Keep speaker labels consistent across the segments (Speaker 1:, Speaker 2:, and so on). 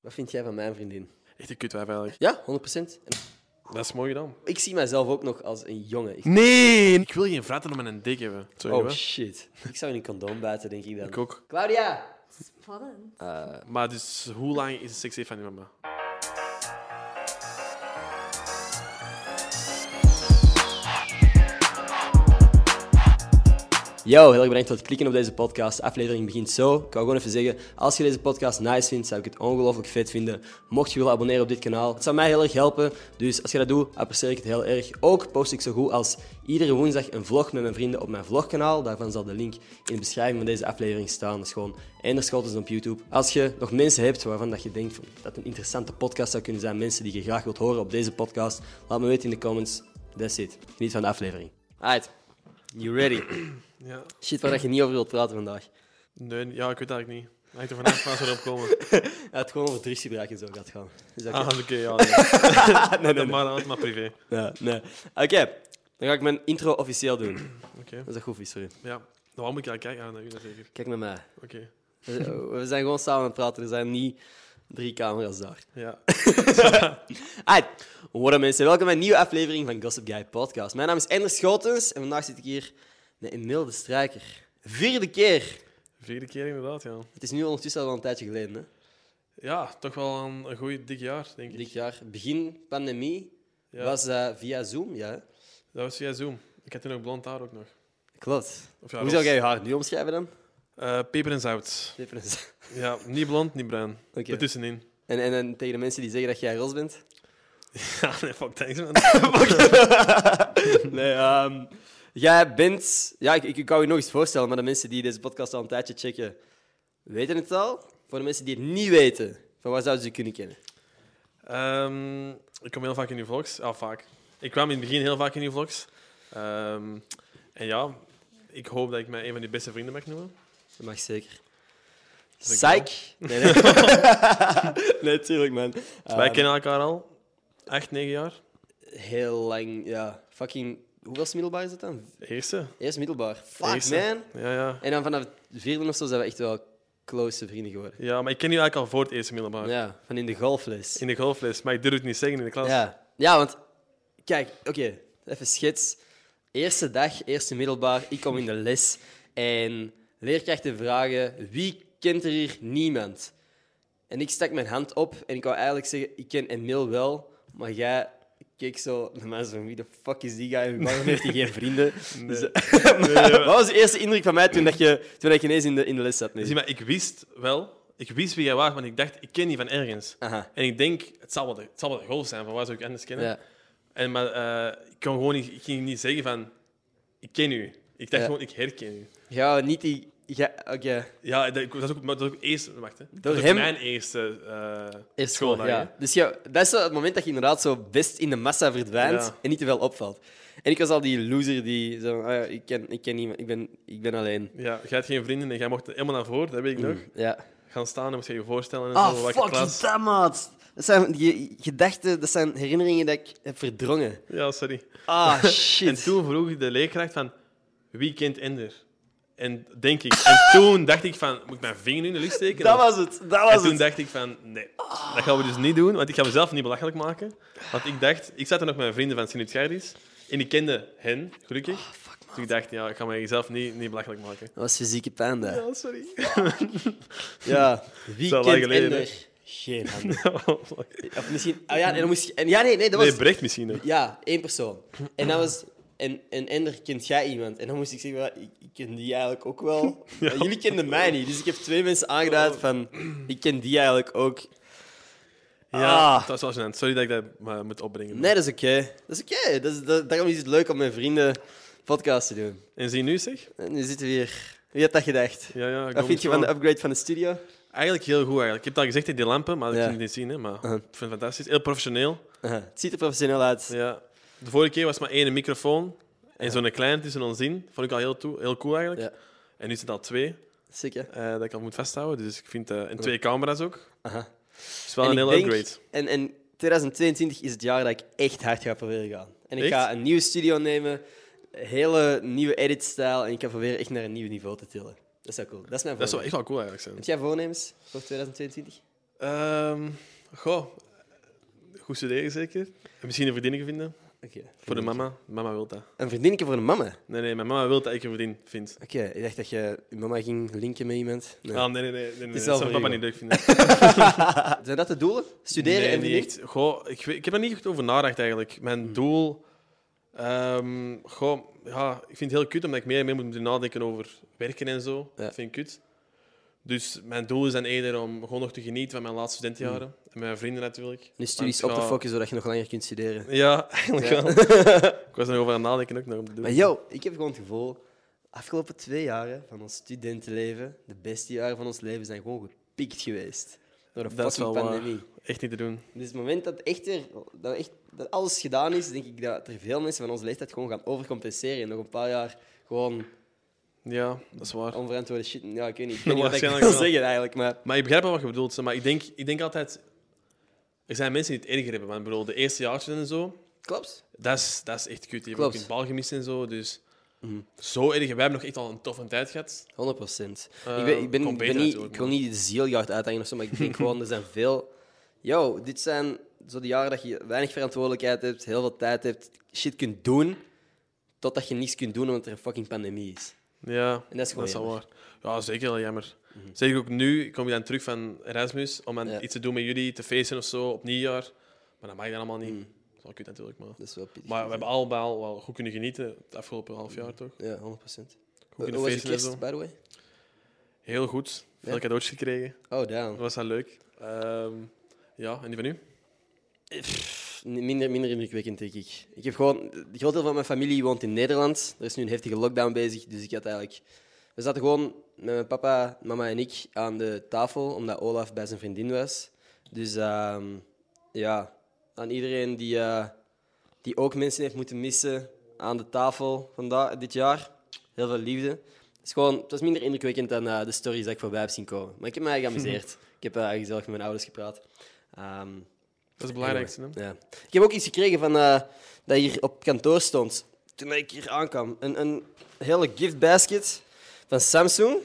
Speaker 1: Wat vind jij van mijn vriendin?
Speaker 2: Echt een kutwijf eigenlijk.
Speaker 1: Ja, 100%. En
Speaker 2: Dat is mooi gedaan.
Speaker 1: ik zie mijzelf ook nog als een jongen. Ik-
Speaker 2: Nee! Ik wil geen vraten om een dik hebben. Sorry,
Speaker 1: Oh
Speaker 2: hè?
Speaker 1: shit. Ik zou in een condoom buiten, denk ik dan.
Speaker 2: Ik ook.
Speaker 1: Claudia!
Speaker 3: Spannend.
Speaker 2: Maar dus, hoe lang is de seksleven van je mama?
Speaker 1: Yo, heel erg bedankt voor het klikken op deze podcast. De aflevering begint zo. Ik wou gewoon even zeggen, als je deze podcast nice vindt, zou ik het ongelooflijk vet vinden. Mocht je willen abonneren op dit kanaal, het zou mij heel erg helpen. Dus als je dat doet, apprecieer ik het heel erg. Ook post ik zo goed als iedere woensdag een vlog met mijn vrienden op mijn vlogkanaal. Daarvan zal de link in de beschrijving van deze aflevering staan. Dat is gewoon Eender Scholtens op YouTube. Als je nog mensen hebt waarvan dat je denkt van, dat een interessante podcast zou kunnen zijn, mensen die je graag wilt horen op deze podcast, laat me weten in de comments. That's it. Geniet van de aflevering. Alright, you ready?
Speaker 2: Ja.
Speaker 1: Shit, waar dat je niet over wilt praten vandaag.
Speaker 2: Nee, ja, ik weet het eigenlijk niet. Het hangt er vanaf waar ze erop komen.
Speaker 1: Hij had gewoon over drugsgebruik en zo gaat gaan. Is dat
Speaker 2: Ah,
Speaker 1: oké?
Speaker 2: oké, ja. Nee.
Speaker 1: nee, nee,
Speaker 2: Dat
Speaker 1: nee.
Speaker 2: mag dan, maar privé.
Speaker 1: Ja, nee. Oké, dan ga ik mijn intro officieel doen.
Speaker 2: Oké.
Speaker 1: Dat is dat goed, is, sorry.
Speaker 2: Ja. Waarom moet ik aan kijken? Ah, nee, dat zeker.
Speaker 1: Kijk naar mij.
Speaker 2: Oké.
Speaker 1: We we zijn gewoon samen aan het praten, er zijn niet drie camera's daar.
Speaker 2: Ja.
Speaker 1: Alright, Hoi mensen, welkom bij een nieuwe aflevering van Gossip Guy Podcast. Mijn naam is Ender Schotens en vandaag zit ik hier met Emil de Strijker. Vierde keer!
Speaker 2: Vierde keer inderdaad, ja.
Speaker 1: Het is nu ondertussen al wel een tijdje geleden, hè?
Speaker 2: Ja, toch wel een, een goed dik jaar, denk ik.
Speaker 1: Dit jaar, begin pandemie,
Speaker 2: Ja.
Speaker 1: was eh, via Zoom, ja? hè?
Speaker 2: Dat was via Zoom. Ik had toen ook blond haar ook nog.
Speaker 1: Klopt.
Speaker 2: Of ja,
Speaker 1: Hoe
Speaker 2: roze.
Speaker 1: zou jij je haar nu omschrijven dan?
Speaker 2: Eh, peper en zout.
Speaker 1: Difference.
Speaker 2: Ja, niet blond, niet bruin.
Speaker 1: Oké.
Speaker 2: Ertussenin.
Speaker 1: En, en, en tegen de mensen die zeggen dat jij roze bent?
Speaker 2: Ja, nee, fuck, thanks man.
Speaker 1: nee, ehm, jij bent... Ja, ik, ik, ik wou je nog eens voorstellen, maar de mensen die deze podcast al een tijdje checken, weten het al. Voor de mensen die het niet weten, van waar zouden ze je kunnen kennen?
Speaker 2: Ehm, ik kom heel vaak in uw vlogs. Ah, vaak. Ik kwam in het begin heel vaak in uw vlogs. Ehm, en ja, ik hoop dat ik mij een van die beste vrienden mag noemen.
Speaker 1: Dat mag zeker.
Speaker 2: Dankjewel.
Speaker 1: Psych? Nee, nee. nee, tuurlijk, man.
Speaker 2: Dus Wij
Speaker 1: Ehm,
Speaker 2: kennen elkaar al acht, negen jaar.
Speaker 1: Heel lang, ja. Fucking... Hoeveelste middelbaar is dat dan?
Speaker 2: Eerste.
Speaker 1: Eerst middelbaar. Fuck,
Speaker 2: Eerste.
Speaker 1: man.
Speaker 2: Ja, ja.
Speaker 1: En dan vanaf het vierde of zo zijn we echt wel close vrienden geworden.
Speaker 2: Ja, maar ik ken u eigenlijk al voor het eerste middelbaar.
Speaker 1: Ja, van in de golfles.
Speaker 2: In de golfles, maar ik durf het niet zeggen in de klas. Dus
Speaker 1: Ja, ja want kijk, oké, even schets. Eerste dag, eerste middelbaar, ik kom in de les en leerkrachten vragen wie kent er hier niemand? En ik stak mijn hand op en ik wou eigenlijk zeggen, ik ken Emil wel, maar jij keek zo naar mij zo van, wie de fuck is die guy? Waarom heeft hij geen vrienden? Dus, maar Wat was de eerste indruk van mij toen, dat je, toen dat je ineens in de, in de les zat? Nee.
Speaker 2: Zie maar, ik wist wel, ik wist wie jij was, want ik dacht, ik ken die van ergens.
Speaker 1: Aha.
Speaker 2: En ik denk, het zal wel de, het zal wel de golf zijn, van waar zou ik anders kennen?
Speaker 1: Ja.
Speaker 2: En, maar eh, ik kon gewoon niet, ik ging niet zeggen van, ik ken u. Ik dacht
Speaker 1: Ja.
Speaker 2: gewoon, ik herken u.
Speaker 1: Jij wou niet die... Ja, oké.
Speaker 2: Ja, dat, dat is ook, maar dat is ook eerst, wacht, hè. Dat, is ook
Speaker 1: hem-
Speaker 2: mijn eerste eh
Speaker 1: Eerst
Speaker 2: schooldag.
Speaker 1: school, ja. Dus ja, dat is zo het moment dat je inderdaad zo best in de massa verdwijnt
Speaker 2: Ja.
Speaker 1: en niet te veel opvalt. En ik was al die loser die zo, ah ja, ik ken, ik ken niemand, ik ben, ik ben alleen. Mm,
Speaker 2: hè. Ja, jij had geen vrienden en jij mocht helemaal naar voren, dat weet ik nog.
Speaker 1: Ja.
Speaker 2: Gaan staan en moest je je voorstellen en
Speaker 1: Ah,
Speaker 2: zo, welke
Speaker 1: fuck,
Speaker 2: klas.
Speaker 1: is dat, maat? Dat zijn die gedachten, dat zijn herinneringen dat ik heb verdrongen.
Speaker 2: Ja, sorry.
Speaker 1: Ah,
Speaker 2: En
Speaker 1: shit.
Speaker 2: toen vroeg de leerkracht van, wie kent Ender? En denk ik. En toen dacht ik van, moet ik mijn vinger nu in de lucht steken?
Speaker 1: dat
Speaker 2: Of-
Speaker 1: was het, dat
Speaker 2: En
Speaker 1: was
Speaker 2: toen
Speaker 1: het.
Speaker 2: dacht ik van, nee, dat gaan we dus niet doen, want ik ga mezelf niet belachelijk maken. Want ik dacht, ik zat er nog met mijn vrienden van sint Gardis en ik kende hen, gelukkig.
Speaker 1: Oh,
Speaker 2: dus ik dacht, ja, ik ga mezelf niet, niet belachelijk maken.
Speaker 1: Dat was fysieke pijn, dat.
Speaker 2: Ja, sorry.
Speaker 1: Ja. Wie
Speaker 2: Zo
Speaker 1: kent
Speaker 2: lang geleden,
Speaker 1: Ender? Geen handen. Of misschien... Ah ja, en dan moest je... En, ja, nee, nee, dat
Speaker 2: nee,
Speaker 1: was...
Speaker 2: Brecht misschien nog.
Speaker 1: Ja, één persoon. En dat was... En, en Ender, kent jij iemand? En dan moest ik zeggen, "Wel, ik, ik ken die eigenlijk ook wel. Maar jullie kenden mij niet, dus ik heb twee mensen aangeduid van... Ik ken die eigenlijk ook.
Speaker 2: Ja,
Speaker 1: Ah.
Speaker 2: dat was wel gênant. Sorry dat ik dat eh, moet opbrengen.
Speaker 1: Nee, dat is oké. Dat is oké. Dat is- dat- daarom is het leuk om met vrienden podcast te doen.
Speaker 2: En zie je nu zeg?
Speaker 1: En nu zitten we hier. Wie had dat gedacht?
Speaker 2: Ja, ja, ik
Speaker 1: Wat
Speaker 2: kom
Speaker 1: vind je van
Speaker 2: gewoon-
Speaker 1: de upgrade van de studio?
Speaker 2: Eigenlijk heel goed eigenlijk. Ik heb het al gezegd, hè, die lampen, maar dat
Speaker 1: Ja. Uh-huh.
Speaker 2: kun je niet zien. Hè, maar ik vind het fantastisch. Heel professioneel.
Speaker 1: Aha, het ziet er professioneel uit.
Speaker 2: Ja. De vorige keer was maar één microfoon en zo'n klein tussen ons in. Vond ik al heel, toe, heel cool eigenlijk.
Speaker 1: Ja.
Speaker 2: En nu zijn het al twee.
Speaker 1: Zeker.
Speaker 2: eh, dat ik al moet vasthouden. Dus ik vind... eh en twee camera's ook.
Speaker 1: Aha.
Speaker 2: is wel
Speaker 1: En
Speaker 2: een
Speaker 1: ik
Speaker 2: hele
Speaker 1: denk-
Speaker 2: upgrade.
Speaker 1: En, en 2022 is het jaar dat ik echt hard ga proberen gaan. En ik
Speaker 2: Echt?
Speaker 1: ga een nieuwe studio nemen, een hele nieuwe editstijl. En ik ga proberen echt naar een nieuw niveau te tillen. Dat is wel cool. Dat is mijn
Speaker 2: Dat
Speaker 1: voornemen.
Speaker 2: zou echt wel cool eigenlijk zijn.
Speaker 1: Heb jij voornemens voor 2022?
Speaker 2: Ehm, goh, goed studeren zeker. En misschien een verdiening vinden
Speaker 1: Oké.
Speaker 2: voor de mama. Mama wil dat.
Speaker 1: Een verdieningje voor een mama?
Speaker 2: Nee, nee, mijn mama wil dat ik een verdien vind.
Speaker 1: Oké, ik dacht dat je je mama ging linken met iemand. Nee.
Speaker 2: Ah, nee, nee, nee. nee, nee,
Speaker 1: is wel
Speaker 2: dat zou
Speaker 1: voor
Speaker 2: papa
Speaker 1: jou.
Speaker 2: niet leuk vinden.
Speaker 1: Zijn dat de doelen? Studeren
Speaker 2: Nee,
Speaker 1: en Hmm.
Speaker 2: niet
Speaker 1: verdienen?
Speaker 2: echt. Goh, ik, weet- ik heb er niet echt over nagedacht eigenlijk. Mijn doel. ehm, goh, ja, ik vind het heel kut omdat ik meer en meer moet moeten nadenken over werken en zo.
Speaker 1: Ja.
Speaker 2: Dat vind ik kut. Dus mijn doel is dan eerder om gewoon nog te genieten van mijn laatste studentenjaren. En mijn vrienden natuurlijk.
Speaker 1: Hmm. De studies
Speaker 2: Want
Speaker 1: op te
Speaker 2: ja,
Speaker 1: focussen zodat je nog langer kunt studeren.
Speaker 2: Ja, eigenlijk wel. ik was er nog over aan het nadenken ook nog om te doen.
Speaker 1: Maar yo, ik heb gewoon het gevoel, afgelopen twee jaren van ons studentenleven, de beste jaren van ons leven, zijn gewoon gepikt geweest. Door een
Speaker 2: Dat is
Speaker 1: fucking
Speaker 2: wel waar.
Speaker 1: pandemie.
Speaker 2: Echt niet te doen.
Speaker 1: Dus het moment dat, echt weer, dat, echt, dat alles gedaan is, denk ik dat er veel mensen van onze leeftijd gewoon gaan overcompenseren. En nog een paar jaar gewoon
Speaker 2: Ja, dat is waar.
Speaker 1: onverantwoorde shit. Ja, ik weet niet, ik weet niet wat ik wil
Speaker 2: Waarschijnlijk wel.
Speaker 1: zeggen eigenlijk, maar...
Speaker 2: Maar ik begrijp wel wat je bedoelt. hè, Maar ik denk, ik denk altijd... Er zijn mensen die het erger hebben. Maar ik bedoel, de eerste jaartjes en zo...
Speaker 1: Klopt.
Speaker 2: Dat is, dat is echt cute. Die hebben
Speaker 1: Klopt. Mhm.
Speaker 2: ook een bal gemist en zo. Dus zo erg. Wij hebben nog echt al een toffe tijd gehad.
Speaker 1: 100 procent.
Speaker 2: Eh,
Speaker 1: ik ben, ik ben,
Speaker 2: komt
Speaker 1: ik ben
Speaker 2: beter
Speaker 1: niet,
Speaker 2: natuurlijk,
Speaker 1: ik wil niet de zieljacht uitdagen of zo, maar ik denk gewoon, er zijn veel... Yo, dit zijn zo de jaren dat je weinig verantwoordelijkheid hebt, heel veel tijd hebt, shit kunt doen, totdat je niks kunt doen omdat er een fucking pandemie is.
Speaker 2: Ja,
Speaker 1: En dat is gewoon Mhm.
Speaker 2: wel waar. Ja, zeker wel jammer. Zeker ook nu, kom je dan terug van Erasmus om dan
Speaker 1: Ja.
Speaker 2: iets te doen met jullie, te feesten of zo, op nieuwjaar. Maar dat mag je dan allemaal niet. Dat is wel kut natuurlijk, maar...
Speaker 1: Mhm. Dat is wel pittig.
Speaker 2: Maar we hebben allemaal wel goed kunnen genieten het afgelopen half jaar, toch?
Speaker 1: Ja, 100 procent.
Speaker 2: Hoe
Speaker 1: Hoe
Speaker 2: kunnen
Speaker 1: was je
Speaker 2: feesten en
Speaker 1: kerst,
Speaker 2: zo?
Speaker 1: by the way?
Speaker 2: Heel goed. Veel
Speaker 1: Ja.
Speaker 2: cadeautjes gekregen.
Speaker 1: Oh, down.
Speaker 2: Was dat leuk? Ehm, ja, en die van u?
Speaker 1: Pff, Minder, minder indrukwekkend, denk ik. Ik heb gewoon... Het groot deel van mijn familie woont in Nederland. Er is nu een heftige lockdown bezig, dus ik had eigenlijk... We zaten gewoon met mijn papa, mama en ik aan de tafel, omdat Olaf bij zijn vriendin was. Dus ehm, ja, aan iedereen die, eh, die ook mensen heeft moeten missen aan de tafel vandaag, dit jaar. Heel veel liefde. Het, is gewoon, het was minder indrukwekkend dan eh, de stories die ik voorbij heb zien komen. Maar ik heb mij geamuseerd. ik heb eh, gezellig met mijn ouders gepraat. Ehm,
Speaker 2: Dat is het belangrijkste, hè?
Speaker 1: ja. Ik heb ook iets gekregen van, eh, dat hier op kantoor stond toen ik hier aankwam. Een, een hele gift basket van Samsung.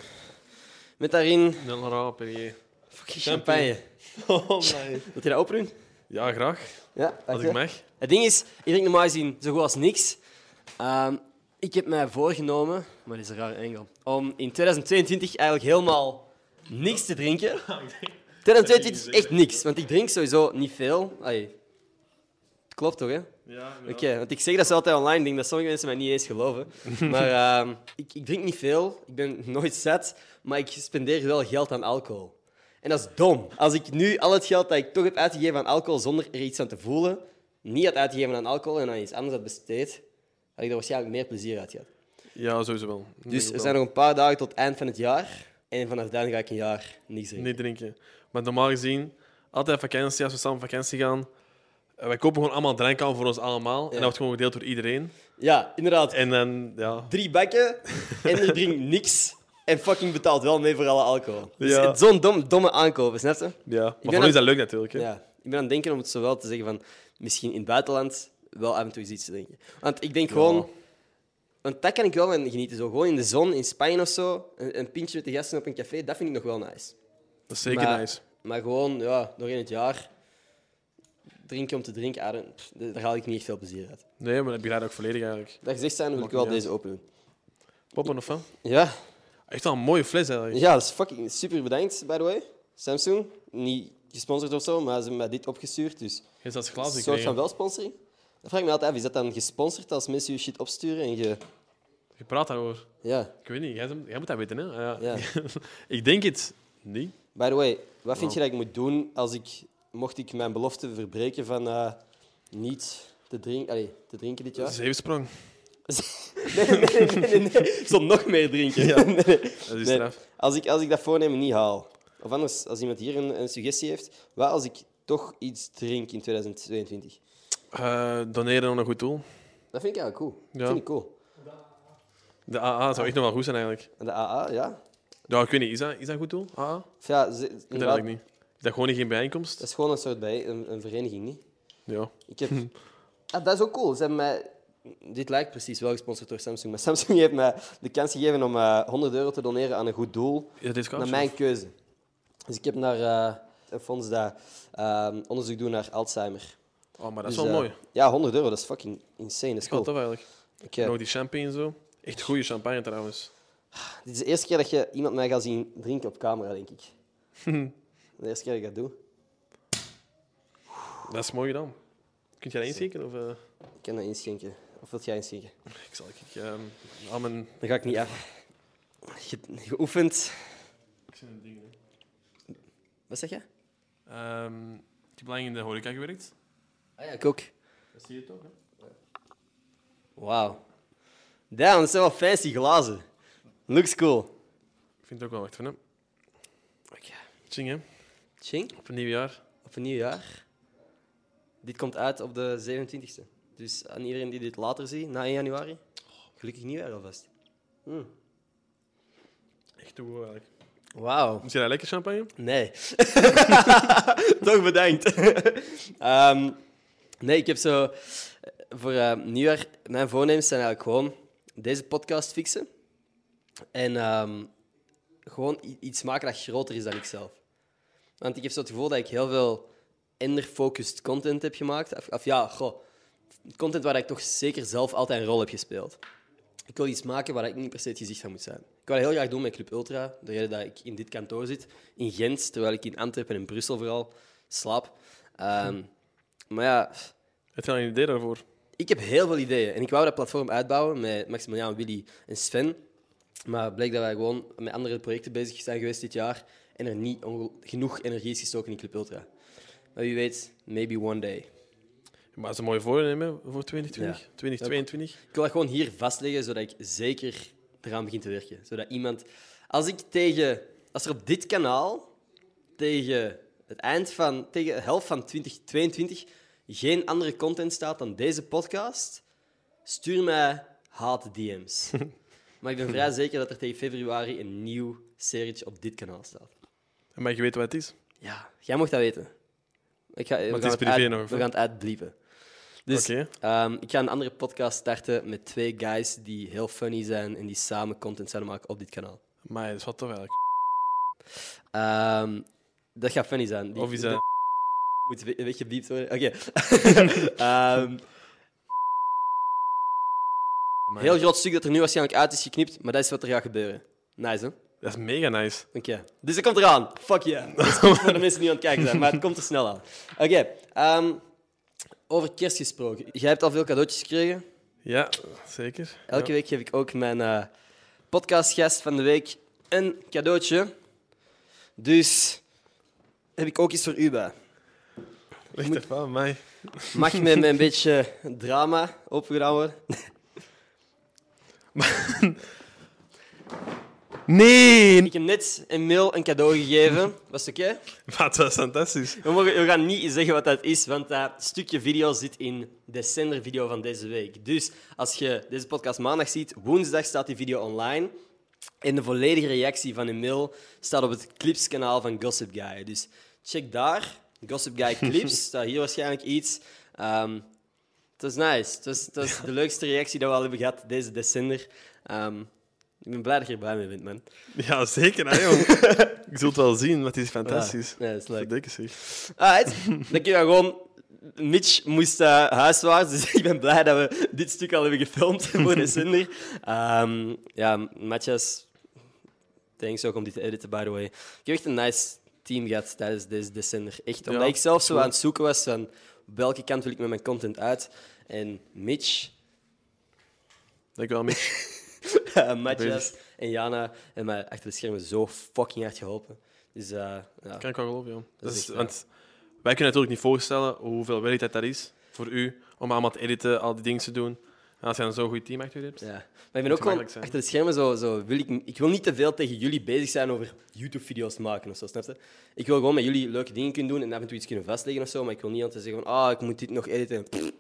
Speaker 1: Met daarin
Speaker 2: Nul raar per je.
Speaker 1: fucking champagne.
Speaker 2: Oh, nee.
Speaker 1: Wilt je dat openen?
Speaker 2: Ja, graag.
Speaker 1: Ja,
Speaker 2: Als
Speaker 1: dank
Speaker 2: ik
Speaker 1: je.
Speaker 2: mag.
Speaker 1: Het ding is, ik drink normaal gezien zo goed als niks. Ehm, ik heb mij voorgenomen, maar dit is een rare engel, om in 2022 eigenlijk helemaal niks te
Speaker 2: Oh,
Speaker 1: drinken. 2022 is echt niks, want ik drink sowieso niet veel. Ai. Klopt toch, hè?
Speaker 2: Ja,
Speaker 1: Oké, want ik zeg dat ze altijd online, ik denk dat sommige mensen mij niet eens geloven. Maar ehm, ik, ik drink niet veel, ik ben nooit zat, maar ik spendeer wel geld aan alcohol. En dat is dom. Als ik nu al het geld dat ik toch heb uitgegeven aan alcohol zonder er iets aan te voelen, niet had uitgegeven aan alcohol en aan iets anders had besteed, had ik er waarschijnlijk meer plezier uit gehad.
Speaker 2: Ja, sowieso wel.
Speaker 1: Dus
Speaker 2: we
Speaker 1: er zijn nog een paar dagen tot eind van het jaar. En vanaf dan ga ik een jaar niks drinken.
Speaker 2: Niet drinken. Maar normaal gezien, altijd vakantie, als we samen op vakantie gaan, eh, wij kopen gewoon allemaal drank aan voor ons allemaal. En dat wordt gewoon gedeeld door iedereen.
Speaker 1: Ja, inderdaad.
Speaker 2: En dan, ja...
Speaker 1: drie bakken en er drinkt niks. En fucking betaalt wel mee voor alle alcohol. Dus
Speaker 2: Ja.
Speaker 1: het- zo'n dom, domme aankopen, snap je?
Speaker 2: ja. Maar voor
Speaker 1: ben
Speaker 2: ons is
Speaker 1: aan-
Speaker 2: dat leuk natuurlijk. Hè?
Speaker 1: Ja. Ik ben aan het denken om het zowel te zeggen van misschien in het buitenland wel af en toe eens iets te drinken. Want ik denk gewoon, want dat kan ik wel van genieten. Zo. Gewoon in de zon, in Spanje of zo, een, een pintje met de gasten op een café, dat vind ik nog wel nice.
Speaker 2: Dat is zeker
Speaker 1: maar,
Speaker 2: nice.
Speaker 1: Maar gewoon, ja, nog in het jaar drinken om te drinken, ah, dan- pff, daar haal ik niet echt veel plezier uit.
Speaker 2: Nee, maar dat begrijp ik ook volledig eigenlijk.
Speaker 1: Dat gezegd zijn, wil ik
Speaker 2: Maakt
Speaker 1: wel
Speaker 2: niet
Speaker 1: deze open doen.
Speaker 2: Poppen of wat?
Speaker 1: Ja,
Speaker 2: Echt wel een mooie fles eigenlijk.
Speaker 1: Ja, dat is fucking super bedankt, by the way. Samsung, niet gesponsord of zo, maar ze hebben mij dit opgestuurd. Dus
Speaker 2: Je hebt zelfs
Speaker 1: een
Speaker 2: glazen
Speaker 1: soort van
Speaker 2: gekregen.
Speaker 1: wel sponsoring. Dan vraag ik me altijd af, is dat dan gesponsord als mensen je shit opsturen en je...
Speaker 2: Je praat daarover.
Speaker 1: Ja,
Speaker 2: Ik weet niet, jij, jij moet dat weten, hè? Ah, ja.
Speaker 1: ja.
Speaker 2: ik denk het niet.
Speaker 1: By the way, wat vind je dat ik moet doen als ik... Mocht ik mijn belofte verbreken van eh, niet te, drink, allee, te drinken dit jaar?
Speaker 2: Zeefsprong.
Speaker 1: Nee, nee, nee, nee, nee. Ik zal nog meer drinken. Nee, nee.
Speaker 2: Dat is
Speaker 1: Nee.
Speaker 2: straf.
Speaker 1: Als ik, als ik dat voornemen niet haal, of anders, als iemand hier een, een suggestie heeft, wat als ik toch iets drink in 2022?
Speaker 2: Eh, doneren aan een goed doel.
Speaker 1: Dat vind ik eigenlijk cool.
Speaker 2: Ja.
Speaker 1: Dat vind ik cool.
Speaker 2: De AA zou echt nog wel goed zijn eigenlijk.
Speaker 1: En de AA, ja.
Speaker 2: Ja, ik weet niet, is dat, is dat een goed doel? AA? Ik
Speaker 1: Of ja, ze-
Speaker 2: weet
Speaker 1: inderdaad,
Speaker 2: dat eigenlijk niet. Is dat gewoon geen bijeenkomst?
Speaker 1: dat is gewoon een soort bij, een, een vereniging, niet?
Speaker 2: Ja.
Speaker 1: Ik heb...
Speaker 2: Hm.
Speaker 1: ah, dat is ook cool. Ze hebben mij... Dit lijkt precies wel gesponsord door Samsung, maar Samsung heeft mij de kans gegeven om eh, 100 euro te doneren aan een goed doel.
Speaker 2: Is dat
Speaker 1: naar mijn keuze. Dus ik heb naar eh, een fonds dat ehm, onderzoek doet naar Alzheimer.
Speaker 2: Oh, maar dat is
Speaker 1: Dus,
Speaker 2: wel
Speaker 1: eh,
Speaker 2: mooi.
Speaker 1: Ja, 100 euro, dat is fucking insane. Dat is
Speaker 2: Ik wel
Speaker 1: cool.
Speaker 2: tof eigenlijk.
Speaker 1: Ik, eh,
Speaker 2: Nog die champagne en zo. Echt goede champagne trouwens.
Speaker 1: dit is de eerste keer dat je iemand mij gaat zien drinken op camera, denk ik.
Speaker 2: Hm.
Speaker 1: de eerste keer dat ik dat doe.
Speaker 2: Dat is mooi gedaan. Kun jij dat insteken? Of, eh,
Speaker 1: Ik kan dat inschenken. Of wilt jij inschenken?
Speaker 2: ik zal ik, ehm, al mijn...
Speaker 1: Dan ga ik niet af. Ge- geoefend.
Speaker 2: Ik zit in dingen.
Speaker 1: Wat zeg je?
Speaker 2: ik heb lang Ehm, in de horeca gewerkt.
Speaker 1: Ah ja, ik ook.
Speaker 2: Dat zie je toch, hè?
Speaker 1: Wauw. Damn, dat zijn wel fancy glazen. Looks cool.
Speaker 2: Ik vind het ook wel echt van, hè?
Speaker 1: Oké.
Speaker 2: Ching, hè?
Speaker 1: Ching,
Speaker 2: Op een nieuw jaar.
Speaker 1: op een nieuw jaar. Dit komt uit op de 27e. Dus aan iedereen die dit later ziet, na 1 januari, gelukkig nieuwjaar alvast.
Speaker 2: Echt goed, eigenlijk.
Speaker 1: Wauw.
Speaker 2: Moet je dat lekker champagne?
Speaker 1: Nee. Toch bedankt. Ehm, nee, ik heb zo... eh, Voor eh, nieuwjaar... Mijn voornemens zijn eigenlijk gewoon deze podcast fixen. En ehm, gewoon i- iets maken dat groter is dan ikzelf. Want ik heb zo het gevoel dat ik heel veel ender-focused content heb gemaakt. Of, of ja, goh. Content waar ik toch zeker zelf altijd een rol heb gespeeld. Ik wil iets maken waar ik niet per se het gezicht van moet zijn. Ik wil dat heel graag doen met Club Ultra. De reden dat ik in dit kantoor zit, in Gent, terwijl ik in Antwerpen en Brussel vooral slaap. Ehm, Maar ja,
Speaker 2: Heb je al een idee daarvoor?
Speaker 1: ik heb heel veel ideeën. En ik wou dat platform uitbouwen met Maximiliaan, Willy en Sven. Maar het bleek dat wij gewoon met andere projecten bezig zijn geweest dit jaar. En er niet onge- genoeg energie is gestoken in Club Ultra. Maar wie weet, maybe one day.
Speaker 2: Maar dat is een mooie voornemen hè, voor 2020,
Speaker 1: Ja.
Speaker 2: 2022.
Speaker 1: Ik wil dat gewoon hier vastleggen, zodat ik zeker eraan begin te werken. Zodat iemand... Als ik tegen... Als er op dit kanaal tegen het eind van... Tegen de helft van 2022 geen andere content staat dan deze podcast, stuur mij haat-DM's. maar ik ben vrij zeker dat er tegen februari een nieuw serietje op dit kanaal staat.
Speaker 2: Maar je weet wat het is.
Speaker 1: Ja, jij mocht dat weten. Ik ga, we gaan
Speaker 2: is privé
Speaker 1: uit-
Speaker 2: nog, of
Speaker 1: We
Speaker 2: wat?
Speaker 1: gaan het uitbliepen. Dus
Speaker 2: Oké.
Speaker 1: ehm, ik ga een andere podcast starten met twee guys die heel funny zijn en die samen content zouden maken op dit kanaal.
Speaker 2: Maar dat is wat tof eigenlijk.
Speaker 1: Ehm, dat gaat funny zijn. Die-
Speaker 2: Of is dat...
Speaker 1: Moet we- een beetje beeped worden. Oké. Ehm,
Speaker 2: Amai.
Speaker 1: heel groot stuk dat er nu waarschijnlijk uit is geknipt, maar dat is wat er gaat gebeuren. Nice, hè?
Speaker 2: Dat is mega nice.
Speaker 1: Oké. Dus dat komt eraan. Fuck yeah. Dat is goed voor de mensen die aan het kijken zijn, maar het komt er snel aan. Oké. ehm, over kerst gesproken. Jij hebt al veel cadeautjes gekregen.
Speaker 2: Ja, zeker.
Speaker 1: Elke week geef ik ook mijn eh, podcastgast van de week een cadeautje. Dus heb ik ook iets voor u bij.
Speaker 2: week. Ligt er van mij.
Speaker 1: Mag met met een beetje drama opgedaan worden?
Speaker 2: Nee!
Speaker 1: Ik heb net een mail een cadeau gegeven. Was het oké?
Speaker 2: Wat, dat is fantastisch.
Speaker 1: We, mogen- we gaan niet zeggen wat dat is, want dat stukje video zit in de zendervideo van deze week. Dus als je deze podcast maandag ziet, woensdag staat die video online. En de volledige reactie van Emil staat op het clipskanaal van Gossip Guy. Dus check daar. Gossip Guy clips. staat hier waarschijnlijk iets. Ehm, het was nice. Het was, het was de leukste reactie die we al hebben gehad deze december. Ehm, ik ben blij dat je er blij mee bent, man.
Speaker 2: Ja, zeker, hè, jong. Ik zult wel zien, want het is fantastisch.
Speaker 1: Ja, dat is leuk.
Speaker 2: Verdikke zich.
Speaker 1: Alright, dan kun je gewoon... Mitch moest eh, huiswaarts, dus ik ben blij dat we dit stuk al hebben gefilmd voor de zender. Ehm, ja, Matthias, thanks ook om dit te editen, by the way. Ik heb echt een nice team gehad tijdens deze december. Echt, omdat
Speaker 2: Ja,
Speaker 1: ik zelf zo
Speaker 2: cool.
Speaker 1: aan het zoeken was van welke kant wil ik met mijn content uit. En Mitch,
Speaker 2: Dankjewel, Mitch.
Speaker 1: eh, Matthias en Jana hebben mij achter de schermen zo fucking hard geholpen. Dus eh, ja,
Speaker 2: Kan ik wel geloven, ja.
Speaker 1: Dat
Speaker 2: Dat
Speaker 1: is
Speaker 2: is,
Speaker 1: echt waar.
Speaker 2: want wij kunnen natuurlijk niet voorstellen hoeveel werk dat, dat is voor u, om allemaal te editen, al die dingen te doen. En als je dan zo'n goed team achter je hebt...
Speaker 1: Ja. Maar ik ben ook gewoon
Speaker 2: gemakkelijk zijn.
Speaker 1: achter de schermen zo, zo wil ik, ik wil niet te veel tegen jullie bezig zijn over YouTube-video's maken of zo, snap je? Ik wil gewoon met jullie leuke dingen kunnen doen en af en toe iets kunnen vastleggen of zo, maar ik wil niet altijd zeggen van, ah, ik moet dit nog editen. Pff.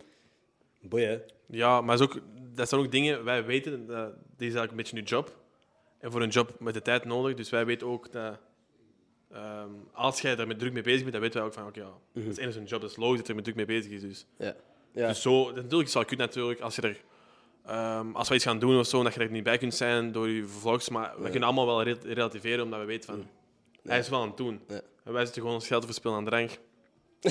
Speaker 1: Boeien.
Speaker 2: Ja, maar het is ook, dat zijn ook dingen, wij weten, dat, dit is eigenlijk een beetje nu job. En voor een job met de tijd nodig, dus wij weten ook dat... ehm, als jij daar met druk mee bezig bent, dan weten wij ook van, oké, ja,
Speaker 1: Mhm.
Speaker 2: dat is enigszins een job, dat is logisch dat er met druk mee bezig is. Dus,
Speaker 1: Ja. Ja.
Speaker 2: dus zo, dat- natuurlijk zou kunnen natuurlijk, als je er... ehm, als we iets gaan doen of zo, dat je er niet bij kunt zijn door je vlogs, maar we kunnen allemaal wel re- relativeren, omdat we weten van... Hij is wel aan het doen.
Speaker 1: Mhm. Ja.
Speaker 2: En wij zitten gewoon ons geld te verspillen aan drank.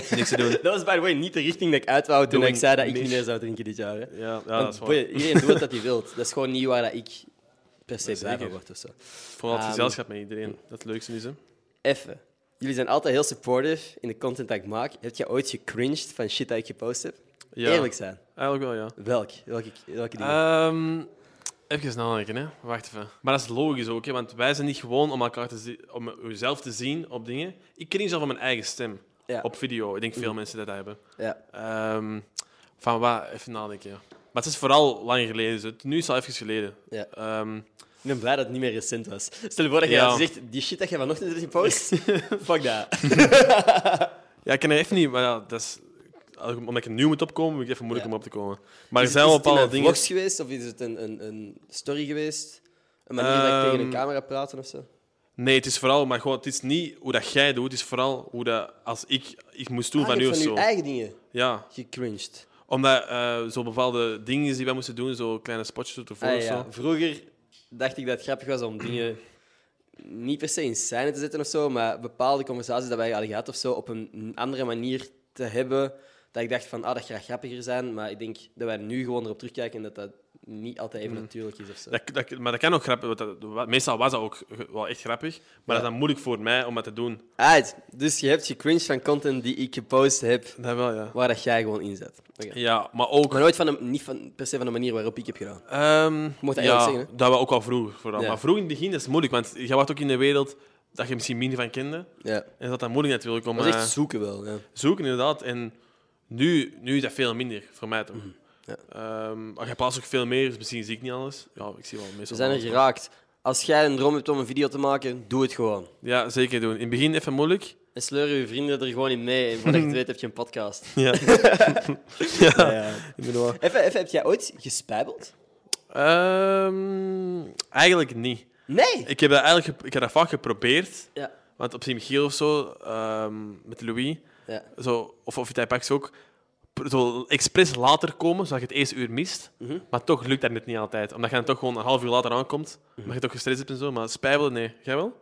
Speaker 1: Niks te doen. dat was by the way niet de richting dat ik uit wou toen
Speaker 2: Doing
Speaker 1: ik zei dat ik
Speaker 2: niche.
Speaker 1: niet meer zou drinken dit jaar. Hè.
Speaker 2: Ja, ja
Speaker 1: Want
Speaker 2: dat is waar.
Speaker 1: boeien, iedereen doet wat hij wil. Dat is gewoon niet waar dat ik per se blij van
Speaker 2: Zeker.
Speaker 1: word of zo.
Speaker 2: Vooral het
Speaker 1: Ehm,
Speaker 2: gezelschap met iedereen. Dat is het leukste is, hè.
Speaker 1: Even. Jullie zijn altijd heel supportive in de content dat ik maak. Heb jij ooit gecringed van shit dat ik gepost heb?
Speaker 2: Ja,
Speaker 1: Eerlijk zijn.
Speaker 2: Eigenlijk wel, ja.
Speaker 1: Welk? Welke, welke dingen?
Speaker 2: Ehm even nadenken, hè. Wacht even. Maar dat is logisch ook, hè, want wij zijn niet gewoon om elkaar te zien, om uzelf te zien op dingen. Ik ken zelf van mijn eigen stem
Speaker 1: ja. Mhm.
Speaker 2: op video. Ik denk veel mensen dat, dat hebben.
Speaker 1: ja.
Speaker 2: Ehm, van wat? Even nadenken, ja. Maar het is vooral lang geleden. zo. Nu is het al even geleden.
Speaker 1: Ja.
Speaker 2: Ehm,
Speaker 1: Ik ben blij dat het niet meer recent was. Stel je voor dat jij
Speaker 2: Ja.
Speaker 1: zegt, die shit dat jij vanochtend hebt gepost, fuck dat.
Speaker 2: ja, ik ken er even niet, maar ja, dat is, omdat ik er nieuw moet opkomen, vind ik het even moeilijk
Speaker 1: Ja.
Speaker 2: om op te komen. Maar er
Speaker 1: Is-
Speaker 2: zijn wel
Speaker 1: is het in
Speaker 2: bepaalde
Speaker 1: een
Speaker 2: dingen.
Speaker 1: vlogs geweest of is het een, een, een story geweest? Een manier dat ik tegen een
Speaker 2: Ehm,
Speaker 1: camera praat of zo?
Speaker 2: Nee, het is vooral, maar gewoon, het is niet hoe dat jij doet, het is vooral hoe dat als ik iets moest doen
Speaker 1: Ah,
Speaker 2: van
Speaker 1: je
Speaker 2: nu
Speaker 1: hebt
Speaker 2: of
Speaker 1: van
Speaker 2: zo.
Speaker 1: uw eigen dingen
Speaker 2: Ja.
Speaker 1: gecringed.
Speaker 2: Omdat eh, zo bepaalde dingen die wij moesten doen, zo kleine spotjes ervoor
Speaker 1: Ah,
Speaker 2: of zo.
Speaker 1: ja. Vroeger dacht ik dat het grappig was om dingen niet per se in scène te zetten of zo, maar bepaalde conversaties dat wij hadden gehad of zo op een andere manier te hebben. Dat ik dacht van, ah, dat gaat grappiger zijn, maar ik denk dat wij nu gewoon erop terugkijken en dat dat niet altijd even natuurlijk is of zo.
Speaker 2: Dat, dat, maar dat kan ook grappig. want dat- wat- meestal was dat ook ge- wel echt grappig. Maar dat is dan moeilijk voor mij om dat te doen.
Speaker 1: Uit, dus je hebt gecringed van content die ik gepost heb,
Speaker 2: Dat wel, ja.
Speaker 1: waar dat jij gewoon inzet. Oké.
Speaker 2: Ja, maar ook...
Speaker 1: Maar nooit van de, niet van, per se van de manier waarop ik heb gedaan.
Speaker 2: ehm,
Speaker 1: moet dat
Speaker 2: ja,
Speaker 1: eerlijk zeggen,
Speaker 2: dat we ook al vroeg. Vooral.
Speaker 1: Ja.
Speaker 2: Maar vroeg in het begin dat is moeilijk, want je wordt ook in een wereld dat je misschien minder van kende.
Speaker 1: Ja.
Speaker 2: En dat dat moeilijk natuurlijk om
Speaker 1: Dat is echt
Speaker 2: te
Speaker 1: zoeken wel. Ja.
Speaker 2: zoeken, inderdaad. En nu, nu is dat veel minder, voor mij toch.
Speaker 1: Mhm. ja.
Speaker 2: Ehm, maar je plaatst ook veel meer, dus misschien zie ik niet alles. Ja, ik zie wel meestal
Speaker 1: Ze zijn er
Speaker 2: alles.
Speaker 1: geraakt. Als jij een droom hebt om een video te maken, doe het gewoon.
Speaker 2: Ja, zeker doen. In het begin even moeilijk.
Speaker 1: En sleuren je vrienden er gewoon in mee. En voordat je het weet, heb je een podcast.
Speaker 2: Ja.
Speaker 1: Even, even, heb jij ooit gespijbeld?
Speaker 2: Ehm, eigenlijk niet.
Speaker 1: Nee!
Speaker 2: Ik heb dat eigenlijk gep- ik heb dat vaak geprobeerd.
Speaker 1: Ja.
Speaker 2: Want op Sint-Michiel of zo, ehm, met Louis,
Speaker 1: Ja.
Speaker 2: zo, of, of Itaipax ook, pr- zo expres later komen, zodat je het eerste uur mist.
Speaker 1: Mhm.
Speaker 2: Maar toch lukt dat net niet altijd. Omdat je dan toch gewoon een half uur later aankomt. Omdat je toch gestrest hebt en zo. Maar spijbelen, nee. Jij wel?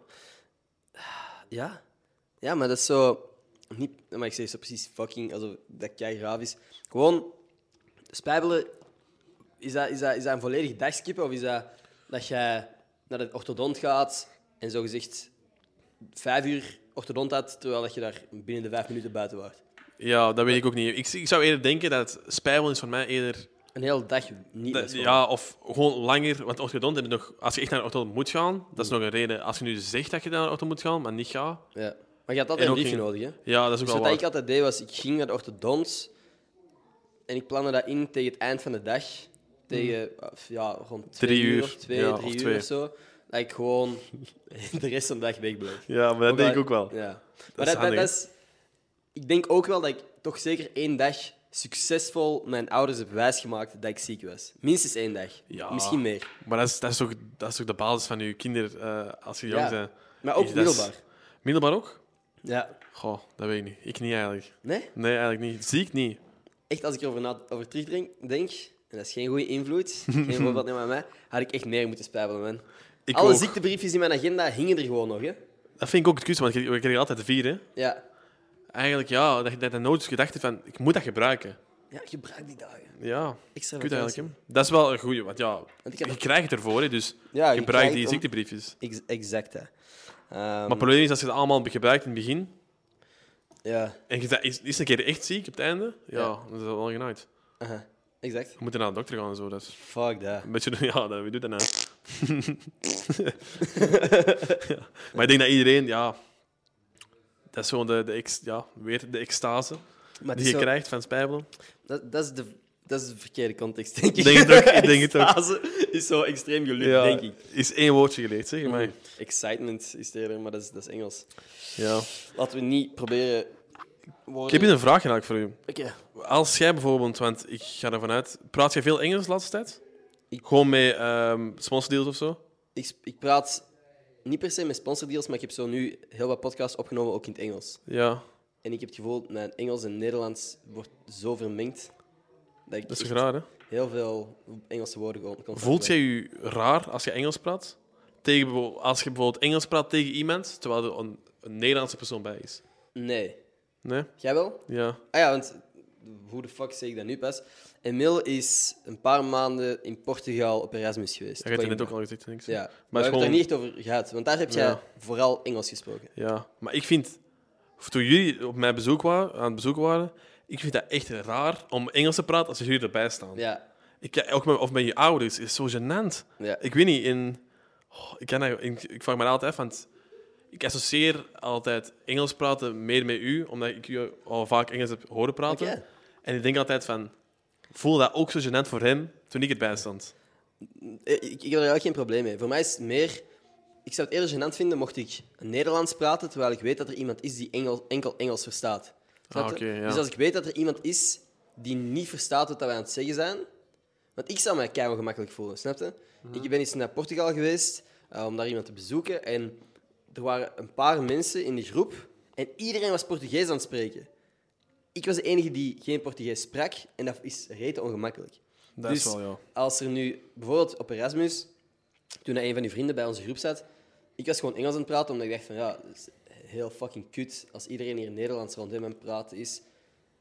Speaker 1: ja. Ja, maar dat is zo... Niet, maar ik zeg zo precies fucking, alsof dat jij graaf is. Gewoon, spijbelen... Is dat, is, dat, is dat een volledig dagskippen? Of is dat dat jij naar de orthodont gaat en zogezegd vijf uur orthodont had, terwijl dat je daar binnen de vijf minuten buiten was?
Speaker 2: Ja, dat weet ik ook niet. Ik, ik zou eerder denken dat spijbelen is voor mij eerder...
Speaker 1: Een hele dag niet
Speaker 2: Dat-
Speaker 1: naar school.
Speaker 2: ja, of gewoon langer. Want orthodont heb je nog... Als je echt naar de orthodont moet gaan, dat is nog een reden. Als je nu zegt dat je naar de orthodont moet gaan, maar niet gaat...
Speaker 1: Ja. Maar je had
Speaker 2: En
Speaker 1: altijd een
Speaker 2: ook
Speaker 1: briefje
Speaker 2: in-
Speaker 1: nodig, hè?
Speaker 2: Ja, dat is
Speaker 1: Dus
Speaker 2: ook wel
Speaker 1: wat
Speaker 2: waar.
Speaker 1: ik altijd deed was, ik ging naar de orthodont en ik plande dat in tegen het eind van de dag. Tegen of ja, rond twee
Speaker 2: Mhm. Drie
Speaker 1: uur,
Speaker 2: uur.
Speaker 1: of twee,
Speaker 2: Ja,
Speaker 1: drie
Speaker 2: of
Speaker 1: uur
Speaker 2: twee.
Speaker 1: of zo. Dat ik gewoon de rest van de dag wegbleef.
Speaker 2: Ja, maar dat denk ik ook wel.
Speaker 1: Ja.
Speaker 2: is
Speaker 1: Maar dat, dat,
Speaker 2: handig, hè?
Speaker 1: dat is... Ik denk ook wel dat ik toch zeker één dag succesvol mijn ouders heb wijsgemaakt dat ik ziek was. Minstens één dag.
Speaker 2: Ja.
Speaker 1: Misschien meer.
Speaker 2: Maar dat is, dat, is toch, dat is toch de basis van je kinderen eh, als je jong
Speaker 1: Ja.
Speaker 2: bent?
Speaker 1: Maar ook
Speaker 2: Ik- dat is-
Speaker 1: middelbaar.
Speaker 2: Middelbaar ook?
Speaker 1: Ja.
Speaker 2: Goh, dat weet ik niet. Ik niet eigenlijk.
Speaker 1: Nee?
Speaker 2: Nee, eigenlijk niet. Ziek niet.
Speaker 1: echt als ik erover na, over terugdenk, denk, en dat is geen goede invloed, geen voorbeeld neem aan mij, had ik echt meer moeten spijbelen, man.
Speaker 2: Ik
Speaker 1: Alle
Speaker 2: ook.
Speaker 1: ziektebriefjes in mijn agenda hingen er gewoon nog, hè.
Speaker 2: Dat vind ik ook het kus, want je, je krijgt altijd vier. Hè?
Speaker 1: Ja.
Speaker 2: Eigenlijk ja, dat je dat je nooit gedacht hebt van ik moet dat gebruiken.
Speaker 1: Ja, gebruik die dagen.
Speaker 2: Ja,
Speaker 1: Extra
Speaker 2: kut
Speaker 1: vakantie.
Speaker 2: eigenlijk. hè. Dat is wel een goede, want ja,
Speaker 1: Want ik heb
Speaker 2: je
Speaker 1: nog-
Speaker 2: krijgt ervoor, hè, dus
Speaker 1: Ja, je
Speaker 2: gebruik
Speaker 1: krijgt
Speaker 2: die
Speaker 1: om-
Speaker 2: ziektebriefjes.
Speaker 1: Ex- exact, hè. Ehm,
Speaker 2: Maar het probleem is als je het allemaal gebruikt in het begin
Speaker 1: Ja,
Speaker 2: en je bent is, is een keer echt ziek op het einde, ja,
Speaker 1: Ja.
Speaker 2: dan is dat wel genaaid.
Speaker 1: aha, exact.
Speaker 2: We moeten naar de dokter gaan en zo. Dat is
Speaker 1: Fuck dat.
Speaker 2: Een beetje, ja, dat, wie doet dat nou? Ja, Maar ik denk dat iedereen, ja... Dat is gewoon de, de, ex, ja, weer de extase
Speaker 1: Maar het
Speaker 2: die
Speaker 1: is
Speaker 2: je
Speaker 1: zo-
Speaker 2: krijgt van spijbelen.
Speaker 1: dat, dat, is de, dat is de verkeerde context, denk ik.
Speaker 2: Denk het ook, ik denk het ook.
Speaker 1: Extase is zo extreem gelukt, denk ik.
Speaker 2: Is één woordje geleerd, zeg maar.
Speaker 1: Mhm. Excitement is het eerder, maar dat is, dat is Engels.
Speaker 2: Ja.
Speaker 1: Laten we niet proberen...
Speaker 2: Ik
Speaker 1: woorden-
Speaker 2: heb hier een vraag eigenlijk voor u.
Speaker 1: Oké.
Speaker 2: Als jij bijvoorbeeld, want ik ga ervan uit... Praat jij veel Engels de laatste tijd? Gewoon met ehm sponsor deals of zo?
Speaker 1: ik, sp- ik praat niet per se met sponsordeals, maar ik heb zo nu heel wat podcasts opgenomen, ook in het Engels.
Speaker 2: Ja,
Speaker 1: En ik heb het gevoel, mijn Engels en Nederlands wordt zo vermengd, dat ik
Speaker 2: dat is
Speaker 1: echt
Speaker 2: toch raar, hè?
Speaker 1: heel veel Engelse woorden gewoon kan
Speaker 2: Voelt jij je raar als je Engels praat? Tegen, bijvo- als je bijvoorbeeld Engels praat tegen iemand, terwijl je een een Nederlandse persoon bij is.
Speaker 1: Nee.
Speaker 2: Nee?
Speaker 1: Jij wel?
Speaker 2: Ja.
Speaker 1: Ah ja, want hoe de fuck zeg ik dat nu pas? Emil is een paar maanden in Portugal op Erasmus geweest.
Speaker 2: Dat heb je net
Speaker 1: Coimbra.
Speaker 2: ook al gezegd, denk ik.
Speaker 1: Ja, maar we hebben
Speaker 2: is
Speaker 1: het er
Speaker 2: gewoon-
Speaker 1: niet echt over gehad, want daar heb jij
Speaker 2: Ja.
Speaker 1: vooral Engels gesproken.
Speaker 2: Ja, maar ik vind, of toen jullie op mijn bezoek waren, aan het bezoek waren, ik vind dat echt raar om Engels te praten als jullie erbij staan.
Speaker 1: Ja,
Speaker 2: Ik, kan- ook met, of met je ouders, is zo gênant.
Speaker 1: ja.
Speaker 2: Ik weet niet, in, oh, ik, kan, dat- ik, ik vraag me dat altijd af, want ik associeer altijd Engels praten meer met u, omdat ik u al vaak Engels heb horen praten.
Speaker 1: Oké.
Speaker 2: En ik denk altijd van, voel dat ook zo gênant voor hem toen ik erbij stond.
Speaker 1: Eh, Ik, ik heb er ook geen probleem mee. Voor mij is het meer... Ik zou het eerder gênant vinden mocht ik Nederlands praten, terwijl ik weet dat er iemand is die Engel, enkel Engels verstaat. Snap
Speaker 2: Ah,
Speaker 1: je?
Speaker 2: oké, ja.
Speaker 1: Dus als ik weet dat er iemand is die niet verstaat wat dat wij aan het zeggen zijn... Want ik zou mij keihard ongemakkelijk voelen, snap je?
Speaker 2: Mhm.
Speaker 1: Ik ben eens naar Portugal geweest eh, om daar iemand te bezoeken. En er waren een paar mensen in die groep en iedereen was Portugees aan het spreken. Ik was de enige die geen Portugees sprak en dat is rete ongemakkelijk.
Speaker 2: Dat
Speaker 1: dus
Speaker 2: is wel, ja.
Speaker 1: als er nu bijvoorbeeld op Erasmus, toen er een van uw vrienden bij onze groep zat, ik was gewoon Engels aan het praten, omdat ik dacht van ja, het is heel fucking kut als iedereen hier Nederlands rond hem aan het praten is.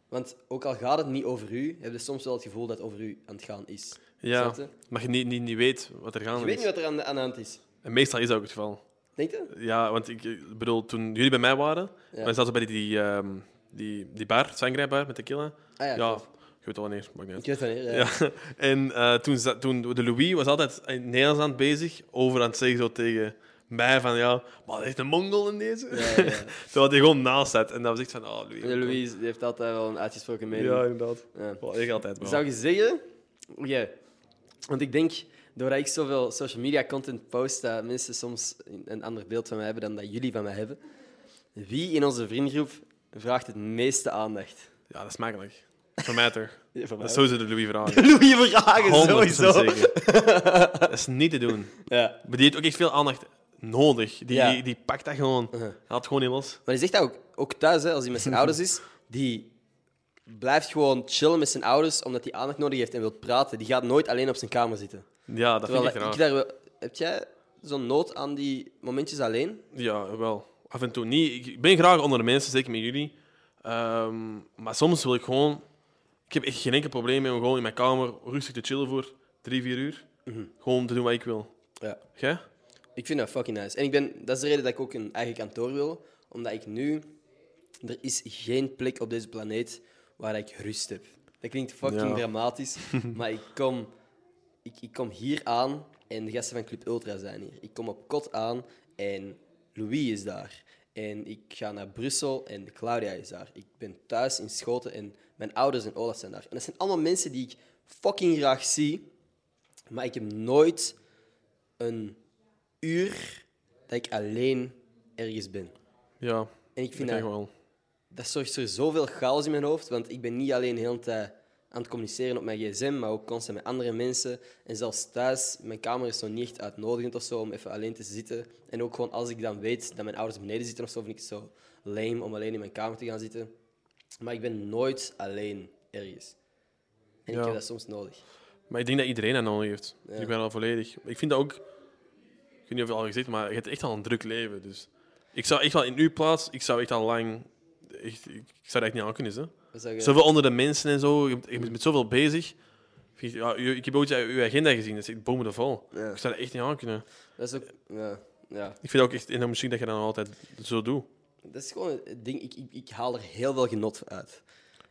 Speaker 1: Want ook al gaat het niet over u, heb je soms wel het gevoel dat het over u aan het gaan is.
Speaker 2: Ja,
Speaker 1: Snap je? Dus
Speaker 2: maar je niet, niet, niet weet wat er
Speaker 1: Je
Speaker 2: gaande
Speaker 1: weet
Speaker 2: is.
Speaker 1: niet wat er aan de, aan de hand is.
Speaker 2: En meestal is dat ook het geval.
Speaker 1: Denk je?
Speaker 2: Ja, want ik eh, bedoel, toen jullie bij mij waren,
Speaker 1: Ja.
Speaker 2: wij zaten bij die, ehm, die, die bar, Sangria-bar met tequila.
Speaker 1: Ah ja,
Speaker 2: Ja,
Speaker 1: klopt.
Speaker 2: je weet al wanneer, maakt niet
Speaker 1: Ik
Speaker 2: uit.
Speaker 1: weet van hier, ja.
Speaker 2: Ja. En eh, toen, za- toen de Louis was altijd in het Nederlands aan het bezig, over aan het zeggen zo tegen mij van ja, maar er is een Mongol in deze.
Speaker 1: Ja, ja, ja.
Speaker 2: Terwijl hij gewoon naast zat en dan was ik van, oh Louis.
Speaker 1: De eh, Louise die heeft altijd wel een uitgesproken mening.
Speaker 2: Ja, inderdaad.
Speaker 1: Ja.
Speaker 2: Wel, ik altijd wel.
Speaker 1: Zou je zeggen... Ja. Want ik denk, doordat ik zoveel social media content post, dat mensen soms een- een ander beeld van mij hebben dan dat jullie van mij hebben. Wie in onze vriendengroep vraagt het meeste aandacht?
Speaker 2: Ja, dat is makkelijk. Voor mij toch.
Speaker 1: Ja, van
Speaker 2: Dat
Speaker 1: mij.
Speaker 2: is sowieso de Louis vragen.
Speaker 1: Louis vragen,
Speaker 2: 100%
Speaker 1: sowieso.
Speaker 2: zeker. Dat is niet te doen.
Speaker 1: Ja.
Speaker 2: Maar die heeft ook echt veel aandacht nodig. Die,
Speaker 1: Ja. Uh-huh.
Speaker 2: die, die pakt dat gewoon. Hij Haalt gewoon niet los.
Speaker 1: Maar die zegt dat ook, ook thuis, hè, als hij met zijn ouders is, die blijft gewoon chillen met zijn ouders omdat hij aandacht nodig heeft en wil praten. Die gaat nooit alleen op zijn kamer zitten.
Speaker 2: Ja, dat
Speaker 1: Terwijl
Speaker 2: vind ik
Speaker 1: ik,
Speaker 2: raar.
Speaker 1: daar wel... Heb jij zo'n nood aan die momentjes alleen?
Speaker 2: Ja, wel. Af en toe niet. Ik ben graag onder de mensen, zeker met jullie. Ehm, maar soms wil ik gewoon... Ik heb echt geen enkel probleem mee om gewoon in mijn kamer rustig te chillen voor drie, vier uur.
Speaker 1: Mhm.
Speaker 2: Gewoon te doen wat ik wil.
Speaker 1: Ja.
Speaker 2: Jij?
Speaker 1: Ik vind dat fucking nice. En ik ben, dat is de reden dat ik ook een eigen kantoor wil. Omdat ik nu... Er is geen plek op deze planeet waar ik rust heb. Dat klinkt fucking
Speaker 2: Ja.
Speaker 1: dramatisch, maar ik kom, ik, ik kom hier aan en de gasten van Club Ultra zijn hier. Ik kom op kot aan en Louis is daar. En ik ga naar Brussel en Claudia is daar. Ik ben thuis in Schoten en mijn ouders en Olaf zijn daar. En dat zijn allemaal mensen die ik fucking graag zie, maar ik heb nooit een uur dat ik alleen ergens ben.
Speaker 2: Ja.
Speaker 1: En ik
Speaker 2: Dat
Speaker 1: vind
Speaker 2: kan
Speaker 1: dat,
Speaker 2: ik wel.
Speaker 1: dat zorgt voor zoveel chaos in mijn hoofd, want ik ben niet alleen de hele tijd aan het communiceren op mijn gsm, maar ook constant met andere mensen. En zelfs thuis, mijn kamer is zo niet echt uitnodigend of zo om even alleen te zitten. En ook gewoon als ik dan weet dat mijn ouders beneden zitten of zo, vind ik het zo lame om alleen in mijn kamer te gaan zitten. Maar ik ben nooit alleen ergens. En ik
Speaker 2: Ja.
Speaker 1: heb dat soms nodig.
Speaker 2: Maar ik denk dat iedereen dat nodig heeft. Ik ben al volledig. Ik vind dat ook... Ik weet niet of je het al gezegd maar je hebt echt al een druk leven. Dus ik zou echt wel in uw plaats... Ik zou echt al lang... Echt, ik zou dat echt niet aan kunnen, hè.
Speaker 1: Wat zou je-
Speaker 2: Zoveel onder de mensen en zo. Je bent, je bent met zoveel bezig. Vind je- Ja, u- ik heb ooit uw agenda gezien. Dat is echt bomen vol.
Speaker 1: Ja.
Speaker 2: Ik zou dat echt niet aan kunnen.
Speaker 1: Dat is ook... Ja, ja.
Speaker 2: Ik vind ook echt enorm misschien dat je dat dan altijd zo doet.
Speaker 1: Dat is gewoon het ding. Ik, ik, ik haal er heel veel genot uit.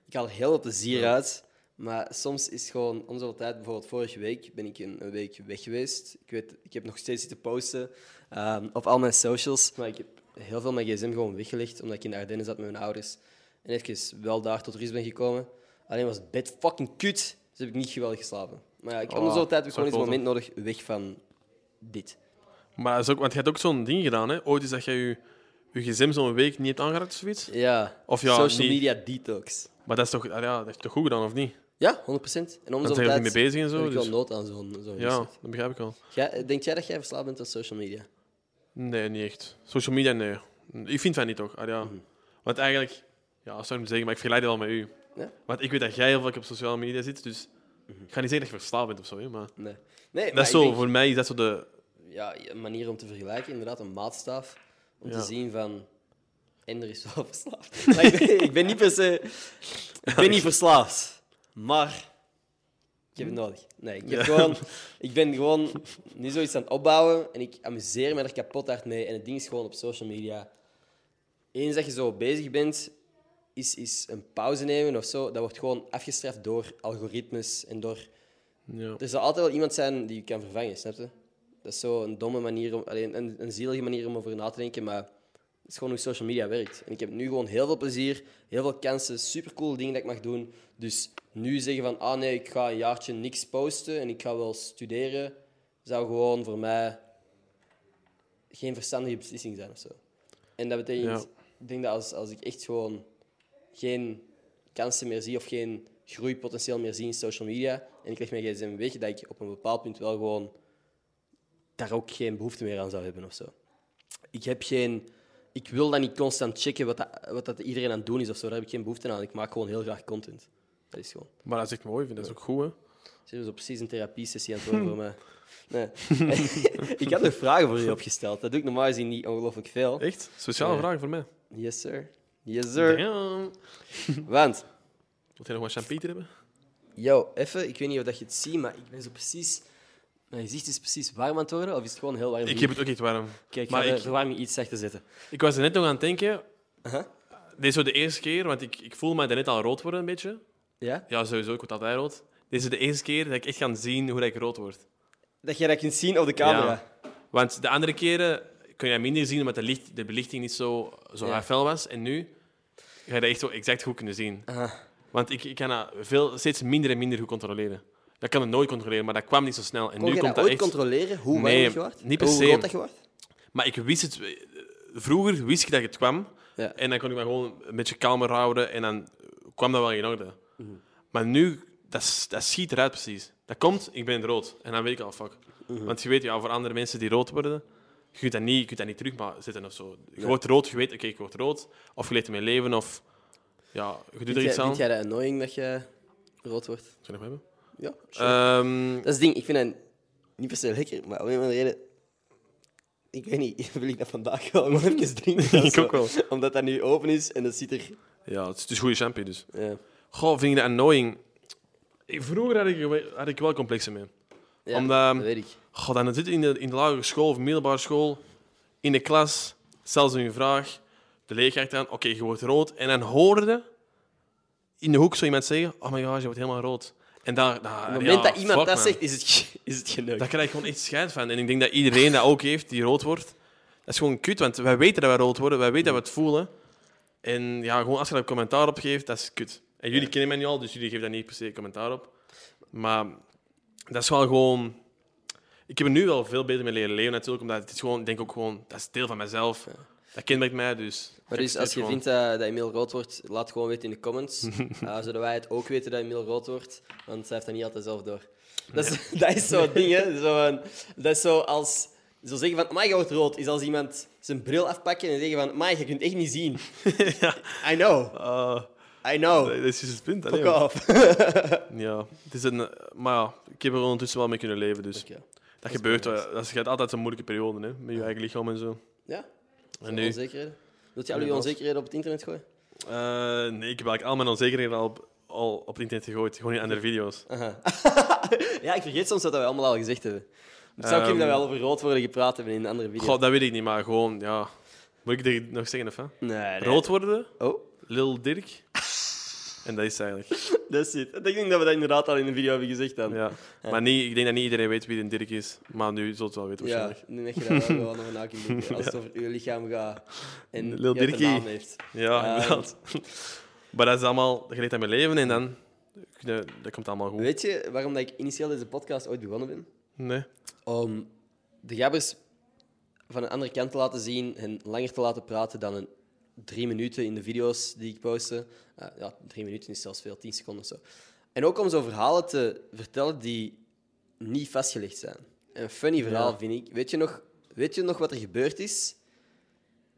Speaker 1: Ik haal er heel veel plezier uit. Maar soms is gewoon, om zoveel tijd, bijvoorbeeld vorige week ben ik een, een week weg geweest. Ik, weet, ik heb nog steeds zitten posten ehm, op al mijn socials. Maar ik heb heel veel mijn gsm gewoon weggelegd, omdat ik in de Ardennen zat met mijn ouders. En even wel daar tot rust ben gekomen. Alleen was het bed fucking kut, dus heb ik niet geweldig geslapen. Maar ja, ik, om
Speaker 2: Oh,
Speaker 1: de zoveel tijd heb ik gewoon
Speaker 2: dat is
Speaker 1: eens een moment nodig weg van dit.
Speaker 2: Maar dat is ook, want je hebt ook zo'n ding gedaan, hè? Ooit is dat jij je, je gsm zo'n week niet hebt aangeraakt of zoiets.
Speaker 1: Ja,
Speaker 2: Of ja,
Speaker 1: social
Speaker 2: niet.
Speaker 1: media detox.
Speaker 2: Maar dat is toch, ah ja, dat is toch goed gedaan, of niet?
Speaker 1: Ja, 100%. En om
Speaker 2: Dan
Speaker 1: zo'n
Speaker 2: zijn we er
Speaker 1: tijd
Speaker 2: niet mee bezig en zo.
Speaker 1: heb ik wel
Speaker 2: dus-
Speaker 1: nood aan zo'n zo'n
Speaker 2: ja,
Speaker 1: reset.
Speaker 2: dat begrijp ik al.
Speaker 1: Jij- denk jij dat jij verslaafd bent aan social media?
Speaker 2: Nee, niet echt. Social media, nee. Ik vind van niet toch? Ah, ja.
Speaker 1: Mhm.
Speaker 2: Want eigenlijk, ja, zou ik hem zeggen, maar ik vergelijk het wel met u.
Speaker 1: Ja. Mhm.
Speaker 2: Want ik weet dat jij heel vaak op sociale media zit, dus ik ga niet zeggen dat je verslaafd bent of zo, hè, maar.
Speaker 1: Nee. nee maar
Speaker 2: Dat is
Speaker 1: ik
Speaker 2: zo,
Speaker 1: denk-
Speaker 2: voor mij is dat zo de.
Speaker 1: ja, een manier om te vergelijken, inderdaad, een maatstaf. Om
Speaker 2: Ja.
Speaker 1: te zien van En er is wel verslaafd. Maar ik, ben, ik ben niet per se... Ik ben niet verslaafd. Maar... Ik heb het nodig. Nee, ik, heb
Speaker 2: Ja.
Speaker 1: gewoon, ik ben gewoon nu zoiets aan het opbouwen. En ik amuseer me er kapot hard mee. En het ding is gewoon op social media. Eens dat je zo bezig bent, is, is een pauze nemen of zo. Dat wordt gewoon afgestraft door algoritmes en door
Speaker 2: Ja.
Speaker 1: er zal altijd wel iemand zijn die je kan vervangen, snap je? Dat is zo een domme manier, om, alleen een, een zielige manier om over na te denken, maar het is gewoon hoe social media werkt. En ik heb nu gewoon heel veel plezier, heel veel kansen, supercoole dingen dat ik mag doen. Dus nu zeggen van, ah nee, ik ga een jaartje niks posten en ik ga wel studeren, zou gewoon voor mij geen verstandige beslissing zijn of zo. En dat betekent, ik denk dat als, als ik echt gewoon geen kansen meer zie of geen groeipotentieel meer zie in social media. En ik leg mijn gsm weg, dat ik op een bepaald punt wel gewoon daar ook geen behoefte meer aan zou hebben of zo. Ik heb geen... Ik wil dan niet constant checken wat, dat, wat dat iedereen aan het doen is of zo. Daar heb ik geen behoefte aan. Ik maak gewoon heel graag content. Dat is gewoon...
Speaker 2: Maar dat is echt mooi, ik vind dat is ook goed, hè?
Speaker 1: Ze hebben zo precies een therapie-sessie aan het worden voor mij. Nee. ik had nog vragen voor je opgesteld. Dat doe ik normaal gezien niet ongelooflijk veel.
Speaker 2: Echt? Sociale
Speaker 1: Ja.
Speaker 2: vraag voor mij.
Speaker 1: Yes, sir. Yes, sir.
Speaker 2: Damn.
Speaker 1: Want
Speaker 2: Wilt jij nog wat champieter hebben?
Speaker 1: Yo, even, ik weet niet of dat je het ziet, maar ik ben zo precies. Mijn gezicht is precies warm aan het worden, of is het gewoon heel warm?
Speaker 2: Ik heb het ook echt warm.
Speaker 1: Kijk, ik ga
Speaker 2: maar
Speaker 1: de
Speaker 2: ik-
Speaker 1: verwarming iets zachter zetten.
Speaker 2: Ik was er net nog aan het denken.
Speaker 1: Aha.
Speaker 2: Dit is zo de eerste keer, want ik, ik voel mij daarnet al rood worden een beetje.
Speaker 1: Ja?
Speaker 2: Ja, sowieso, ik word altijd rood. Dit is de eerste keer dat ik echt kan zien hoe dat ik rood word.
Speaker 1: Dat jij dat kunt zien op de camera.
Speaker 2: Want de andere keren kun je dat minder zien, omdat de, licht, de belichting niet zo, zo
Speaker 1: Ja.
Speaker 2: fel was. En nu ga je dat echt zo exact goed kunnen zien.
Speaker 1: Aha.
Speaker 2: Want ik, ik kan dat veel, steeds minder en minder goed controleren. Dat kan ik nooit controleren, maar dat kwam niet zo snel. En
Speaker 1: Kon
Speaker 2: nu
Speaker 1: je
Speaker 2: komt
Speaker 1: dat,
Speaker 2: dat
Speaker 1: ooit
Speaker 2: echt...
Speaker 1: controleren, hoe warm
Speaker 2: Nee,
Speaker 1: je wordt?
Speaker 2: niet per
Speaker 1: Hoe
Speaker 2: se.
Speaker 1: rood dat je wordt?
Speaker 2: Maar ik wist het... Vroeger wist ik dat het kwam.
Speaker 1: Ja.
Speaker 2: En dan kon ik me gewoon een beetje kalmer houden. En dan kwam dat wel in orde.
Speaker 1: Mhm.
Speaker 2: Maar nu, dat, s- dat schiet eruit precies. Dat komt, ik ben in het rood. En dan weet ik al, fuck.
Speaker 1: Mhm.
Speaker 2: Want je weet, ja, voor andere mensen die rood worden... Je kunt dat niet, je kunt dat niet terug maar zitten of zo. Je wordt rood, je weet, oké, ik word rood. Of je leeft mijn leven, of... Ja, je doet
Speaker 1: Vind
Speaker 2: er
Speaker 1: jij,
Speaker 2: iets aan.
Speaker 1: vind jij dat annoying dat je rood wordt?
Speaker 2: Kan je nog hebben?
Speaker 1: Ja, sure.
Speaker 2: Ehm,
Speaker 1: Dat is het ding, ik vind dat niet per se lekker, maar om een of andere reden... Ik weet niet, wil ik dat vandaag wel gewoon even drinken?
Speaker 2: Ik ook wel.
Speaker 1: Omdat dat nu open is en dat ziet er...
Speaker 2: ja, het is dus goede champion, dus.
Speaker 1: Ja.
Speaker 2: Goh, vind ik dat annoying. Ik- Vroeger had ik, wel- had ik wel complexen mee.
Speaker 1: Ja,
Speaker 2: Omdat-
Speaker 1: dat weet ik.
Speaker 2: Goh, dan zit je in de, in de lagere school of middelbare school, in de klas, stel ze een vraag, de leerkracht aan, oké, je wordt rood. En dan hoorde in de hoek zo iemand zeggen, oh my god, je wordt helemaal rood. En daar, daar,
Speaker 1: Op het moment
Speaker 2: ja,
Speaker 1: dat iemand
Speaker 2: fuck,
Speaker 1: dat
Speaker 2: man.
Speaker 1: zegt, is het, ge- is het geneukt.
Speaker 2: Daar krijg ik gewoon echt scheid van. En ik denk dat iedereen dat ook heeft, die rood wordt. Dat is gewoon kut, want wij weten dat wij rood worden, wij weten dat we het voelen. En ja, gewoon als je daar commentaar op geeft, dat is kut. En jullie kennen mij nu al, dus jullie geven daar niet per se commentaar op. Maar dat is wel gewoon... Ik heb er nu wel veel beter mee leren leven natuurlijk, omdat het is gewoon, ik denk ook gewoon, dat is deel van mezelf. Dat kenmerkt mij, dus... ik
Speaker 1: Maar dus
Speaker 2: accepteer
Speaker 1: als je
Speaker 2: het
Speaker 1: vindt dat, dat Emil rood wordt, laat gewoon weten in de comments. Eh, zodat wij het ook weten dat Emil rood wordt, want zij heeft dat niet altijd zelf door. Dat is, dat is zo'n ding, hè. Zo van- dat is zo als... Zo zeggen van, maar je wordt rood, is als iemand zijn bril afpakken en zeggen van, maar je kunt echt niet zien. I know,
Speaker 2: gewoon, ah,
Speaker 1: I know.
Speaker 2: dat is dus het punt.
Speaker 1: Oh. Fuck
Speaker 2: alleen.
Speaker 1: off.
Speaker 2: Ja, het is een... Maar ja, ik heb er ondertussen wel mee kunnen leven, dus...
Speaker 1: Oké.
Speaker 2: Dat,
Speaker 1: is
Speaker 2: gebeurt,
Speaker 1: belangrijk.
Speaker 2: wel. dat is- je hebt altijd zo'n moeilijke periode hè, met je eigen lichaam en zo.
Speaker 1: Ja,
Speaker 2: En
Speaker 1: nu?
Speaker 2: nu?
Speaker 1: onzekerheden. Wilt je al je
Speaker 2: Inderdaad.
Speaker 1: onzekerheden op het internet gooien?
Speaker 2: Eh, nee, ik heb eigenlijk al mijn onzekerheden al, op- al op het internet gegooid, gewoon in andere video's.
Speaker 1: Aha. ja, ik vergeet soms wat we allemaal al gezegd hebben. Zou ik hem
Speaker 2: Ehm.
Speaker 1: dat wel over rood worden gepraat hebben in een andere video?
Speaker 2: Goh, dat weet ik niet, maar gewoon, ja. Moet ik dit nog zeggen of hè?
Speaker 1: Nee, nee.
Speaker 2: Rood worden,
Speaker 1: Oh.
Speaker 2: Lil Dirk. en dat is het eigenlijk.
Speaker 1: Dat is het. Ik denk dat we dat inderdaad al in de video hebben gezegd dan.
Speaker 2: Ja. Maar niet, ik denk dat niet iedereen weet wie een Dirk is, maar nu zult het wel weten
Speaker 1: Ja,
Speaker 2: waarschijnlijk.
Speaker 1: nu dat je daar wel gewoon nog een haak in moet doen, Als het over uw lichaam gaat en
Speaker 2: Lil
Speaker 1: je hebt
Speaker 2: Dirkie.
Speaker 1: een naam heeft.
Speaker 2: Ja,
Speaker 1: Ehm,
Speaker 2: inderdaad. maar dat is allemaal, je leeft aan mijn leven en dan, eh, dat komt allemaal goed.
Speaker 1: Weet je waarom dat ik initieel deze podcast ooit begonnen ben?
Speaker 2: Nee.
Speaker 1: Om de gabbers van een andere kant te laten zien en langer te laten praten dan een drie minuten in de video's die ik poste. Eh, ja, drie minuten is zelfs veel, tien seconden of zo. En ook om zo verhalen te vertellen die niet vastgelegd zijn. Een funny verhaal, vind ik. Weet je, nog, weet je nog wat er gebeurd is?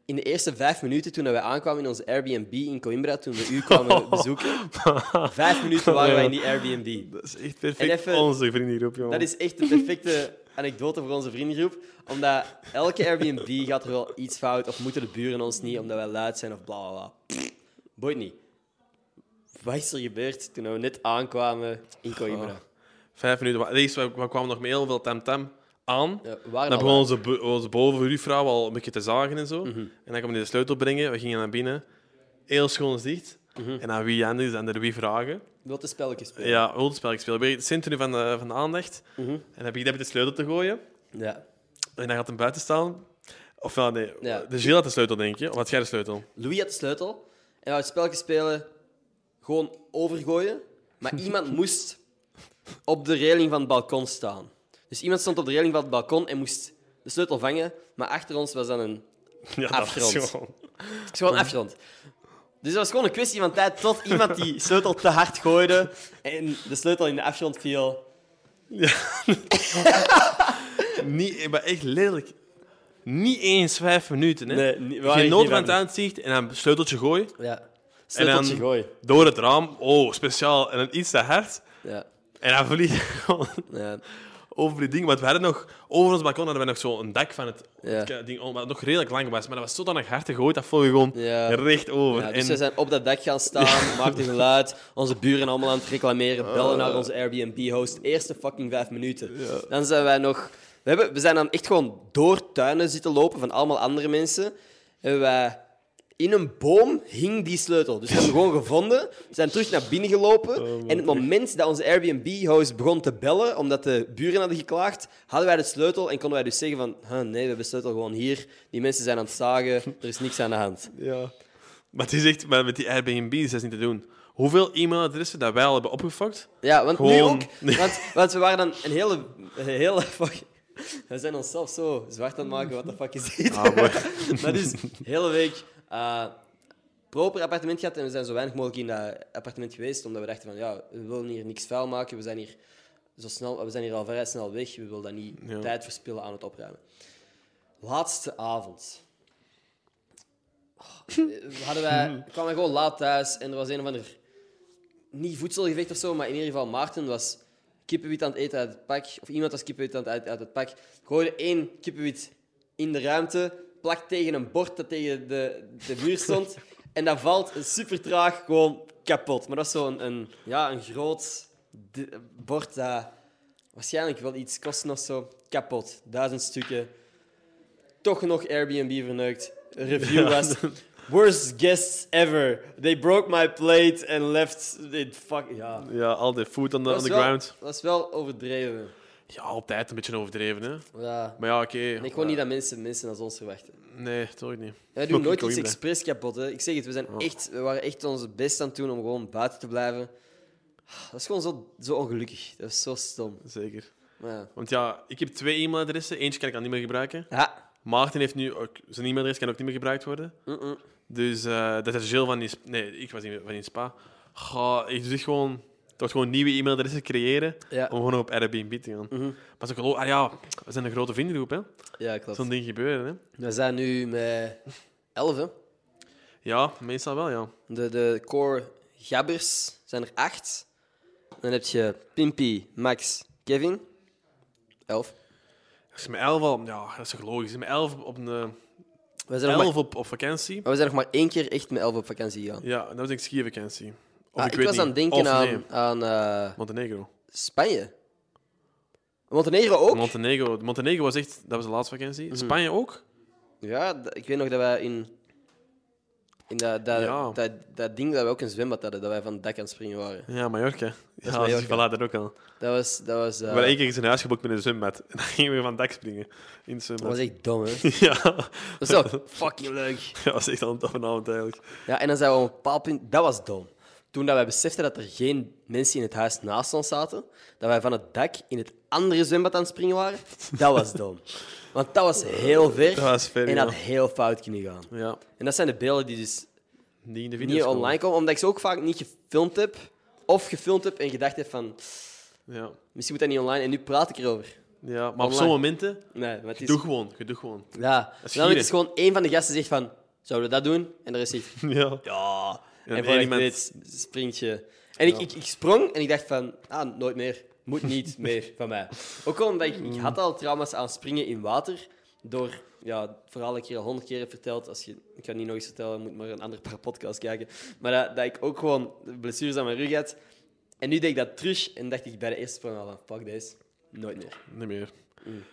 Speaker 1: In de eerste vijf minuten toen wij aankwamen in onze Airbnb in Coimbra, toen we u kwamen bezoeken. Vijf minuten waren wij in die Airbnb.
Speaker 2: Dat is echt
Speaker 1: En
Speaker 2: perfect
Speaker 1: even-
Speaker 2: onze vriendengroep, jongen.
Speaker 1: Dat is echt de perfecte anekdote voor onze vriendengroep. Omdat elke Airbnb gaat er wel iets fout. Of moeten de buren ons niet, omdat wij luid zijn of bla bla bla. Pff, Boeit niet. Wat is er gebeurd toen we net aankwamen in Coimbra?
Speaker 2: Vijf minuten. wa- Eerst, we, we kwamen nog met heel veel tamtam aan.
Speaker 1: Ja, we waren
Speaker 2: dan
Speaker 1: al
Speaker 2: begon onze, bo- onze bovenhuurvrouw al een beetje te zagen en
Speaker 1: Mhm.
Speaker 2: zo. En dan kwam hij de sleutel brengen. We gingen naar binnen. Heel schoon dicht.
Speaker 1: Mhm.
Speaker 2: En aan wie anders en er wie vragen.
Speaker 1: Wat een spelletje spelen.
Speaker 2: Ja, huldenspel gespeeld. Ik ben in het centrum van de, van de aandacht.
Speaker 1: Mhm.
Speaker 2: En dan heb ik daar met de sleutel te gooien.
Speaker 1: Ja.
Speaker 2: En dan gaat hem buiten staan. Ofwel, nee.
Speaker 1: Ja.
Speaker 2: De Gilles had de sleutel, denk je. Of had jij de sleutel?
Speaker 1: Louis had de sleutel. En we het spelletje spelen gewoon overgooien. Maar iemand moest op de reling van het balkon staan. Dus iemand stond op de reling van het balkon en moest de sleutel vangen. Maar achter ons was dan een
Speaker 2: Ja,
Speaker 1: Afgerond.
Speaker 2: was gewoon...
Speaker 1: Het is gewoon afgerond. Dus dat was gewoon een kwestie van tijd tot iemand die sleutel te hard gooide en de sleutel in de afgrond viel.
Speaker 2: Niet, maar echt letterlijk. Niet eens vijf minuten, hè.
Speaker 1: Nee, niet- we waren
Speaker 2: Geen
Speaker 1: echt
Speaker 2: nood
Speaker 1: niet
Speaker 2: van het
Speaker 1: vijf
Speaker 2: aanzicht en dan sleuteltje gooien.
Speaker 1: Ja. Sleuteltje
Speaker 2: En dan-
Speaker 1: gooien.
Speaker 2: Door het raam. Oh, speciaal. En dan iets te hard.
Speaker 1: Ja.
Speaker 2: En dan vliegt hij gewoon
Speaker 1: ja.
Speaker 2: over die ding. Want we hadden nog... Over ons balkon hadden we nog zo'n dak van het
Speaker 1: Ja.
Speaker 2: het ding. oh, Wat nog redelijk lang was. Maar dat was zodanig hard gegooid. Dat vloog gewoon
Speaker 1: Ja.
Speaker 2: recht over.
Speaker 1: Ja, dus
Speaker 2: En-
Speaker 1: we zijn op dat dek gaan staan, maakten geluid, onze buren allemaal aan het reclameren,
Speaker 2: Eh.
Speaker 1: bellen naar onze Airbnb-host. Eerste fucking vijf minuten. Dan zijn wij nog... We, hebben, we zijn dan echt gewoon door tuinen zitten lopen van allemaal andere mensen. En wij... In een boom hing die sleutel. Dus we hebben hem gewoon gevonden. We zijn terug naar binnen
Speaker 2: Oh,
Speaker 1: gelopen. en het moment dat onze Airbnb-host begon te bellen, omdat de buren hadden geklaagd, hadden wij de sleutel en konden wij dus zeggen van "Huh, nee, we hebben de sleutel gewoon hier. Die mensen zijn aan het zagen, er is niks aan de hand.
Speaker 2: Ja. Maar het is echt, maar met die Airbnb's dat is niet te doen. Hoeveel e-mailadressen dat wij al hebben opgefokt.
Speaker 1: Ja, want nu
Speaker 2: Gewoon-
Speaker 1: ook. Want, want we waren dan een hele... Een hele fuck, we zijn onszelf zo zwart aan het maken, wat de fuck is dit?
Speaker 2: Ah,
Speaker 1: maar dus, de hele week eh, proper appartement gehad en we zijn zo weinig mogelijk in dat appartement geweest, omdat we dachten van, ja, we willen hier niks vuil maken, we zijn hier, zo snel, we zijn hier al vrij snel weg, we willen dat niet
Speaker 2: Ja.
Speaker 1: tijd verspillen aan het opruimen. Laatste avond. Oh, Hadden wij, kwamen wij gewoon laat thuis en er was een of ander niet voedselgevecht of zo, maar in ieder geval Maarten was kippenwit aan het eten uit het pak. Of iemand was kippenwit aan het eten uit het pak. Gooide één kippenwit in de ruimte, plakt tegen een bord dat tegen de, de muur stond. en dat valt super traag gewoon kapot. Maar dat is zo'n een, ja, een groot d- bord dat waarschijnlijk wel iets kost of zo. Kapot. Duizend stukken. Toch nog Airbnb verneukt. Review was... Worst guests ever. They broke my plate and left it fuck... Ja.
Speaker 2: Ja, al die food on the, on
Speaker 1: Dat
Speaker 2: the
Speaker 1: is wel-
Speaker 2: ground.
Speaker 1: Dat is wel overdreven.
Speaker 2: Ja, altijd een beetje overdreven, hè.
Speaker 1: Ja.
Speaker 2: Maar ja, oké. Eh,
Speaker 1: En ik gewoon niet dat mensen mensen als ons verwachten.
Speaker 2: Nee, toch niet.
Speaker 1: Wij doen
Speaker 2: Ook
Speaker 1: nooit
Speaker 2: in
Speaker 1: iets
Speaker 2: Coimbra.
Speaker 1: expres kapot. Hè. Ik zeg het, we, zijn
Speaker 2: Oh.
Speaker 1: echt, we waren echt ons best aan het doen om gewoon buiten te blijven. Ah, Dat is gewoon zo, zo ongelukkig. Dat is zo stom.
Speaker 2: Zeker.
Speaker 1: Maar ja.
Speaker 2: Want ja, ik heb twee e-mailadressen. Eentje kan ik al niet meer gebruiken.
Speaker 1: Ja.
Speaker 2: Maarten heeft nu ook... Zijn e-mailadres kan ook niet meer gebruikt worden.
Speaker 1: Mm-mm.
Speaker 2: Dus eh, dat is Gilles van die... sp- Nee, ik was niet van die spa. Ga, ik doe echt gewoon... Toch gewoon nieuwe e-mailadressen creëren
Speaker 1: Ja.
Speaker 2: om gewoon op Airbnb te gaan.
Speaker 1: Mhm.
Speaker 2: Maar zo geloof... Ah ja, we zijn een grote vriendengroep, hè.
Speaker 1: ja, klopt.
Speaker 2: Zo'n ding gebeuren, hè.
Speaker 1: We zijn nu met elf. hè.
Speaker 2: Ja, meestal wel, ja.
Speaker 1: De, de core gabbers zijn er acht. Dan heb je Pimpy, Max, Kevin. Elf.
Speaker 2: Als je met elf al... Ja, dat is toch logisch. Met elf op, een,
Speaker 1: We zijn, nog maar,
Speaker 2: elf op, op vakantie.
Speaker 1: maar we zijn nog maar één keer echt met elf op vakantie gegaan.
Speaker 2: Ja, dat was denk ik skivakantie. Of
Speaker 1: Ah, ik, was aan het denken
Speaker 2: Of
Speaker 1: aan,
Speaker 2: nee,
Speaker 1: aan eh,
Speaker 2: Montenegro.
Speaker 1: Spanje. Montenegro ook?
Speaker 2: Montenegro. Montenegro was echt... Dat was de laatste vakantie. Spanje ook?
Speaker 1: ja, d- ik weet nog dat wij in, in dat, dat,
Speaker 2: Ja.
Speaker 1: dat, dat ding dat we ook een zwembad hadden, dat wij van het dak aan het springen waren.
Speaker 2: Ja, Mallorca. Ja,
Speaker 1: Mallorca.
Speaker 2: dus voilà, dat ook al.
Speaker 1: Dat was, dat was, eh,
Speaker 2: We hadden één keer eens een huis geboekt met een zwembad. En dan gingen we van het dak springen. In het
Speaker 1: dat was
Speaker 2: zwembad.
Speaker 1: echt dom, hè?
Speaker 2: Ja,
Speaker 1: Dat was wel fucking leuk.
Speaker 2: dat was echt al een toffe avond eigenlijk.
Speaker 1: Ja, en dan zijn we op een bepaald punt... Dat was dom. Toen dat wij beseften dat er geen mensen in het huis naast ons zaten, dat wij van het dak in het andere zwembad aan het springen waren, dat was dom. Want dat was heel ver,
Speaker 2: Dat was ver,
Speaker 1: en
Speaker 2: ja.
Speaker 1: had heel fout kunnen gaan.
Speaker 2: Ja,
Speaker 1: En dat zijn de beelden die dus
Speaker 2: niet in de video's
Speaker 1: niet
Speaker 2: komen.
Speaker 1: online komen, omdat ik ze ook vaak niet gefilmd heb. Of gefilmd heb en gedacht heb van,
Speaker 2: Ja,
Speaker 1: misschien moet dat niet online. En nu praat ik erover.
Speaker 2: ja maar op
Speaker 1: Online.
Speaker 2: zo'n momenten...
Speaker 1: Nee, maar het is...
Speaker 2: Doe gewoon. Je doet gewoon.
Speaker 1: Ja,
Speaker 2: is
Speaker 1: dan is
Speaker 2: gieren.
Speaker 1: gewoon één van de gasten zegt van, zouden we dat doen? En de rest zegt,
Speaker 2: Ja.
Speaker 1: ja. En,
Speaker 2: één
Speaker 1: voor je het
Speaker 2: iemand-
Speaker 1: weet springt je. En ik, ik, ik sprong en ik dacht van, ah, nooit meer. moet niet meer van mij. Ook al omdat ik, ik had al trauma's aan springen in water. Door, ja, het verhaal dat ik hier al honderd keer heb verteld. Als je, ik ga het niet nog eens vertellen, moet maar een andere paar podcasts kijken. Maar dat, dat ik ook gewoon blessures aan mijn rug had. En nu deed ik dat terug en dacht ik bij de eerste sprong al van, fuck deze, nooit meer.
Speaker 2: Niet meer.
Speaker 1: Mm.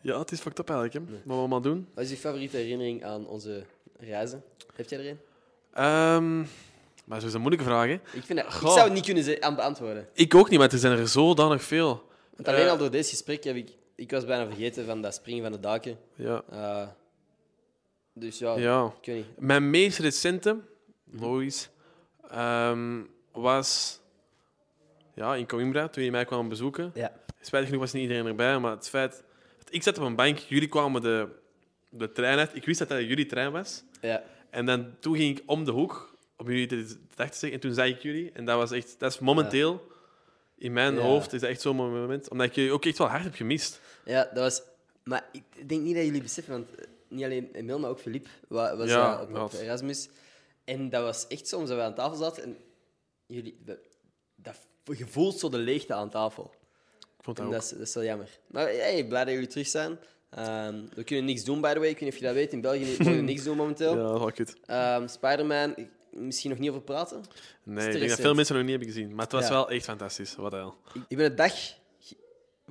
Speaker 2: Ja, het is fucked up eigenlijk, hè. Wat we allemaal doen.
Speaker 1: Wat is je favoriete herinnering aan onze reizen? Heb jij er een?
Speaker 2: Ehm, maar zo is een moeilijke vraag, hè.
Speaker 1: Ik, vind dat, ik
Speaker 2: Goh.
Speaker 1: zou het niet kunnen ze- aan beantwoorden.
Speaker 2: Ik ook niet, maar er zijn er zodanig veel.
Speaker 1: Want alleen
Speaker 2: Eh.
Speaker 1: al door deze gesprek heb ik... Ik was bijna vergeten van dat springen van de daken.
Speaker 2: Ja.
Speaker 1: Eh, dus ja,
Speaker 2: Ja.
Speaker 1: ik weet niet.
Speaker 2: Mijn meest recente, logisch, ehm, was ja, in Coimbra, toen je mij kwam bezoeken.
Speaker 1: Ja.
Speaker 2: Spijtig genoeg was niet iedereen erbij, maar het feit... dat Ik zat op een bank, jullie kwamen de, de trein uit. Ik wist dat dat jullie trein was.
Speaker 1: ja.
Speaker 2: En dan, toen ging ik om de hoek om jullie te, te dag te zeggen. En toen zei ik jullie. En dat was echt... Dat is momenteel... In mijn
Speaker 1: Ja.
Speaker 2: hoofd is dat echt zo'n moment. Omdat ik jullie ook echt wel hard heb gemist.
Speaker 1: Ja, dat was... Maar ik denk niet dat jullie beseffen, want eh, niet alleen Emil, maar ook Filip wa- was
Speaker 2: Ja,
Speaker 1: eh, op, op
Speaker 2: dat.
Speaker 1: Erasmus. En dat was echt soms dat we aan tafel zaten en jullie... we- Dat gevoel zo de leegte aan tafel.
Speaker 2: Ik vond dat
Speaker 1: En
Speaker 2: ook.
Speaker 1: dat, is, dat is wel jammer. Maar hey, blij dat jullie terug zijn. Ehm, we kunnen niks doen, by the way. Ik weet niet of je dat weet. In België kunnen we niks doen momenteel.
Speaker 2: Ja, dat was het.
Speaker 1: Ehm, Spider-Man, ik- misschien nog niet over praten.
Speaker 2: Nee, ik denk dat
Speaker 1: recent.
Speaker 2: veel mensen nog niet hebben gezien. Maar het was
Speaker 1: Ja.
Speaker 2: wel echt fantastisch. Wat hel.
Speaker 1: Ik, ik ben de dag ge-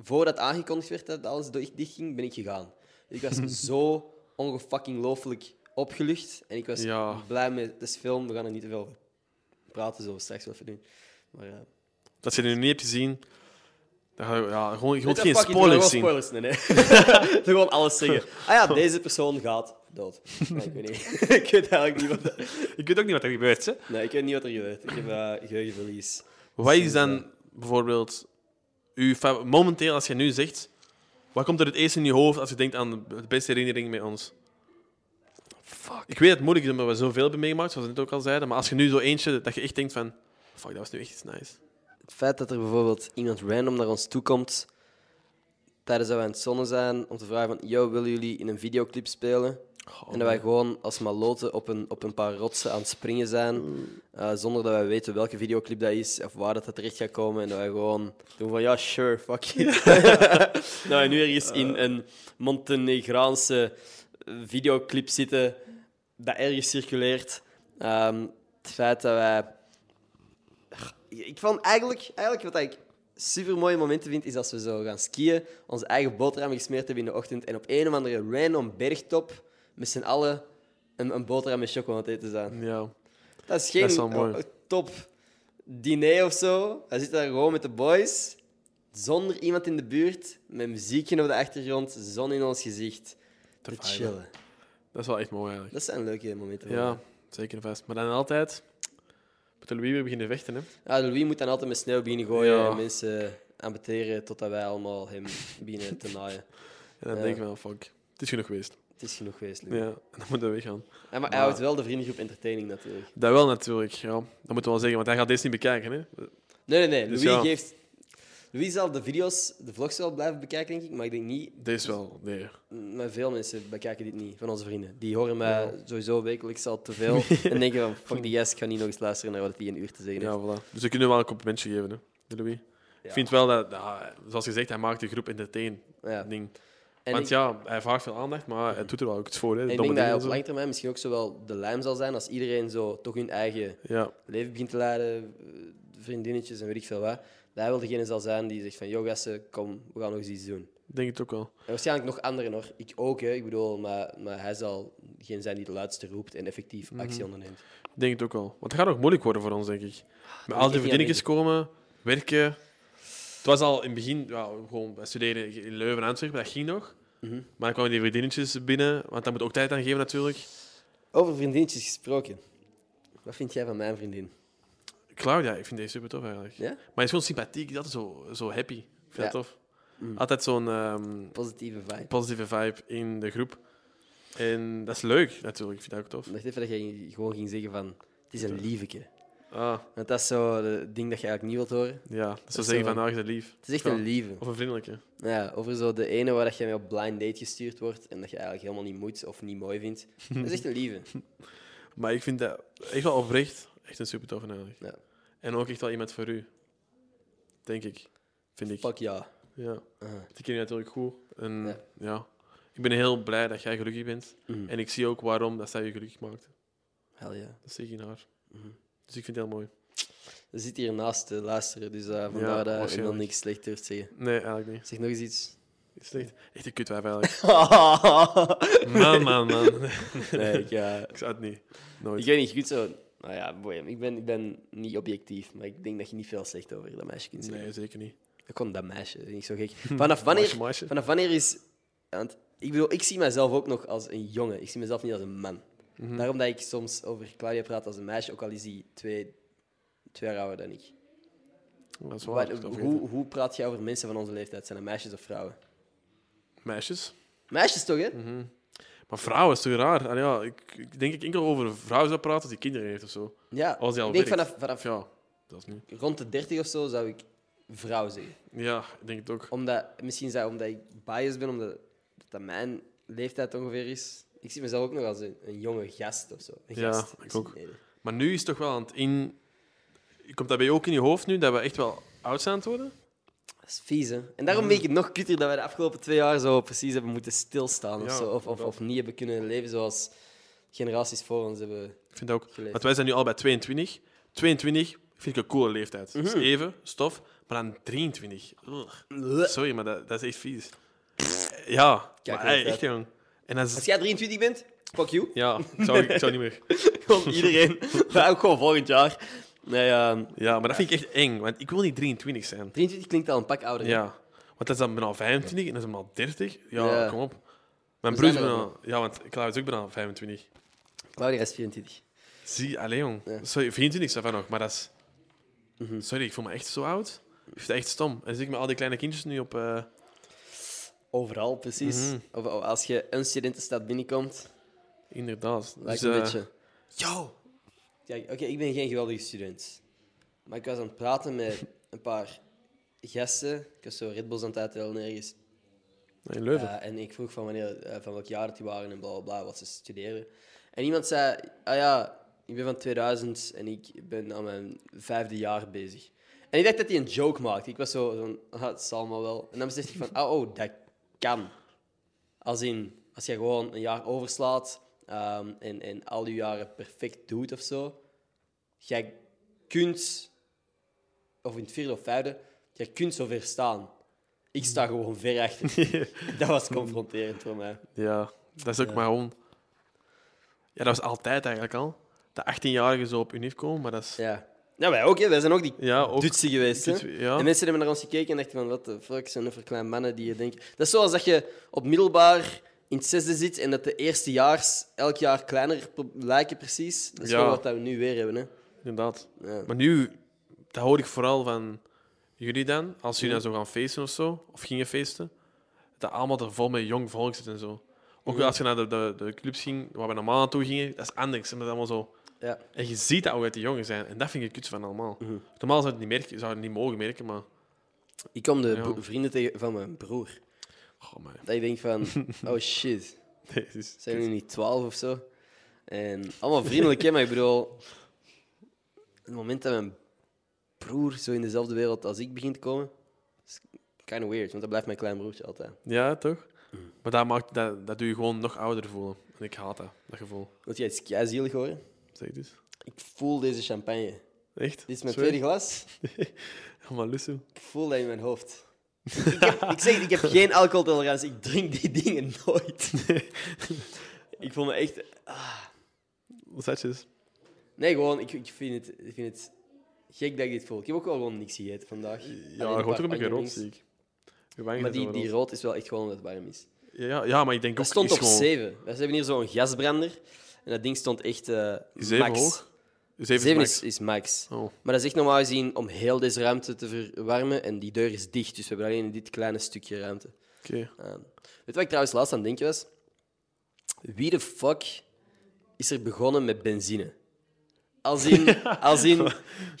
Speaker 1: voordat aangekondigd werd dat alles do- dichtging, ben ik gegaan. Ik was zo ongefucking looflijk opgelucht. En ik was
Speaker 2: Ja.
Speaker 1: blij met het is film. We gaan er niet te veel over praten, zullen we straks wel even doen. Maar, eh,
Speaker 2: Dat je het nu niet hebt gezien... Dan ga je, ja, gewoon, je wilt
Speaker 1: weet
Speaker 2: geen
Speaker 1: wat, fuck it, we gaan
Speaker 2: spoilers
Speaker 1: gewoon
Speaker 2: zien.
Speaker 1: spoilers nee, nee. gewoon alles zeggen. Ah ja, deze persoon gaat dood. Nee, ik weet niet. ik weet eigenlijk niet wat... dat-
Speaker 2: Ik weet ook niet wat er gebeurt. Hè?
Speaker 1: Nee, ik weet niet wat er gebeurt. Ik heb eh, geheugenverlies.
Speaker 2: Wat is
Speaker 1: Sinds, eh,
Speaker 2: dan bijvoorbeeld uw fa- momenteel, als je nu zegt, wat komt er het eerst in je hoofd als je denkt aan de beste herinnering met ons? Fuck. Ik weet dat het moeilijk is omdat we zoveel hebben meegemaakt, zoals we net ook al zeiden, maar als je nu zo eentje dat je echt denkt van, fuck, dat was nu echt iets nice.
Speaker 1: Het feit dat er bijvoorbeeld iemand random naar ons toe komt tijdens dat wij aan het zonnen zijn om te vragen van yo, willen jullie in een videoclip spelen? en dat wij gewoon als maloten op een, op een paar rotsen aan het springen zijn, eh, zonder dat wij weten welke videoclip dat is of waar dat dat terecht gaat komen. En dat wij gewoon doen van ja, sure, fuck it. Eh. dat wij nu ergens in een Montenegraanse videoclip zitten dat ergens circuleert. Ehm, het feit dat wij ik vond eigenlijk, eigenlijk wat ik super mooie momenten vind, is als we zo gaan skiën, onze eigen boterham gesmeerd hebben in de ochtend en op een of andere random bergtop met z'n allen een, een boterham met choco aan het eten zijn.
Speaker 2: Ja.
Speaker 1: Dat is geen
Speaker 2: Dat is wel mooi.
Speaker 1: eh, top diner of zo. Hij zit daar gewoon met de boys, zonder iemand in de buurt, met muziekje op de achtergrond, zon in ons gezicht. Te,
Speaker 2: viben.
Speaker 1: chillen.
Speaker 2: Dat is wel echt mooi eigenlijk.
Speaker 1: Dat zijn leuke momenten. voor
Speaker 2: Ja, zeker en vast. Maar dan altijd moet Louis weer beginnen vechten, hè.
Speaker 1: Ja, Louis moet dan altijd met sneeuw beginnen gooien
Speaker 2: Ja.
Speaker 1: en mensen ambeteren totdat wij allemaal hem beginnen te naaien.
Speaker 2: En dan
Speaker 1: Ja.
Speaker 2: denk ik wel, fuck, het is genoeg geweest.
Speaker 1: Het is genoeg geweest, Louis.
Speaker 2: Ja, en dan moeten we weggaan.
Speaker 1: Ja, maar hij houdt wel de vriendengroep entertaining natuurlijk.
Speaker 2: Dat wel natuurlijk, ja. Dat moeten we wel zeggen, want hij gaat deze niet bekijken, hè.
Speaker 1: Nee, nee, nee.
Speaker 2: Dus
Speaker 1: Louis
Speaker 2: ja.
Speaker 1: geeft... Louis zal de video's, de vlogs wel blijven bekijken, denk ik. Maar ik denk niet...
Speaker 2: Deze wel, nee.
Speaker 1: Maar veel mensen bekijken dit niet, van onze vrienden. Die horen mij sowieso wekelijks al te veel. en denken van, fuck die yes, ik ga niet nog eens luisteren naar wat hij een uur te zeggen heeft.
Speaker 2: Ja, voilà. Dus we kunnen wel een complimentje geven, hè, de Louis. Ik vind wel dat, ja, zoals gezegd, hij maakt de groep entertain.
Speaker 1: Ja.
Speaker 2: Ding.
Speaker 1: En
Speaker 2: Want
Speaker 1: ik-
Speaker 2: ja, hij vraagt veel aandacht, maar hij doet er wel ook iets voor. Hè,
Speaker 1: en ik
Speaker 2: domme
Speaker 1: denk dat hij
Speaker 2: dingen
Speaker 1: op
Speaker 2: en zo.
Speaker 1: lange termijn misschien ook zowel de lijm zal zijn als iedereen zo toch hun eigen
Speaker 2: Ja,
Speaker 1: leven begint te leiden, eh, vriendinnetjes en weet ik veel wat. Dat hij wel degene zal zijn die zegt van, yo gasten, kom, we gaan nog eens iets doen.
Speaker 2: ik denk het ook wel.
Speaker 1: En waarschijnlijk nog anderen hoor. Ik ook, hè. ik bedoel, maar, maar hij zal geen zijn die de luidste roept en effectief actie onderneemt.
Speaker 2: Ik denk het ook wel. Want het gaat nog moeilijk worden voor ons, denk
Speaker 1: Ah,
Speaker 2: ik. Met al
Speaker 1: echt
Speaker 2: die
Speaker 1: niet
Speaker 2: vriendinnetjes komen, werken. Het was al in het begin, ja, gewoon wij studeren in Leuven en Antwerpen, dat ging nog.
Speaker 1: Mhm.
Speaker 2: Maar dan kwamen die vriendinnetjes binnen, want dat moet ook tijd aan geven natuurlijk.
Speaker 1: Over vriendinnetjes gesproken. Wat vind jij van mijn vriendin?
Speaker 2: Claudia, ik vind deze super tof eigenlijk.
Speaker 1: Ja?
Speaker 2: Maar hij is gewoon sympathiek, dat is zo, zo happy. Ik
Speaker 1: Ja.
Speaker 2: vind dat tof. Altijd zo'n ehm,
Speaker 1: Positieve vibe.
Speaker 2: positieve vibe in de groep. En dat is leuk natuurlijk, ik vind dat ook tof.
Speaker 1: Ik dacht even dat jij gewoon ging zeggen van, het is een lieveke.
Speaker 2: Ah,
Speaker 1: Want dat is zo het ding dat je eigenlijk niet wilt horen.
Speaker 2: ja, dat
Speaker 1: zo
Speaker 2: zou zeggen
Speaker 1: een-
Speaker 2: van, ah, je bent lief.
Speaker 1: Het is echt een lieve.
Speaker 2: Of een vriendelijke.
Speaker 1: Ja, over zo de ene waar dat je mee op blind date gestuurd wordt en dat je eigenlijk helemaal niet moet of niet mooi vindt. Dat is echt een lieve.
Speaker 2: Maar ik vind dat echt wel oprecht echt een super tof eigenlijk.
Speaker 1: Ja.
Speaker 2: En ook echt wel iemand voor u. Denk ik. vind ik.
Speaker 1: Fuck ja.
Speaker 2: Ja.
Speaker 1: Uh-huh.
Speaker 2: Dat ken je natuurlijk goed. En,
Speaker 1: Ja.
Speaker 2: ja. Mm. Ik ben heel blij dat jij gelukkig bent.
Speaker 1: Mhm.
Speaker 2: En ik zie ook waarom dat zij je gelukkig maakte.
Speaker 1: Hell ja.
Speaker 2: Dat zie ik in haar.
Speaker 1: Mhm.
Speaker 2: Dus ik vind het heel mooi.
Speaker 1: Ze zit hier naast te luisteren, dus eh, vandaar dat ik dan
Speaker 2: waarschijnlijk.
Speaker 1: niks slecht durf te zeggen.
Speaker 2: Nee, eigenlijk niet.
Speaker 1: Zeg nog eens iets.
Speaker 2: Het is echt, echt een kutwijf eigenlijk.
Speaker 1: nee,
Speaker 2: Man, man, man. Nee,
Speaker 1: ik, eh,
Speaker 2: ik zou het niet.
Speaker 1: ik
Speaker 2: Nooit.
Speaker 1: weet niet goed zo. Nou ja, boy, ik, ben, ik ben niet objectief, maar ik denk dat je niet veel slecht over dat meisje kunt zeggen.
Speaker 2: Nee, zeker niet.
Speaker 1: Ik kon dat meisje, dat is niet zo gek. Vanaf wanneer,
Speaker 2: Meisje, meisje.
Speaker 1: vanaf wanneer is. Want ik bedoel, ik zie mezelf ook nog als een jongen. Ik zie mezelf niet als een man. Daarom dat ik soms over Claudia praat als een meisje, ook al is die twee, twee jaar ouder dan ik.
Speaker 2: Dat is waar.
Speaker 1: Wat-
Speaker 2: ik had het
Speaker 1: hoe, hoe praat jij over mensen van onze leeftijd? Zijn dat meisjes of vrouwen?
Speaker 2: Meisjes.
Speaker 1: Meisjes toch, hè?
Speaker 2: Mhm. Maar vrouwen is toch raar? Allee, ja, ik, ik denk ik enkel over een vrouw zou praten als die kinderen heeft of zo.
Speaker 1: Ja.
Speaker 2: Als die Oh, al
Speaker 1: ik denk
Speaker 2: werkt.
Speaker 1: vanaf, vanaf
Speaker 2: Of ja, dat is niet.
Speaker 1: rond de 30 of zo zou ik vrouw zeggen.
Speaker 2: Ja, ik denk het ook.
Speaker 1: Omdat, misschien zou omdat ik biased ben, omdat dat mijn leeftijd ongeveer is. Ik zie mezelf ook nog als een, een jonge gast of zo. Een
Speaker 2: Ja,
Speaker 1: gast. Dus
Speaker 2: ik ook.
Speaker 1: Nee, nee.
Speaker 2: Maar nu is het toch wel aan het in. Komt dat bij je ook in je hoofd nu dat we echt wel oud zijn aan het worden?
Speaker 1: Dat is vies, hè? En
Speaker 2: Mhm.
Speaker 1: daarom vind ik het nog kutter dat wij de afgelopen twee jaar zo precies hebben moeten stilstaan of,
Speaker 2: Ja,
Speaker 1: zo, of, of,
Speaker 2: inderdaad.
Speaker 1: of niet hebben kunnen leven zoals generaties voor ons hebben.
Speaker 2: Ik vind dat ook.
Speaker 1: Gelijk.
Speaker 2: Want wij zijn nu al bij 22. 22 vind ik een coole leeftijd.
Speaker 1: Mhm.
Speaker 2: Dat is even, stof. Maar dan 23. Ugh. Sorry, maar dat, dat is echt vies. Ja,
Speaker 1: Kijk,
Speaker 2: maar, hey,
Speaker 1: leeftijd.
Speaker 2: echt jong. En dat
Speaker 1: Als
Speaker 2: is,
Speaker 1: jij 23 bent, fuck you.
Speaker 2: ja, ik zou, ik zou niet meer.
Speaker 1: Gewoon iedereen. Wij ook gewoon volgend jaar. Nee, ehm,
Speaker 2: Ja, maar dat vind ik echt eng, want ik wil niet 23 zijn.
Speaker 1: 23 klinkt al een pak ouder. hè?
Speaker 2: Ja, want dat is dan bijna 25 en dat is bijna 30. Ja,
Speaker 1: Ja.
Speaker 2: kom op. Mijn
Speaker 1: We
Speaker 2: broer is
Speaker 1: zijn er
Speaker 2: bijna... Ja, want Klaus is ook bijna 25.
Speaker 1: Claudia is 24.
Speaker 2: Zie, alleen jong.
Speaker 1: Ja. Mhm.
Speaker 2: Sorry, 24 is dat nog, maar dat is... Sorry, ik voel me echt zo oud. Ik vind het echt stom. En dan zie ik met al die kleine kindjes nu op... eh,
Speaker 1: Overal, precies.
Speaker 2: Mhm.
Speaker 1: Of of als je een studentenstad binnenkomt,
Speaker 2: Inderdaad.
Speaker 1: lijkt
Speaker 2: Dus,
Speaker 1: een
Speaker 2: eh,
Speaker 1: beetje... Yo! Kijk, oké, ik ben geen geweldige student. Maar ik was aan het praten met een paar gasten. Ik was zo Red Bulls aan het uitdelen ergens.
Speaker 2: In Leuven.
Speaker 1: Eh, en ik vroeg van, wanneer, eh, van welk jaar dat die waren en bla bla bla, wat ze studeren. En iemand zei: Ah ja, ik ben van 2000 en ik ben aan mijn vijfde jaar bezig. En ik dacht dat hij een joke maakte. Ik was zo van: Ah, het zal maar wel. En dan besefte ik van: Ah, oh, dat kan. Als in, als je gewoon een jaar overslaat ehm, en, en al je jaren perfect doet of zo, jij kunt, of in het vierde of vijfde, jij kunt zover staan. Ik sta gewoon ver achter. dat was confronterend voor mij.
Speaker 2: Ja, dat is ook maar gewoon... Ja, dat was altijd eigenlijk al. De 18-jarigen zo op unief komen, maar dat is...
Speaker 1: Ja. Nou, wij ook, hè. wij zijn ook die
Speaker 2: Ja, ook...
Speaker 1: dutsen geweest. Hè?
Speaker 2: Dutsen, ja.
Speaker 1: En mensen hebben naar ons gekeken en dachten van, wat de fuck, zijn voor kleine mannen die je denkt... Dat is zoals dat je op middelbaar in het zesde zit en dat de eerstejaars elk jaar kleiner pro- lijken precies. Dat is
Speaker 2: Ja.
Speaker 1: gewoon wat dat we nu weer hebben. Hè.
Speaker 2: Inderdaad.
Speaker 1: Ja.
Speaker 2: Maar nu, dat hoor ik vooral van jullie dan, als jullie dan zo gaan feesten of zo, of gingen feesten, dat allemaal er vol met jong volk zit en zo. Ook als je naar de, de, de clubs ging, waar we normaal naartoe gingen, dat is anders. En dat is allemaal zo.
Speaker 1: Ja.
Speaker 2: En je ziet dat ook uit die jongen zijn. En dat vind ik kut van allemaal.
Speaker 1: Mhm.
Speaker 2: Normaal zou je het niet, merken, zou je het niet mogen merken, maar...
Speaker 1: Ik kom de
Speaker 2: Ja.
Speaker 1: bro- vrienden tegen van mijn broer.
Speaker 2: Oh, man.
Speaker 1: Dat ik denk van, oh shit,
Speaker 2: Nee, het is-
Speaker 1: zijn jullie niet twaalf of zo? En allemaal vriendelijk, hè, maar ik bedoel... Het moment dat mijn broer zo in dezelfde wereld als ik begint te komen, is kind of weird, want dat blijft mijn klein broertje altijd.
Speaker 2: Ja, toch?
Speaker 1: Mhm.
Speaker 2: Maar dat, maakt, dat, dat doe je gewoon nog ouder voelen. En ik haat dat, dat gevoel.
Speaker 1: Wil jij iets kei zielig horen?
Speaker 2: Zeg het eens.
Speaker 1: Ik voel deze champagne.
Speaker 2: Echt?
Speaker 1: Dit is mijn
Speaker 2: Zweer?
Speaker 1: tweede glas.
Speaker 2: Maar lussen.
Speaker 1: Ik voel dat in mijn hoofd. ik, heb, ik zeg, ik heb geen alcoholtolerantie. Ik drink die dingen nooit. ik voel me echt...
Speaker 2: Wat zat je dus?
Speaker 1: Nee, gewoon, ik, ik, vind het, ik vind het gek dat ik dit voel. Ik heb ook wel gewoon niks gegeten vandaag.
Speaker 2: Ja, je hoort ook een beetje rood, zie ik. Je wangen
Speaker 1: Maar
Speaker 2: zijn
Speaker 1: die,
Speaker 2: zo
Speaker 1: die
Speaker 2: rood.
Speaker 1: rood is wel echt gewoon omdat het warm is.
Speaker 2: Ja, ja, maar ik denk
Speaker 1: Dat
Speaker 2: ook...
Speaker 1: stond
Speaker 2: is
Speaker 1: op
Speaker 2: gewoon,
Speaker 1: 7. We hebben hier zo'n gasbrander. En dat ding stond echt eh
Speaker 2: Is zeven
Speaker 1: max.
Speaker 2: hoog? Zeven,
Speaker 1: 7
Speaker 2: is
Speaker 1: is, is max.
Speaker 2: max. Oh.
Speaker 1: Maar dat is echt normaal gezien om heel deze ruimte te verwarmen. En die deur is dicht, dus we hebben alleen dit kleine stukje ruimte.
Speaker 2: Oké.
Speaker 1: Ehm, weet je wat ik trouwens laatst aan het denken was? Wie de fuck is er begonnen met benzine? Als in, als in,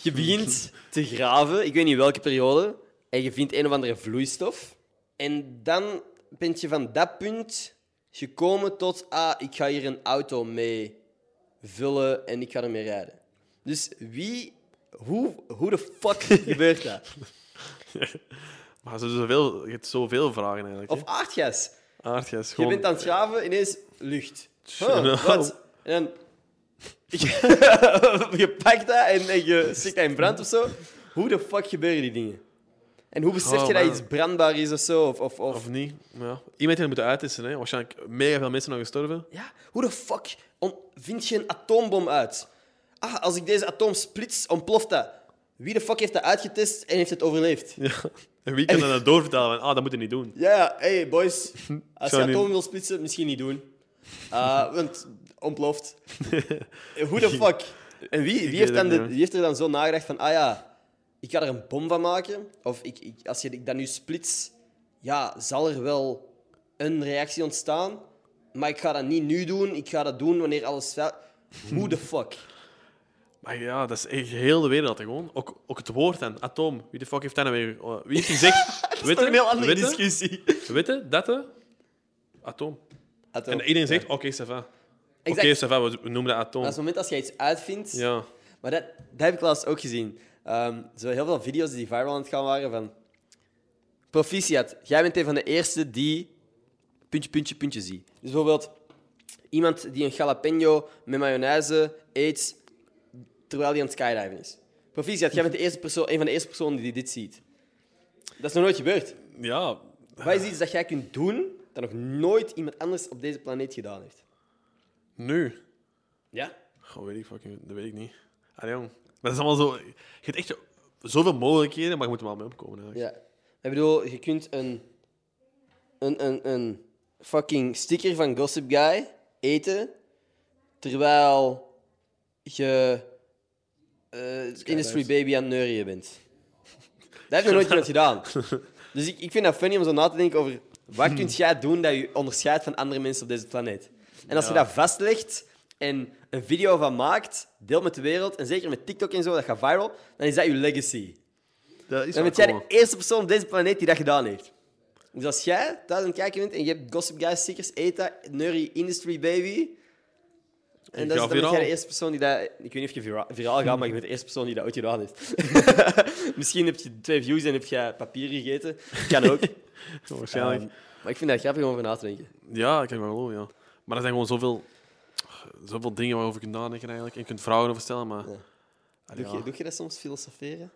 Speaker 1: je begint te graven, ik weet niet welke periode, en je vindt een of andere vloeistof. En dan ben je van dat punt gekomen tot, ah, ik ga hier een auto mee vullen en ik ga ermee rijden. Dus wie, hoe, hoe de fuck gebeurt dat?
Speaker 2: Maar ze doen zoveel, je hebt zoveel vragen eigenlijk.
Speaker 1: Of
Speaker 2: Of,
Speaker 1: aardgas.
Speaker 2: Aardgas,
Speaker 1: Je
Speaker 2: gewoon... nou.
Speaker 1: bent aan het graven, ineens lucht. Huh,
Speaker 2: Tjonge.
Speaker 1: wat? En dan... je pakt dat en, en je stikt dat in brand of zo. Hoe de fuck gebeuren die dingen? En hoe besef
Speaker 2: Oh,
Speaker 1: je dat
Speaker 2: man.
Speaker 1: iets brandbaar is of zo? Of, of, of...
Speaker 2: Of niet. Ja. Iemand die het moet uittesten. Hè. Waarschijnlijk mega veel mensen nog gestorven.
Speaker 1: Ja, hoe de fuck on- vind je een atoombom uit? Ah, als ik deze atoom splits, ontploft dat. Wie de fuck heeft dat uitgetest en heeft het overleefd?
Speaker 2: Ja. En wie kan dat dan doorvertalen? van, Ah, dat moet je niet doen.
Speaker 1: Ja, ja, hey boys. Als je
Speaker 2: Zou niet-
Speaker 1: atoom wil splitsen, misschien niet doen. Eh, want ontploft. Hoe de fuck? En wie, wie,
Speaker 2: weet
Speaker 1: heeft,
Speaker 2: het
Speaker 1: dan
Speaker 2: niet,
Speaker 1: de,
Speaker 2: hoor.
Speaker 1: wie heeft er dan zo nagedacht van, ah ja, ik ga er een bom van maken. Of ik, ik, als je ik dat nu splits, ja, zal er wel een reactie ontstaan. Maar ik ga dat niet nu doen. Ik ga dat doen wanneer alles... fel- Hoe de fuck?
Speaker 2: Maar ja, dat is echt heel de wereld hè, gewoon. Ook, ook het woord dan, atoom. Wie de fuck heeft dat nou weer... eh, Wie heeft gezegd... dat
Speaker 1: Dat is toch een heel andere discussie.
Speaker 2: Witte, dat, hè? atoom.
Speaker 1: Atoom.
Speaker 2: En iedereen zegt, oké, ça va. Oké,
Speaker 1: Exact.
Speaker 2: ça va, we we noemen dat atoom.
Speaker 1: Maar op het moment als jij iets uitvindt,
Speaker 2: Ja.
Speaker 1: Maar dat, dat heb ik laatst ook gezien. Ehm, zo heel veel video's die viral aan het gaan waren van... Proficiat, jij bent een van de eerste die... Puntje, puntje, puntje zie. Dus bijvoorbeeld iemand die een jalapeno met mayonaise eet terwijl hij aan het skydiven is. Proficiat, jij bent de eerste persoon, een van de eerste personen die dit ziet. Dat is nog nooit gebeurd.
Speaker 2: Ja.
Speaker 1: Wat is iets dat jij kunt doen dat nog nooit iemand anders op deze planeet gedaan heeft?
Speaker 2: Nu.
Speaker 1: Ja?
Speaker 2: Goh, weet ik fucking... Dat weet ik niet. Allee, jong. Maar dat is allemaal zo... Je hebt echt zoveel mogelijkheden, maar je moet er wel mee opkomen. Eigenlijk.
Speaker 1: Ja. Ik bedoel, je kunt een, een, een, een fucking sticker van Gossip Guy eten, terwijl je eh, Industry Baby aan het neurien bent. Dat heeft nog nooit iemand gedaan. Dus ik, ik vind dat funny om zo na te denken over wat kun jij doen dat je onderscheidt van andere mensen op deze planeet. En als je
Speaker 2: Ja.
Speaker 1: dat vastlegt en een video van maakt, deel met de wereld, en zeker met TikTok en zo, dat gaat viral, dan is dat je legacy.
Speaker 2: Dat is
Speaker 1: Dan
Speaker 2: wel
Speaker 1: bent jij
Speaker 2: cool.
Speaker 1: de eerste persoon op deze planeet die dat gedaan heeft. Dus als jij thuis aan het kijken bent en je hebt Gossip Guy stickers, ETA, Nurry, Industry Baby... En
Speaker 2: Ik
Speaker 1: dat
Speaker 2: ga
Speaker 1: is, dan ben jij
Speaker 2: viraal.
Speaker 1: de eerste persoon die dat... Ik weet niet of je vira- viraal gaat, maar je bent de eerste persoon die dat ooit gedaan heeft. Misschien heb je twee views en heb je papier gegeten. Kan ook.
Speaker 2: Waarschijnlijk.
Speaker 1: Ehm, maar ik vind dat grappig om over na te denken.
Speaker 2: Ja, ik kan me geloven, ja. Maar er zijn gewoon zoveel, zoveel dingen waarover je kunt nadenken eigenlijk. En je kunt vragen over stellen, maar...
Speaker 1: Ja.
Speaker 2: Allee,
Speaker 1: Doe,
Speaker 2: ja.
Speaker 1: je, doe je dat soms filosoferen?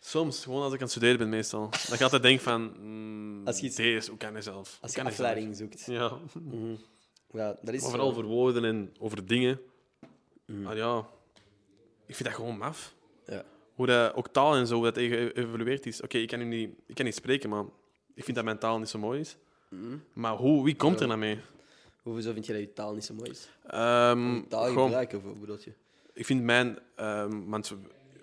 Speaker 2: Soms, gewoon als ik aan het studeren ben meestal. Dan ga ik altijd denken van... mm,
Speaker 1: Als je iets-
Speaker 2: deze, hoe kan hij zelf?
Speaker 1: Als je
Speaker 2: Hoe kan hij
Speaker 1: afleiding zoekt.
Speaker 2: zelf? Ja.
Speaker 1: Ja, dat is Mm.
Speaker 2: Maar vooral over woorden en over dingen. Maar ja, ik vind dat gewoon maf.
Speaker 1: Ja.
Speaker 2: Hoe dat, ook taal en zo, hoe dat geëvolueerd is. Oké, ik kan nu niet, ik kan niet spreken, maar ik vind dat mijn taal niet zo mooi is.
Speaker 1: Mm.
Speaker 2: Maar hoe, wie komt er nou mee?
Speaker 1: Hoezo vind je dat je taal niet zo mooi is?
Speaker 2: Ehm
Speaker 1: Taal
Speaker 2: gewoon-
Speaker 1: gebruiken, of wat bedoel je?
Speaker 2: ik vind mijn... ehm, want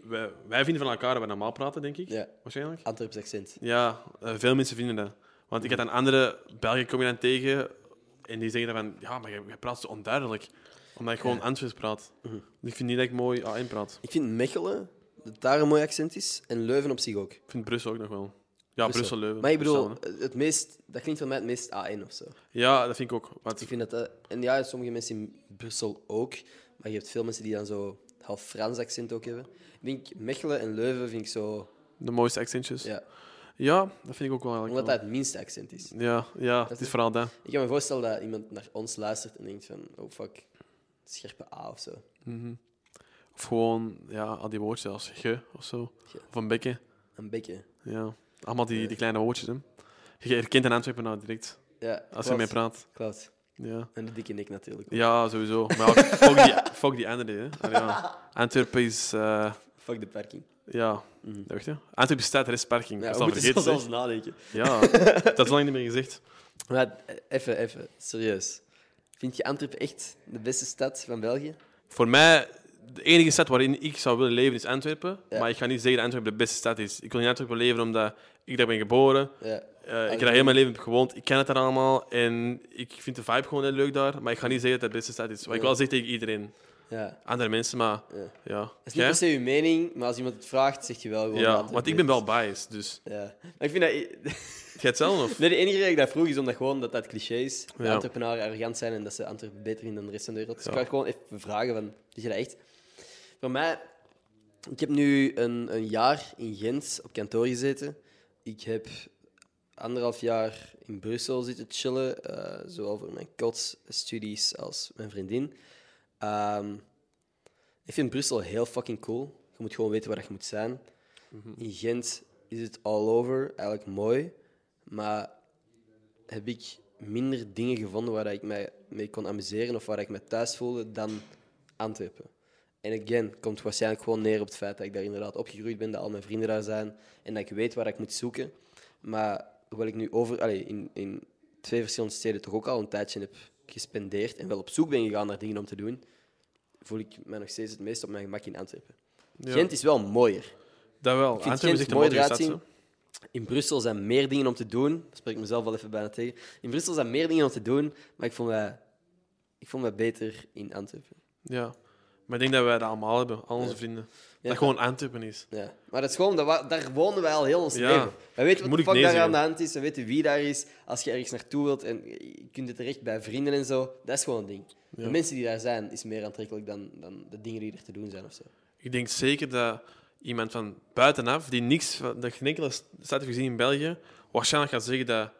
Speaker 2: wij, wij vinden van elkaar dat we normaal praten, denk ik.
Speaker 1: Ja.
Speaker 2: Waarschijnlijk.
Speaker 1: Antwerps accent.
Speaker 2: Ja, eh, veel mensen vinden dat. Want ik had een andere Belgen kom je dan tegen en die zeggen dan van, ja, maar je, je praat zo onduidelijk. Omdat ik gewoon Antwerps praat.
Speaker 1: Mhm.
Speaker 2: Dus Ik vind niet dat ik mooi A1 praat.
Speaker 1: Ik vind Mechelen, dat daar een mooi accent is, en Leuven op zich ook.
Speaker 2: Ik vind Brussel ook nog wel. Ja, Ah, Brussel-Leuven.
Speaker 1: Maar ik bedoel,
Speaker 2: Brussel,
Speaker 1: het meest, dat klinkt voor mij het meest A1 of zo.
Speaker 2: hè. ja, dat vind ik ook. Want
Speaker 1: Ik vind dat, dat- en ja, sommige mensen in Brussel ook, maar je hebt veel mensen die dan zo half Frans accent ook hebben. Ik denk Mechelen en Leuven vind ik zo,
Speaker 2: de mooiste accentjes. Ja.
Speaker 1: ja,
Speaker 2: dat vind ik ook wel eigenlijk
Speaker 1: omdat
Speaker 2: wel.
Speaker 1: dat het minste accent is.
Speaker 2: Ja, ja, het is vooral dat.
Speaker 1: Ik kan me voorstellen dat iemand naar ons luistert en denkt van, oh fuck, scherpe A of zo.
Speaker 2: Of gewoon, ja, al die woordjes als ge of zo.
Speaker 1: Ge.
Speaker 2: Of een bekken.
Speaker 1: Een beetje.
Speaker 2: Ja, allemaal die, die kleine woordjes, hè. Je herkent een Antwerpen nou direct,
Speaker 1: Ja,
Speaker 2: als
Speaker 1: klopt,
Speaker 2: je mee praat.
Speaker 1: klopt.
Speaker 2: Ja.
Speaker 1: En de dikke nek natuurlijk. ook.
Speaker 2: Ja, sowieso. Maar ook, fuck, die, fuck die andere, hè. Allee, ja. Antwerpen is... eh,
Speaker 1: Fuck de parking.
Speaker 2: ja, dat weet je. Antwerpen staat restparking.
Speaker 1: Mhm. Ja,
Speaker 2: dat is
Speaker 1: we
Speaker 2: al
Speaker 1: moeten
Speaker 2: vergeten,
Speaker 1: zelfs
Speaker 2: zeg.
Speaker 1: nadenken.
Speaker 2: Ja, dat is lang niet meer gezegd.
Speaker 1: Maar eh, even, even, serieus. Vind je Antwerpen echt de beste stad van België?
Speaker 2: Voor mij, de enige stad waarin ik zou willen leven is Antwerpen.
Speaker 1: Ja.
Speaker 2: Maar ik ga niet zeggen dat Antwerpen de beste stad is. Ik wil in Antwerpen leven omdat ik daar ben geboren.
Speaker 1: Ja.
Speaker 2: Eh, ik heb daar heel mijn leven op gewoond. Ik ken het daar allemaal. En ik vind de vibe gewoon heel leuk daar. Maar ik ga niet zeggen dat het de beste stad is. Wat ik wel zeg tegen iedereen.
Speaker 1: ja.
Speaker 2: Andere mensen, maar
Speaker 1: Ja.
Speaker 2: ja.
Speaker 1: Dat is niet
Speaker 2: Jij?
Speaker 1: per se je mening, maar als iemand het vraagt, zeg je wel gewoon.
Speaker 2: Ja,
Speaker 1: dat het
Speaker 2: want ik
Speaker 1: leuk
Speaker 2: ben wel biased, dus...
Speaker 1: is. Ja. Maar ik vind dat.
Speaker 2: Jij het zelf of?
Speaker 1: Nee, de enige reden dat ik dat vroeg is omdat gewoon dat dat cliché is. Dat
Speaker 2: Ja.
Speaker 1: entrepreneuren arrogant zijn en dat ze Antwerpen beter vinden dan de rest van de wereld. Dus ik
Speaker 2: Ja.
Speaker 1: wou gewoon even vragen: van, is je dat echt? Voor mij, ik heb nu een, een jaar in Gent op kantoor gezeten. Ik heb anderhalf jaar in Brussel zitten chillen, eh, zowel voor mijn kotsstudies als mijn vriendin. Ehm, ik vind Brussel heel fucking cool. Je moet gewoon weten waar je moet zijn.
Speaker 2: Mhm.
Speaker 1: In Gent is het all over, eigenlijk mooi. Maar heb ik minder dingen gevonden waar ik mij mee kon amuseren of waar ik me thuis voelde dan Antwerpen. En again, komt waarschijnlijk gewoon neer op het feit dat ik daar inderdaad opgegroeid ben, dat al mijn vrienden daar zijn en dat ik weet waar ik moet zoeken. Maar hoewel ik nu over, allee, in, in twee verschillende steden toch ook al een tijdje heb gespendeerd en wel op zoek ben gegaan naar dingen om te doen, voel ik mij nog steeds het meest op mijn gemak in Antwerpen. Gent is wel mooier.
Speaker 2: Dat wel.
Speaker 1: Ik vind
Speaker 2: Antwerpen is
Speaker 1: Gent
Speaker 2: echt een
Speaker 1: mooi
Speaker 2: mooie
Speaker 1: eruit
Speaker 2: stad.
Speaker 1: zien.
Speaker 2: zo.
Speaker 1: In Brussel zijn meer dingen om te doen. Daar spreek ik mezelf al even bijna tegen. In Brussel zijn meer dingen om te doen, maar ik voel me, ik voel me beter in Antwerpen.
Speaker 2: Ja. Maar ik denk dat wij dat allemaal hebben, al onze
Speaker 1: Ja.
Speaker 2: vrienden.
Speaker 1: Ja.
Speaker 2: dat gewoon Antwerpen is.
Speaker 1: Ja. Maar dat is gewoon, dat wa- daar wonen wij al heel ons
Speaker 2: Ja.
Speaker 1: leven. We weten wat
Speaker 2: Moet
Speaker 1: de
Speaker 2: ik
Speaker 1: fuck
Speaker 2: nee
Speaker 1: daar aan
Speaker 2: zeggen.
Speaker 1: de hand is, we weten wie daar is. Als je ergens naartoe wilt en je kunt het terecht bij vrienden en zo, dat is gewoon een ding. De
Speaker 2: Ja.
Speaker 1: mensen die daar zijn, is meer aantrekkelijk dan, dan de dingen die er te doen zijn of zo.
Speaker 2: Ik denk zeker dat iemand van buitenaf, die niks van de geen enkele stad heeft gezien in België, waarschijnlijk gaat zeggen dat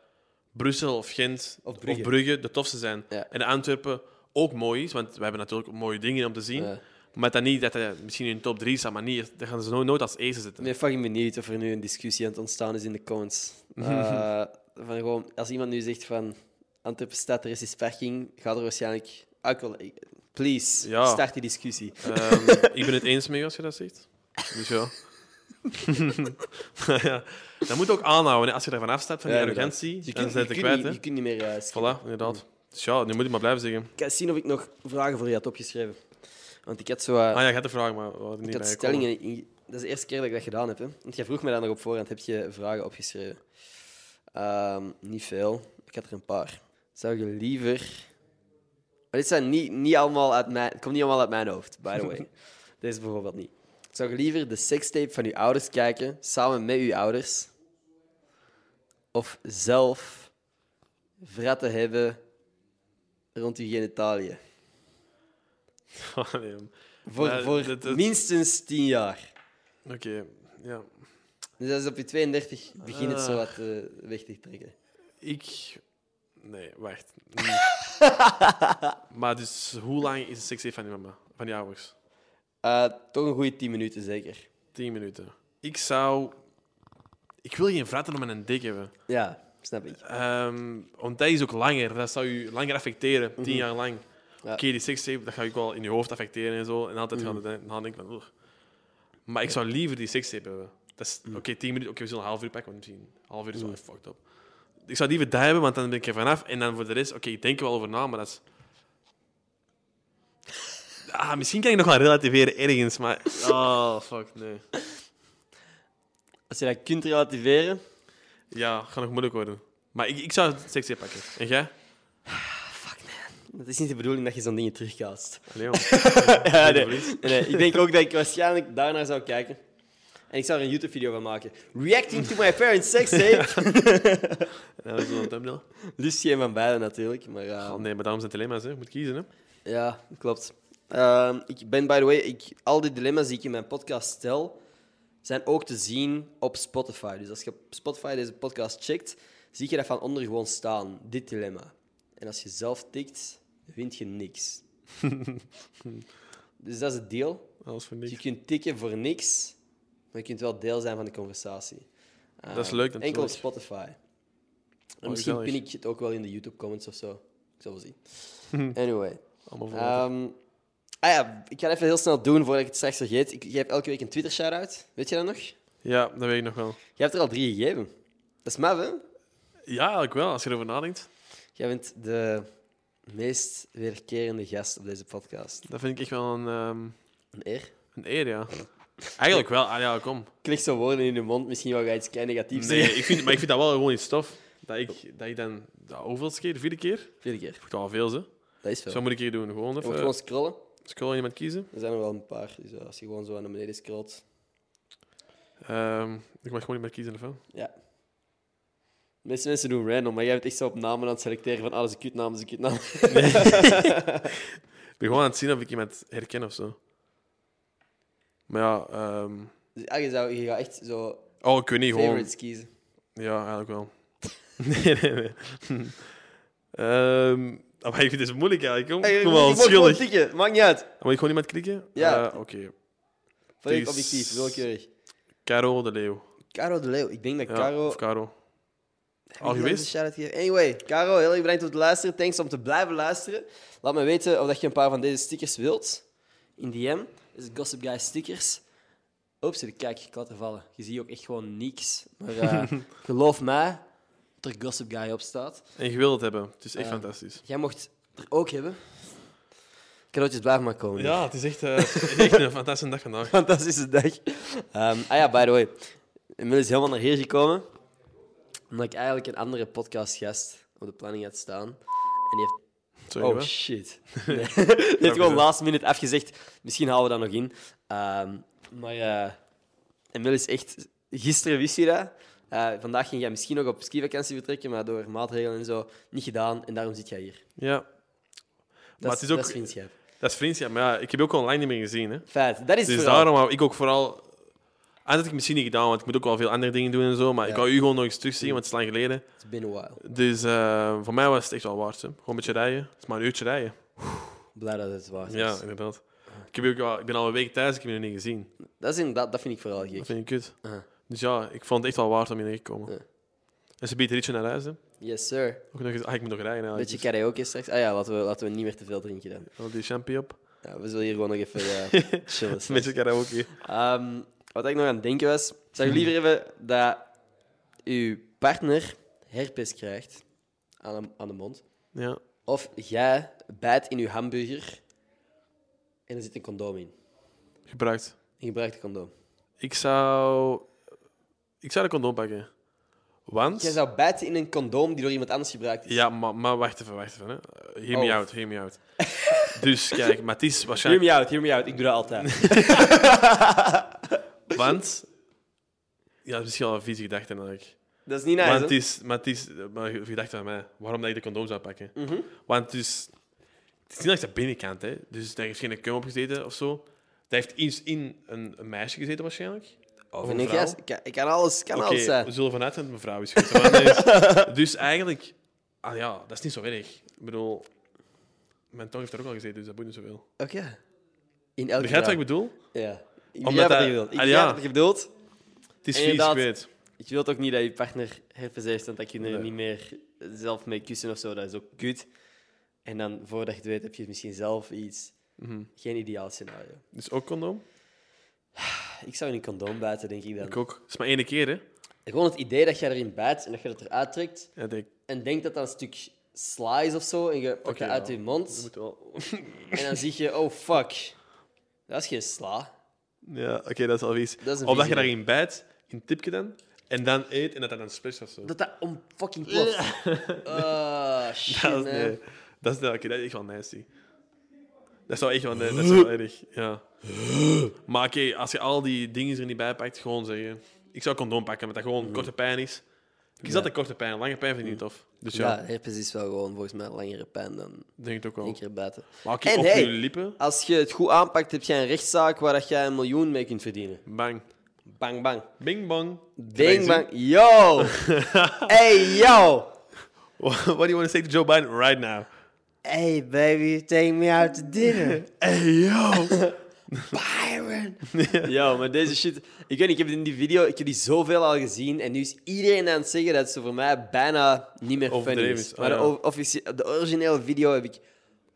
Speaker 2: Brussel of Gent
Speaker 1: Of Brugge.
Speaker 2: de tofste zijn.
Speaker 1: Ja.
Speaker 2: En dat Antwerpen ook mooi is, want we hebben natuurlijk ook mooie dingen om te zien.
Speaker 1: Ja.
Speaker 2: Maar dat niet dat hij misschien in de top 3 staat, maar niet, daar gaan ze no- nooit als eerste
Speaker 1: Ik
Speaker 2: zitten.
Speaker 1: ben fucking benieuwd of er nu een discussie aan het ontstaan is in de comments. Eh, van gewoon, als iemand nu zegt van Antwerpen staat, er is eens parking, gaat er waarschijnlijk... Ah, ik wil- ik- please,
Speaker 2: Ja.
Speaker 1: start die discussie.
Speaker 2: Ehm, ik ben het eens mee als je dat zegt. Dus ja. Maar ja. Dat moet ook aanhouden. hè. Als je daar vanaf staat van die
Speaker 1: Ja, inderdaad.
Speaker 2: arrogantie,
Speaker 1: Je
Speaker 2: dan
Speaker 1: kunt,
Speaker 2: zijn
Speaker 1: je kunt,
Speaker 2: het kwijt.
Speaker 1: niet,
Speaker 2: Hè.
Speaker 1: je kunt niet meer... eh, skippen.
Speaker 2: Voilà, inderdaad. Dus ja, nu moet ik maar blijven zeggen.
Speaker 1: Ik ga eens zien of ik nog vragen voor je had opgeschreven. Want ik had zo... eh,
Speaker 2: Ah ja, ik had de vraag, maar we hadden niet
Speaker 1: ik had
Speaker 2: bij gekomen.
Speaker 1: stellingen... in- dat is de eerste keer dat ik dat gedaan heb. Hè? Want jij vroeg me dan nog op voorhand, heb je vragen opgeschreven? Ehm, niet veel. Ik had er een paar. Zou je liever... Maar dit zijn niet, niet allemaal uit mijn... Het komt niet allemaal uit mijn hoofd, by the way. Deze bijvoorbeeld niet. Zou je liever de sekstape van je ouders kijken, samen met je ouders? Of zelf vratten hebben rond je genitaliën?
Speaker 2: Ah, nee, man.
Speaker 1: Voor,
Speaker 2: Maar
Speaker 1: voor
Speaker 2: dat- dat-
Speaker 1: minstens 10 jaar.
Speaker 2: Oké, ja.
Speaker 1: Dus dat is op je 32 begint het zo
Speaker 2: Ah.
Speaker 1: wat eh, weg te trekken.
Speaker 2: Ik... Nee, wacht. Nee. maar dus, hoe lang is de seks van je mama? Van die ouders?
Speaker 1: Eh, toch een goede 10 minuten zeker.
Speaker 2: Tien minuten. Ik zou... Ik wil geen vraten om een dik hebben.
Speaker 1: Ja, snap ik.
Speaker 2: Ehm, want dat is ook langer. Dat zou je langer affecteren, tien jaar lang.
Speaker 1: Ja.
Speaker 2: Oké, die sekstape, dat ga je ook wel in je hoofd affecteren en zo. En altijd gaan we dan denken van... oeh. Maar ik zou liever die sekstape hebben. Dat is, oké, tien minuten. Oké, we zullen een half uur pakken, want misschien een half uur is wel echt fucked up. Ik zou liever dat hebben, want dan ben ik er vanaf. En dan voor de rest, oké, ik denk er wel over na, maar dat is... Ah, misschien kan ik nog wel relativeren ergens, maar... Oh, fuck, nee.
Speaker 1: Als je dat kunt relativeren.
Speaker 2: Ja, gaat nog moeilijk worden. Maar ik, ik zou het sekstape pakken. En jij?
Speaker 1: Het is niet de bedoeling dat je zo'n dingen terugkaast.
Speaker 2: Allee, jong.
Speaker 1: Ja,
Speaker 2: Doe
Speaker 1: nee.
Speaker 2: je verlies.
Speaker 1: Nee, nee. Ik denk ook dat ik waarschijnlijk daarnaar zou kijken. En ik zou er een YouTube-video van maken. Reacting to my parents' sex tape.
Speaker 2: Ja, dat is wel een thumbnail.
Speaker 1: Liefst geen van beiden natuurlijk. Maar, eh,
Speaker 2: Oh, nee, maar daarom zijn het dilemma's, hè. Je moet kiezen, hè.
Speaker 1: Ja, klopt. Ehm, ik ben, by the way, ik, al die dilemma's die ik in mijn podcast stel, zijn ook te zien op Spotify. Dus als je op Spotify deze podcast checkt, zie je dat van onder gewoon staan, dit dilemma. En als je zelf tikt, vind je niks. dus dat is het deal.
Speaker 2: Alles voor
Speaker 1: Dus
Speaker 2: niks.
Speaker 1: je kunt tikken voor niks, maar je kunt wel deel zijn van de conversatie. Ehm,
Speaker 2: Dat is leuk
Speaker 1: Enkel op
Speaker 2: natuurlijk.
Speaker 1: Spotify. En
Speaker 2: Oh,
Speaker 1: misschien
Speaker 2: gezellig.
Speaker 1: pin ik het ook wel in de YouTube-comments of zo. Ik zal wel zien. Anyway.
Speaker 2: Allemaal voor later.
Speaker 1: Ehm, ah ja, ik ga het even heel snel doen voordat ik het straks vergeet. Ik geef elke week een Twitter-shout-out. Weet je dat nog? Jij
Speaker 2: Ja, dat weet ik nog wel.
Speaker 1: hebt er al drie gegeven. Dat is maf, hè?
Speaker 2: Ja, eigenlijk wel, als je erover nadenkt.
Speaker 1: Jij bent de meest weerkerende gast op deze podcast.
Speaker 2: Dat vind ik echt wel een, ehm,
Speaker 1: Een eer.
Speaker 2: een eer, ja. Eigenlijk wel. Ah ja, kom.
Speaker 1: Ik leg zo woorden in je mond. Misschien wou jij iets klein negatiefs
Speaker 2: Nee,
Speaker 1: zeggen.
Speaker 2: ik vind, maar ik vind dat wel gewoon iets tof. Dat ik, dat ik dan... Dat hoeveelste keer? De vierde keer? Ik
Speaker 1: Vierde keer.
Speaker 2: vind dat al veel, hè.
Speaker 1: Dat is veel.
Speaker 2: Zo eh. moet ik hier doen. Gewoon
Speaker 1: Je moet
Speaker 2: even
Speaker 1: gewoon scrollen.
Speaker 2: scrollen iemand kiezen.
Speaker 1: Er zijn er wel een paar. Dus eh, als je gewoon zo naar beneden scrolt.
Speaker 2: Ehm, ik mag gewoon iemand kiezen, of wel?
Speaker 1: Ja. De meeste mensen doen random, maar jij bent echt zo op namen aan het selecteren van alles een kutnaam, dat is een kutnaam.
Speaker 2: Ik ben gewoon aan het zien of ik iemand herken of zo. Maar ja, ehm,
Speaker 1: Dus ja, je, zou, je gaat echt zo
Speaker 2: Oh, ik weet niet, gewoon...
Speaker 1: favorites kiezen.
Speaker 2: Ja, eigenlijk wel. Nee, nee, nee. Ehm, ah, maar ik vind het moeilijk eigenlijk. Kom,
Speaker 1: Ik
Speaker 2: kom wel,
Speaker 1: word gewoon
Speaker 2: schuldig.
Speaker 1: tikken, maakt niet uit.
Speaker 2: Moet ik gewoon iemand klikken?
Speaker 1: Ja.
Speaker 2: Eh, Oké.
Speaker 1: Volledig
Speaker 2: is-
Speaker 1: objectief, willekeurig.
Speaker 2: Caro de Leeuw.
Speaker 1: Caro de Leeuw, ik denk dat
Speaker 2: Ja,
Speaker 1: Caro...
Speaker 2: Of Caro.
Speaker 1: Heb
Speaker 2: al
Speaker 1: ik nog
Speaker 2: geweest?
Speaker 1: een shout-out gegeven? Anyway, Caro, heel erg bedankt om te luisteren. Thanks om te blijven luisteren. Laat me weten of dat je een paar van deze stickers wilt. In DM is het Gossip Guy stickers. Oeps, zit ik kijk, ik laat er vallen. Je ziet ook echt gewoon niks. Maar eh, geloof mij, dat er Gossip Guy op staat.
Speaker 2: En je wil het hebben. Het is echt
Speaker 1: Ja.
Speaker 2: fantastisch.
Speaker 1: Jij mocht er ook hebben. Cadeautjes blijven maar komen.
Speaker 2: Ja, het is echt, eh, het is echt een fantastische dag
Speaker 1: Oh,
Speaker 2: vandaag.
Speaker 1: Fantastische dus dag. Ehm, ah ja, by the way. Emil is helemaal naar hier gekomen. Omdat ik eigenlijk een andere podcastgast op de planning had staan. En die heeft
Speaker 2: Sorry,
Speaker 1: Oh
Speaker 2: hoor.
Speaker 1: shit. Nee. Die heeft gewoon last minute afgezegd. Misschien halen we dat nog in. Ehm, maar eh Emil is echt. Gisteren wist je dat. Eh, vandaag ging jij misschien nog op skivakantie vertrekken, maar door maatregelen en zo niet gedaan. En daarom zit jij hier.
Speaker 2: Ja.
Speaker 1: Dat
Speaker 2: Maar
Speaker 1: is,
Speaker 2: het is ook...
Speaker 1: dat is vriendschap.
Speaker 2: Dat is vriendschap. Maar ja, ik heb je ook online niet meer gezien. Hè.
Speaker 1: Feit. Dat is
Speaker 2: Dus
Speaker 1: het verhaal.
Speaker 2: daarom hou ik ook vooral... En dat heb ik misschien niet gedaan, want ik moet ook wel veel andere dingen doen en zo. Maar
Speaker 1: Ja. Mm.
Speaker 2: ik wou u gewoon nog eens terugzien, want het is lang geleden.
Speaker 1: It's been a while.
Speaker 2: Dus eh, voor mij was het echt wel waard. Hè. Gewoon een beetje rijden. Het is maar een uurtje rijden.
Speaker 1: Blij dat het waar is.
Speaker 2: Ja, inderdaad. Ik, heb je ook al, ik ben al een week thuis, ik heb je nog niet gezien.
Speaker 1: Dat, is inderdaad, dat vind ik vooral gek.
Speaker 2: Dat vind ik kut.
Speaker 1: Ah.
Speaker 2: Dus ja, ik vond het echt wel waard om hier te komen.
Speaker 1: Ja.
Speaker 2: En ze biedt Rietje naar huis. Hè.
Speaker 1: Yes, sir.
Speaker 2: Ook nog eens, ah, ik moet nog rijden eigenlijk.
Speaker 1: Beetje karaoke straks. Ah ja, laten we, laten we niet meer te veel drinken dan.
Speaker 2: Dus, al die champie op.
Speaker 1: Ja, we zullen hier gewoon nog even eh, chillen.
Speaker 2: Een beetje karaoke.
Speaker 1: Ehm, wat ik nog aan het denken was, zou je liever hebben dat uw partner herpes krijgt aan de, aan de mond,
Speaker 2: Ja.
Speaker 1: of jij bijt in uw hamburger en er zit een condoom in?
Speaker 2: Gebruikt.
Speaker 1: Je gebruikt een condoom.
Speaker 2: Ik zou... Ik zou een condoom pakken. Want...
Speaker 1: Jij zou bijten in een condoom die door iemand anders gebruikt is.
Speaker 2: Ja, maar, maar wacht even, wacht even. Hè. Eh, Hear me
Speaker 1: Oh.
Speaker 2: out, hear me out. dus kijk, maar het is
Speaker 1: Hear
Speaker 2: waarschijnlijk...
Speaker 1: me out, hear me out. Ik doe dat altijd.
Speaker 2: Want... Ja, dat is misschien wel een vieze gedachte eigenlijk.
Speaker 1: dat is niet nice,
Speaker 2: maar, het
Speaker 1: hè?
Speaker 2: is, maar het is... eh, Maar een gedachte van mij. Waarom dat ik de condoom zou pakken?
Speaker 1: Mhm.
Speaker 2: Want het is... Het is niet langs de binnenkant, hè. Dus daar heeft geen kum op gezeten of zo. Daar heeft iets in een, een meisje gezeten waarschijnlijk.
Speaker 1: Of
Speaker 2: een
Speaker 1: in een
Speaker 2: vrouw.
Speaker 1: gast. Ik kan- eh. Ik kan alles, kan
Speaker 2: Oké,
Speaker 1: alles zijn.
Speaker 2: we zullen vanuit dat het een vrouw is. geweest, want dat is- dus eigenlijk... Ah ja, dat is niet zo erg. Ik bedoel... Mijn tong heeft er ook al gezeten, dus dat boeit niet zoveel.
Speaker 1: Oké. In elk
Speaker 2: Begrijp je wat
Speaker 1: geval.
Speaker 2: ik bedoel?
Speaker 1: Ja. Ik
Speaker 2: Omdat
Speaker 1: begrijp wat je
Speaker 2: hij-
Speaker 1: bedoelt. Ik
Speaker 2: Ah,
Speaker 1: begrijp
Speaker 2: ja.
Speaker 1: wat je bedoelt.
Speaker 2: Het is
Speaker 1: En
Speaker 2: vies,
Speaker 1: inderdaad-
Speaker 2: ik weet.
Speaker 1: Ik wil ook niet dat je partner herpes heeft, want dan kun je er
Speaker 2: Nee.
Speaker 1: niet meer zelf mee kussen of zo. Dat is ook kut. En dan, voordat je het weet, heb je misschien zelf iets.
Speaker 2: Mhm.
Speaker 1: Geen ideaal scenario.
Speaker 2: Dus ook condoom?
Speaker 1: Ik zou in een condoom buiten, denk ik dan.
Speaker 2: Ik ook. Het is maar één keer, hè?
Speaker 1: Gewoon het idee dat je erin bijt en dat je dat eruit trekt
Speaker 2: Ja, denk,
Speaker 1: en denkt dat dat een stuk sla is of zo en je pakt
Speaker 2: Oké,
Speaker 1: dat uit
Speaker 2: ja.
Speaker 1: je
Speaker 2: dat
Speaker 1: mond
Speaker 2: moet wel.
Speaker 1: en dan zie je, oh fuck, dat is geen sla.
Speaker 2: Ja, oké, dat is al vies.
Speaker 1: Dat is een
Speaker 2: of dat je
Speaker 1: vieze.
Speaker 2: daarin bijt, in tipje dan, en dan eet en dat dat dan splash of zo.
Speaker 1: Dat dat om fucking klopt. Ah, shit,
Speaker 2: dat
Speaker 1: man.
Speaker 2: is, nee. dat, is, nee, oké, dat is echt wel nasty. Dat is wel echt wel, nee, dat is wel erg. Ja. Maar oké, als je al die dingen er niet bij pakt, gewoon zeggen. Ik zou condoom pakken, omdat dat gewoon korte pijn is. Ik zat een korte pijn, lange pijn vind ik niet tof. Dus ja,
Speaker 1: Ja, Oh. herpes is wel gewoon volgens mij langere pijn dan
Speaker 2: denk ik ook
Speaker 1: één
Speaker 2: wel.
Speaker 1: keer buiten.
Speaker 2: Maar oké,
Speaker 1: En
Speaker 2: op
Speaker 1: hey.
Speaker 2: je lippen,
Speaker 1: Als je het goed aanpakt, heb jij een rechtszaak waar dat jij een miljoen mee kunt verdienen.
Speaker 2: bang.
Speaker 1: Bang, bang.
Speaker 2: Bing bang.
Speaker 1: Ding, bang. Yo! hey, yo!
Speaker 2: What do you want to say to Joe Biden right now?
Speaker 1: Hey, baby, take me out to dinner.
Speaker 2: Hey, yo!
Speaker 1: Byron! Yo, maar deze shit... Ik weet niet, ik heb het in die video ik heb die zoveel al gezien. En nu is iedereen aan het zeggen dat ze voor mij bijna niet meer funny
Speaker 2: Overdreven
Speaker 1: is.
Speaker 2: is, oh
Speaker 1: Maar de,
Speaker 2: ja.
Speaker 1: o- officie- de originele video heb ik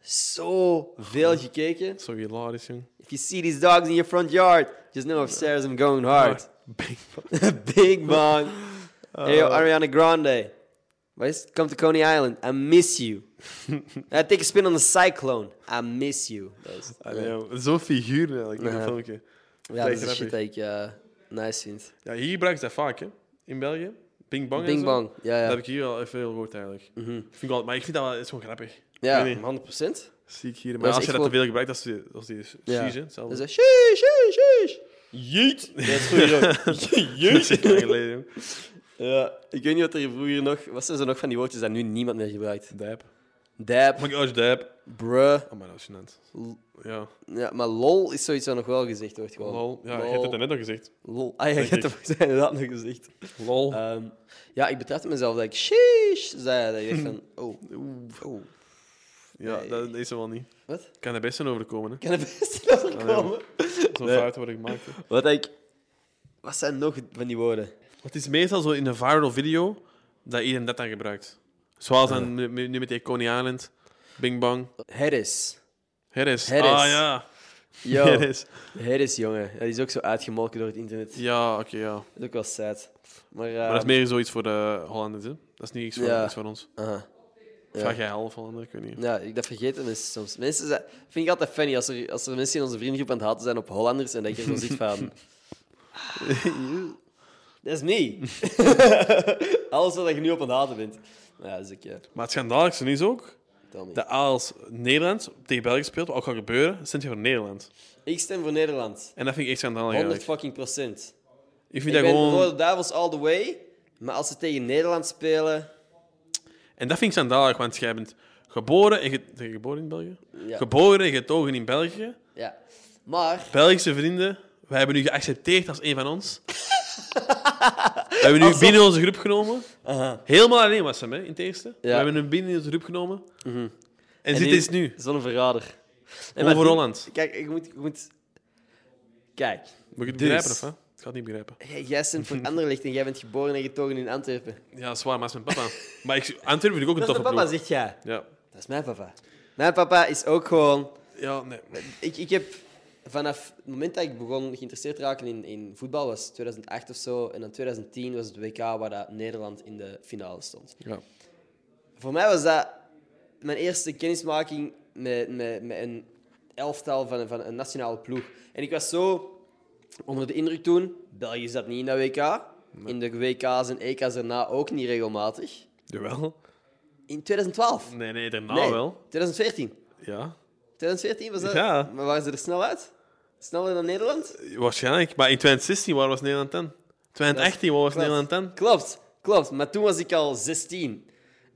Speaker 1: zoveel gekeken.
Speaker 2: Zo hilarisch, jong.
Speaker 1: If you see these dogs in your front yard, just know if Sarah's I'm going hard.
Speaker 2: Bing bang.
Speaker 1: Big Bang. Hey,
Speaker 2: Uh,
Speaker 1: yo, Ariana Grande. Wat is het? Come to Coney Island. I miss you. I take a spin on the cyclone. I miss you. Dat is,
Speaker 2: Allee, Ah, jong. Zo'n figuur eigenlijk in
Speaker 1: Ja.
Speaker 2: dat filmpje.
Speaker 1: ja, dat is de
Speaker 2: grappig.
Speaker 1: shit dat ik eh, nice vind.
Speaker 2: Ja, hier gebruiken ze dat vaak, hè? In België. Bing bang. en
Speaker 1: Bing
Speaker 2: zo.
Speaker 1: Bang. Ja, Mhm.
Speaker 2: Dat
Speaker 1: ja.
Speaker 2: heb ik hier al even veel gehoord eigenlijk. Vind ik wel, maar ik vind dat wel, het is gewoon grappig.
Speaker 1: Ja,
Speaker 2: Ik weet niet,
Speaker 1: 100 procent.
Speaker 2: zie ik hier.
Speaker 1: Dat
Speaker 2: Maar
Speaker 1: is
Speaker 2: als je
Speaker 1: echt
Speaker 2: dat te veel gebruikt, als die, als die is
Speaker 1: Ja.
Speaker 2: precies, hè?
Speaker 1: Dat is
Speaker 2: Hetzelfde.
Speaker 1: dat. Sheesh, sheesh, sheesh. Jeet. Dat is vroeger ook.
Speaker 2: Dat is echt lang geleden, jong.
Speaker 1: Ja, ik weet niet wat er vroeger nog... Wat zijn er nog van die woordjes dat nu niemand meer gebruikt?
Speaker 2: Dijp. Oh
Speaker 1: Dab,
Speaker 2: my gosh, dab.
Speaker 1: bruh.
Speaker 2: Oh, maar dat is gênant.
Speaker 1: L-
Speaker 2: Ja,
Speaker 1: Ja, maar lol is zoiets wat nog wel gezegd wordt. Gewoon.
Speaker 2: lol. Ja, je
Speaker 1: lol.
Speaker 2: hebt het er net nog gezegd.
Speaker 1: Lol. Ah ja, je
Speaker 2: Denk
Speaker 1: hebt
Speaker 2: ik.
Speaker 1: het inderdaad nog gezegd.
Speaker 2: Lol.
Speaker 1: Ehm, ja, ik betrapte mezelf dat ik sheesh zei. Dat ik dacht van, oh, oh.
Speaker 2: ja,
Speaker 1: nee.
Speaker 2: dat is er wel niet.
Speaker 1: Wat?
Speaker 2: Kan er best een overkomen, hè.
Speaker 1: Ik kan er best wel komen.
Speaker 2: Zo'n
Speaker 1: Nee.
Speaker 2: fouten worden gemaakt. hè.
Speaker 1: Oh, Wat ik... Wat zijn nog van die woorden?
Speaker 2: Het is meestal zo in een viral video dat iedereen dat dan gebruikt. Zoals dan nu- nu nu met die Coney Island, Bing Bang.
Speaker 1: Harris.
Speaker 2: Harris.
Speaker 1: Harris.
Speaker 2: Ah ja,
Speaker 1: Yo, Harris.
Speaker 2: Harris.
Speaker 1: jongen. Dat is ook zo uitgemolken door het internet.
Speaker 2: Ja, oké, ja. Maar
Speaker 1: Dat is ook wel sad. Maar, eh,
Speaker 2: dat is meer zoiets voor de Hollanders, hè. Dat is niet iets voor,
Speaker 1: Ja.
Speaker 2: iets voor ons.
Speaker 1: aha. Ja.
Speaker 2: Vraag jij half Hollander, ik weet niet.
Speaker 1: Ja, ik, dat vergeten mensen soms. Mensen zijn, vind ik altijd funny als er, als er mensen in onze vriendengroep aan het haten zijn op Hollanders en dat je er zo zit van... Dat is me. Alles wat je nu op aan het haten bent. Nou ja, dus ik... eh,
Speaker 2: Maar het schandaligste is ook
Speaker 1: tel niet.
Speaker 2: dat als Nederland tegen België speelt, wat ook gaat gebeuren, stemt je voor Nederland.
Speaker 1: Ik stem voor Nederland.
Speaker 2: En dat vind ik echt
Speaker 1: 100
Speaker 2: schandalig eigenlijk.
Speaker 1: fucking procent.
Speaker 2: Ik
Speaker 1: Ik
Speaker 2: vind
Speaker 1: ben
Speaker 2: dat gewoon...
Speaker 1: voor de Duivels all the way. Maar als ze tegen Nederland spelen...
Speaker 2: En dat vind ik schandalig, want jij bent geboren en... Ge... Zijn je geboren in België?
Speaker 1: Ja.
Speaker 2: Geboren en getogen in België.
Speaker 1: Ja. Maar...
Speaker 2: Belgische vrienden, wij hebben u geaccepteerd als een van ons. we hebben u binnen onze groep genomen. Helemaal alleen was hem, hè, in het eerste. We hebben hem binnen onze groep genomen.
Speaker 1: Mhm.
Speaker 2: En, Dus dit
Speaker 1: die-
Speaker 2: is nu.
Speaker 1: Zo'n verrader. En maar
Speaker 2: Over
Speaker 1: die-
Speaker 2: Holland.
Speaker 1: Kijk, ik moet... Ik moet... Kijk.
Speaker 2: Moet je het
Speaker 1: Dus.
Speaker 2: begrijpen, of hè? Ik ga het niet begrijpen.
Speaker 1: Jij- Jij stemt voor Anderlecht en jij bent geboren en getogen in Antwerpen.
Speaker 2: Ja, zwaar, maar dat is mijn papa. maar ik, Antwerpen vind ik ook een
Speaker 1: Dat is
Speaker 2: toffe
Speaker 1: mijn papa,
Speaker 2: ploeg.
Speaker 1: zegt jij.
Speaker 2: Ja.
Speaker 1: Dat is mijn papa. Mijn papa is ook gewoon...
Speaker 2: ja, nee.
Speaker 1: Ik, ik heb vanaf het moment dat ik begon geïnteresseerd te raken in, in voetbal, was 2008 of zo. En dan 2010 was het WK waar dat Nederland in de finale stond.
Speaker 2: Ja.
Speaker 1: Voor mij was dat mijn eerste kennismaking met, met, met een elftal van, een- van een nationale ploeg. En ik was zo onder de indruk toen. België zat niet in dat WK. In de WK's en EK's daarna ook niet regelmatig.
Speaker 2: Jawel.
Speaker 1: In 2012.
Speaker 2: Nee, nee, daarna
Speaker 1: Nee,
Speaker 2: Ah, wel.
Speaker 1: 2014.
Speaker 2: Ja.
Speaker 1: 2014 was dat?
Speaker 2: Ja.
Speaker 1: Maar waren ze er snel uit? Sneller dan Nederland?
Speaker 2: Waarschijnlijk. Maar in 2016, waar was Nederland dan? 2018, waar was
Speaker 1: Klopt.
Speaker 2: Nederland dan?
Speaker 1: Klopt, klopt. Maar toen was ik al 16.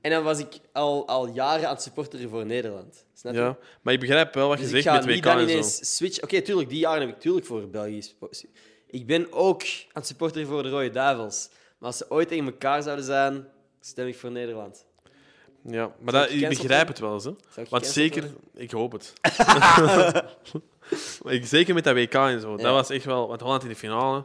Speaker 1: En dan was ik al, al jaren aan het supporteren voor Nederland. Snap je?
Speaker 2: Ja. Maar ik begrijp wel wat je
Speaker 1: Dus ik
Speaker 2: zegt
Speaker 1: ga
Speaker 2: met
Speaker 1: niet
Speaker 2: WK
Speaker 1: dan
Speaker 2: en zo.
Speaker 1: ineens switchen. Oké, tuurlijk, die jaren heb ik tuurlijk voor België gespo- Ik ben ook aan het supporteren voor de Rode Duivels. Maar als ze ooit tegen elkaar zouden zijn, stem ik voor Nederland.
Speaker 2: Ja, maar dat, ik
Speaker 1: gecanceld
Speaker 2: begrijp het wel eens. Hè?
Speaker 1: Zou ik
Speaker 2: Want
Speaker 1: gecanceld
Speaker 2: zeker, ik hoop het. Maar ik, zeker met dat WK en zo.
Speaker 1: Ja.
Speaker 2: Dat was echt wel. Want Holland in de finale.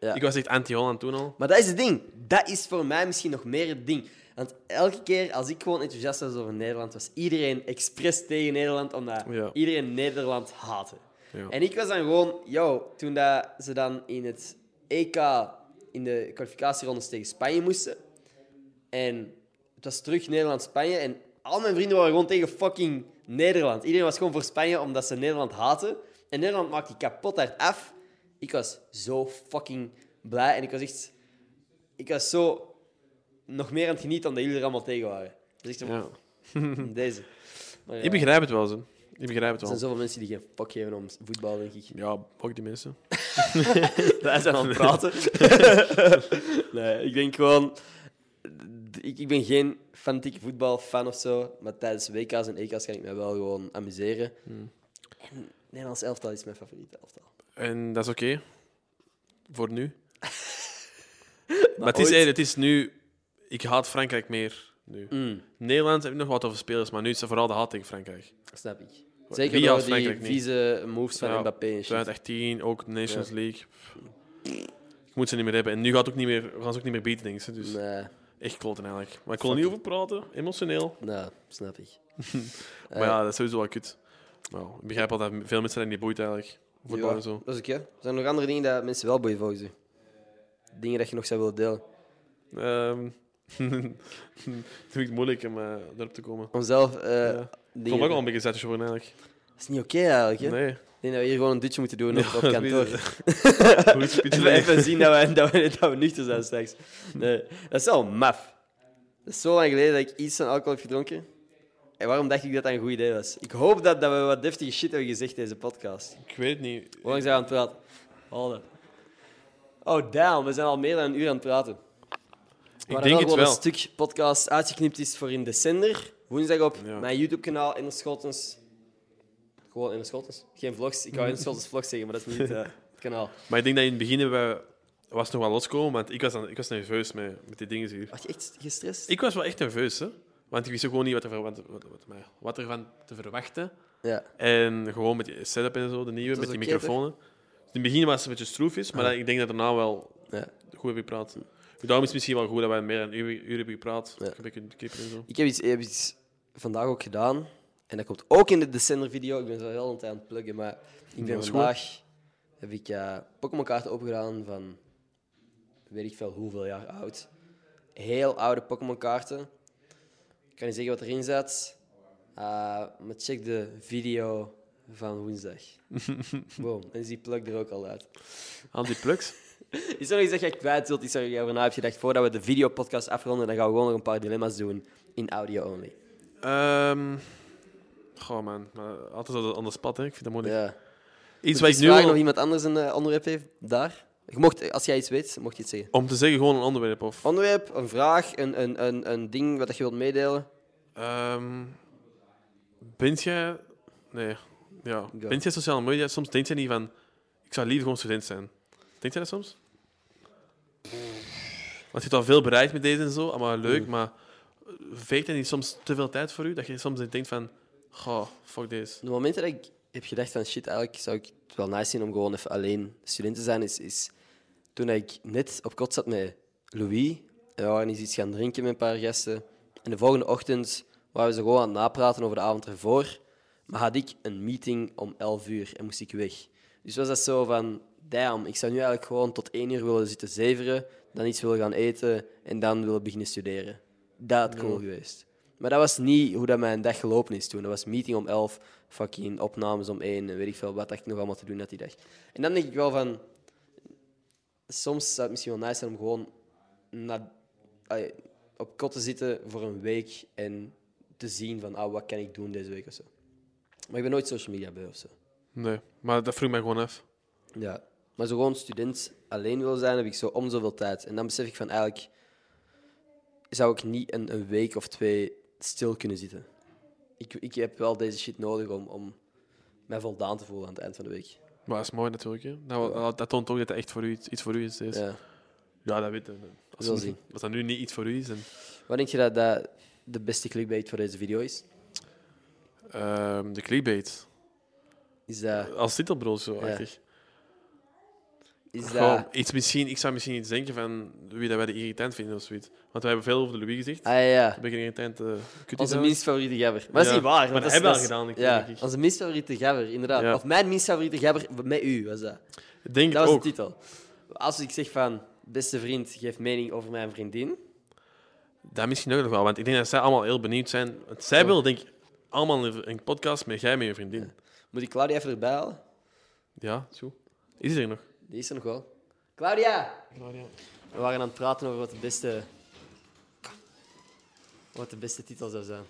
Speaker 1: Ja.
Speaker 2: Ik was echt anti-Holland toen al.
Speaker 1: Maar dat is het ding. Dat is voor mij misschien nog meer het ding. Want elke keer als ik gewoon enthousiast was over Nederland, was iedereen expres tegen Nederland, omdat
Speaker 2: Ja.
Speaker 1: iedereen Nederland haatte.
Speaker 2: Ja.
Speaker 1: En ik was dan gewoon, yo, toen dat ze dan in het EK in de kwalificatierondes tegen Spanje moesten. En het was terug Nederland-Spanje. En al mijn vrienden waren gewoon tegen fucking Nederland. Iedereen was gewoon voor Spanje omdat ze Nederland haten. En Nederland maakte die kapot hard af. Ik was zo fucking blij. En ik was echt... Ik was zo nog meer aan het genieten omdat jullie er allemaal tegen waren. Dus ik dacht,
Speaker 2: Ja.
Speaker 1: deze. Maar, ja,
Speaker 2: Ik begrijp het wel eens. hè. Ik begrijp het
Speaker 1: Er zijn
Speaker 2: wel.
Speaker 1: zoveel mensen die geen fuck geven om voetbal, denk ik.
Speaker 2: Ja, ook die mensen.
Speaker 1: Wij zijn aan het praten. nee, ik denk gewoon... Ik, ik ben geen fanatieke voetbalfan of zo, maar tijdens WK's en EK's kan ik mij wel gewoon amuseren. En Nederlands elftal is mijn favoriete elftal.
Speaker 2: En dat is oké. Voor nu. maar het is,
Speaker 1: ooit-
Speaker 2: eh, het is nu. Ik haat Frankrijk meer. Nu.
Speaker 1: Mm. Hmm.
Speaker 2: Nederland heb ik nog wat over spelers, maar nu is het vooral de haat tegen Frankrijk.
Speaker 1: Snap ik. Zeker
Speaker 2: Wie
Speaker 1: door
Speaker 2: als
Speaker 1: die
Speaker 2: Frankrijk niet?
Speaker 1: vieze moves van
Speaker 2: Ja,
Speaker 1: Mbappé en shit.
Speaker 2: 2018, ook Nations League. Ik moet ze niet meer hebben. En nu gaat het ook niet meer, we gaan ze ook niet meer beaten, denk ik. hè. Dus
Speaker 1: Nee,
Speaker 2: echt kloten eigenlijk. Maar ik kon er niet over praten, emotioneel.
Speaker 1: nou, snap ik. Eh.
Speaker 2: Maar ja, dat is sowieso wel kut. Nou, ik begrijp al dat veel mensen dat niet boeit eigenlijk. Voetbal
Speaker 1: Ja,
Speaker 2: en zo.
Speaker 1: Dat is oké. Zijn er nog andere dingen dat mensen wel boeien volgens u? Dingen dat je nog zou willen delen?
Speaker 2: Ehm dat vind ik het moeilijk om eh, daarop te komen.
Speaker 1: Om zelf eh,
Speaker 2: Ik
Speaker 1: dingen...
Speaker 2: vond me ook al een beetje zetjes voor eigenlijk.
Speaker 1: Dat is niet oké eigenlijk, hè?
Speaker 2: Nee.
Speaker 1: Ik denk dat we hier gewoon een dutje moeten doen op, op
Speaker 2: dat is
Speaker 1: kantoor.
Speaker 2: Goed, spitsen.
Speaker 1: Even, even zien dat we, dat, we, dat we nuchter zijn straks. Nee, dat is wel maf. Dat is zo lang geleden dat ik iets van alcohol heb gedronken. En waarom dacht ik dat dat een goed idee was? Ik hoop dat, dat we wat deftige shit hebben gezegd deze podcast.
Speaker 2: Ik weet het niet.
Speaker 1: Hoe lang zijn we aan het praten? Hold up. Oh, damn. We zijn al meer dan een uur aan het praten.
Speaker 2: Ik denk het
Speaker 1: een
Speaker 2: wel.
Speaker 1: stuk podcast uitgeknipt is voor in december. Woensdag op
Speaker 2: Ja.
Speaker 1: mijn YouTube-kanaal in de Schottens. Gewoon in de Schottens. Geen vlogs. Ik wou in de Schottens vlogs zeggen, maar dat is niet eh, het kanaal.
Speaker 2: Maar ik denk dat in het begin hebben we- was het nog wel loskomen, want ik was, dan, ik was nerveus met, met die dingen hier.
Speaker 1: Was je echt gestrest?
Speaker 2: Ik was wel echt nerveus, hè. Want ik wist ook gewoon niet wat er, wat, wat, wat, maar wat er van te verwachten.
Speaker 1: Ja.
Speaker 2: En gewoon met die setup en zo, de nieuwe,
Speaker 1: Dat
Speaker 2: met
Speaker 1: is
Speaker 2: die
Speaker 1: oké, toch?
Speaker 2: microfoons. in het begin was het een beetje stroefjes, maar ik denk dat daarna wel
Speaker 1: ja.
Speaker 2: goed hebben gepraat. Dus Daarom is het misschien wel goed dat wij meer dan een uur, uur hebben gepraat.
Speaker 1: Ja.
Speaker 2: Een beetje kippen en zo.
Speaker 1: Ik heb iets, ik heb iets vandaag ook gedaan. En dat komt ook in de december-video. Ik ben zo heel een tijd aan het pluggen, maar ik ben
Speaker 2: Dat is
Speaker 1: vandaag... Heb ik eh Pokémon-kaarten opgedaan van... Weet ik veel hoeveel jaar oud. Heel oude Pokémon-kaarten. Ik kan niet zeggen wat erin zat. Eh, maar check de video van woensdag. Boom. En is die plug er ook al uit.
Speaker 2: Aan die plugs.
Speaker 1: Is er nog iets dat jij kwijt wilt? Iets waar je over na hebt gedacht voordat we de videopodcast afronden? Dan gaan we gewoon nog een paar dilemma's doen in audio only.
Speaker 2: Ehm, goh man, maar altijd zo aan de spat, hè. Ik vind dat moeilijk.
Speaker 1: Ja. Moet
Speaker 2: Iets wat
Speaker 1: je
Speaker 2: ik nu
Speaker 1: Dus vragen
Speaker 2: al-
Speaker 1: of iemand anders een eh, onderwerp heeft daar? Je mocht, als jij iets weet, mocht je iets zeggen.
Speaker 2: Om te zeggen, gewoon een onderwerp of...
Speaker 1: Onderwerp, een vraag, een, een, een, een ding wat je wilt meedelen.
Speaker 2: Ehm bent jij... Nee. Ja.
Speaker 1: Go.
Speaker 2: Bent jij sociale media? Soms denk jij niet van... Ik zou liever gewoon student zijn. Denkt jij dat soms? Want je hebt al veel bereikt met deze en zo. Allemaal leuk, maar... eh, Veegt dat niet soms te veel tijd voor u? Dat je soms denkt van... Goh, fuck deze.
Speaker 1: De momenten dat ik heb gedacht van shit, eigenlijk zou ik het wel nice zien om gewoon even alleen student te zijn, is, is toen ik net op kot zat met Louis. En we waren eens iets gaan drinken met een paar gasten. En de volgende ochtend waren we ze gewoon aan het napraten over de avond ervoor. Maar had ik een meeting om 11 uur en moest ik weg. Dus was dat zo van, damn, ik zou nu eigenlijk gewoon tot 1 uur willen zitten zeveren, dan iets willen gaan eten en dan willen beginnen studeren. Dat had cool geweest. Maar dat was niet hoe dat mijn dag gelopen is toen. Dat was meeting om 11, fucking opnames om 1 en weet ik veel wat dat ik nog allemaal te doen had die dag. En dan denk ik wel van, soms zou het misschien wel nice zijn om gewoon na, ai, op kot te zitten voor een week en te zien van ah, wat kan ik doen deze week of zo. Maar ik ben nooit social media bij of zo.
Speaker 2: Nee. Maar dat vroeg mij gewoon af.
Speaker 1: Ja. Maar zo gewoon student alleen wil zijn, heb ik zo om zoveel tijd. En dan besef ik van eigenlijk zou ik niet een, een week of twee stil kunnen zitten. Ik, ik heb wel deze shit nodig om, om mij voldaan te voelen aan het eind van de week.
Speaker 2: Maar dat is mooi natuurlijk. Hè. Nou, dat- dat toont ook dat dat echt voor u iets, iets voor u is. Deze. Ja.
Speaker 1: Ja.
Speaker 2: dat weet ik. Als,
Speaker 1: Zal zien.
Speaker 2: als dat nu niet iets voor u is, dan...
Speaker 1: Wat denk je dat, dat de beste clickbait voor deze video is?
Speaker 2: ehm, de clickbait.
Speaker 1: Is dat...
Speaker 2: Als titelbrood zo,
Speaker 1: Ja.
Speaker 2: eigenlijk.
Speaker 1: Is
Speaker 2: Gewoon
Speaker 1: dat...
Speaker 2: iets misschien, ik zou misschien iets denken van wie dat wij de irritant vinden of zoiets. Want wij hebben veel over de Louis gezegd.
Speaker 1: Ah ja.
Speaker 2: Ik ben geen irritant. eh, kut is
Speaker 1: Onze
Speaker 2: dat?
Speaker 1: minst favoriete gabber. Maar dat is
Speaker 2: Ja,
Speaker 1: niet waar. want
Speaker 2: maar
Speaker 1: dat
Speaker 2: dat
Speaker 1: is-
Speaker 2: hebben we
Speaker 1: dat
Speaker 2: al
Speaker 1: is-
Speaker 2: gedaan,
Speaker 1: Ja,
Speaker 2: denk ik.
Speaker 1: onze minst favoriete gabber, inderdaad.
Speaker 2: Ja.
Speaker 1: Of mijn minst favoriete gabber met u was dat.
Speaker 2: Ik Denk
Speaker 1: Dat was
Speaker 2: ook.
Speaker 1: de titel. Als ik zeg van, beste vriend, geef mening over mijn vriendin.
Speaker 2: Dat misschien ook nog wel, want ik denk dat zij allemaal heel benieuwd zijn. Want zij wil, denk ik, allemaal een, een podcast met jij met je vriendin. Ja,
Speaker 1: Moet ik Claudia even erbij halen?
Speaker 2: is goed. Is die er nog?
Speaker 1: Die is er nog wel. Claudia! We waren aan het praten over wat de beste... Wat de beste titel zou zijn.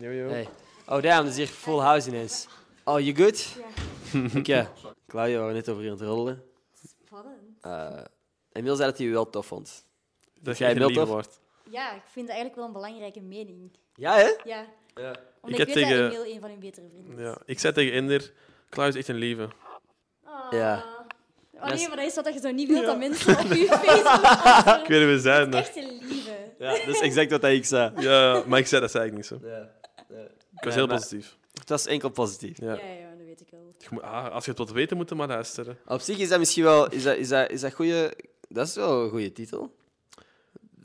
Speaker 1: Hey. Oh, damn, dat is hier full house ineens. Oh, you good? Oké. Claudia, we waren net over hier aan het roddelen.
Speaker 3: Spannend.
Speaker 1: Eh Emil zei dat hij je wel tof vond.
Speaker 2: Dat
Speaker 1: Jij
Speaker 2: jij
Speaker 1: wilt
Speaker 2: liever
Speaker 1: toch?
Speaker 2: wordt.
Speaker 3: Ja, ik vind dat eigenlijk wel een belangrijke mening.
Speaker 1: Ja, hè?
Speaker 3: Ja,
Speaker 1: Ja.
Speaker 3: omdat
Speaker 2: heb
Speaker 3: ik, weet
Speaker 2: tegen-
Speaker 3: dat Emil een van hun betere vrienden is.
Speaker 2: Ja. Ik zei tegen Ender, Klaus is echt een lieve.
Speaker 3: Ah.
Speaker 1: Ja.
Speaker 3: Oh
Speaker 1: Dat is-
Speaker 3: nee, maar dat is wat je zo niet wilt dat mensen op je Facebook
Speaker 2: Ik weet niet wie zijn
Speaker 3: Dat is
Speaker 2: nog.
Speaker 3: echt een lieve.
Speaker 1: Ja,
Speaker 2: dus
Speaker 1: dat is exact wat ik zei.
Speaker 2: Ja, maar ik zei dat zei ik niet zo.
Speaker 1: Ja. ja.
Speaker 2: Ik was
Speaker 1: Ja,
Speaker 2: heel
Speaker 1: maar-
Speaker 2: positief.
Speaker 1: Het was enkel positief.
Speaker 2: Ja.
Speaker 3: Ja, ja, dat weet ik wel.
Speaker 2: Je moet- ah, als je het wilt weten, moet je maar luisteren.
Speaker 1: Op zich is dat misschien wel... Is dat, is dat, is dat, goeie, dat is wel een goede titel.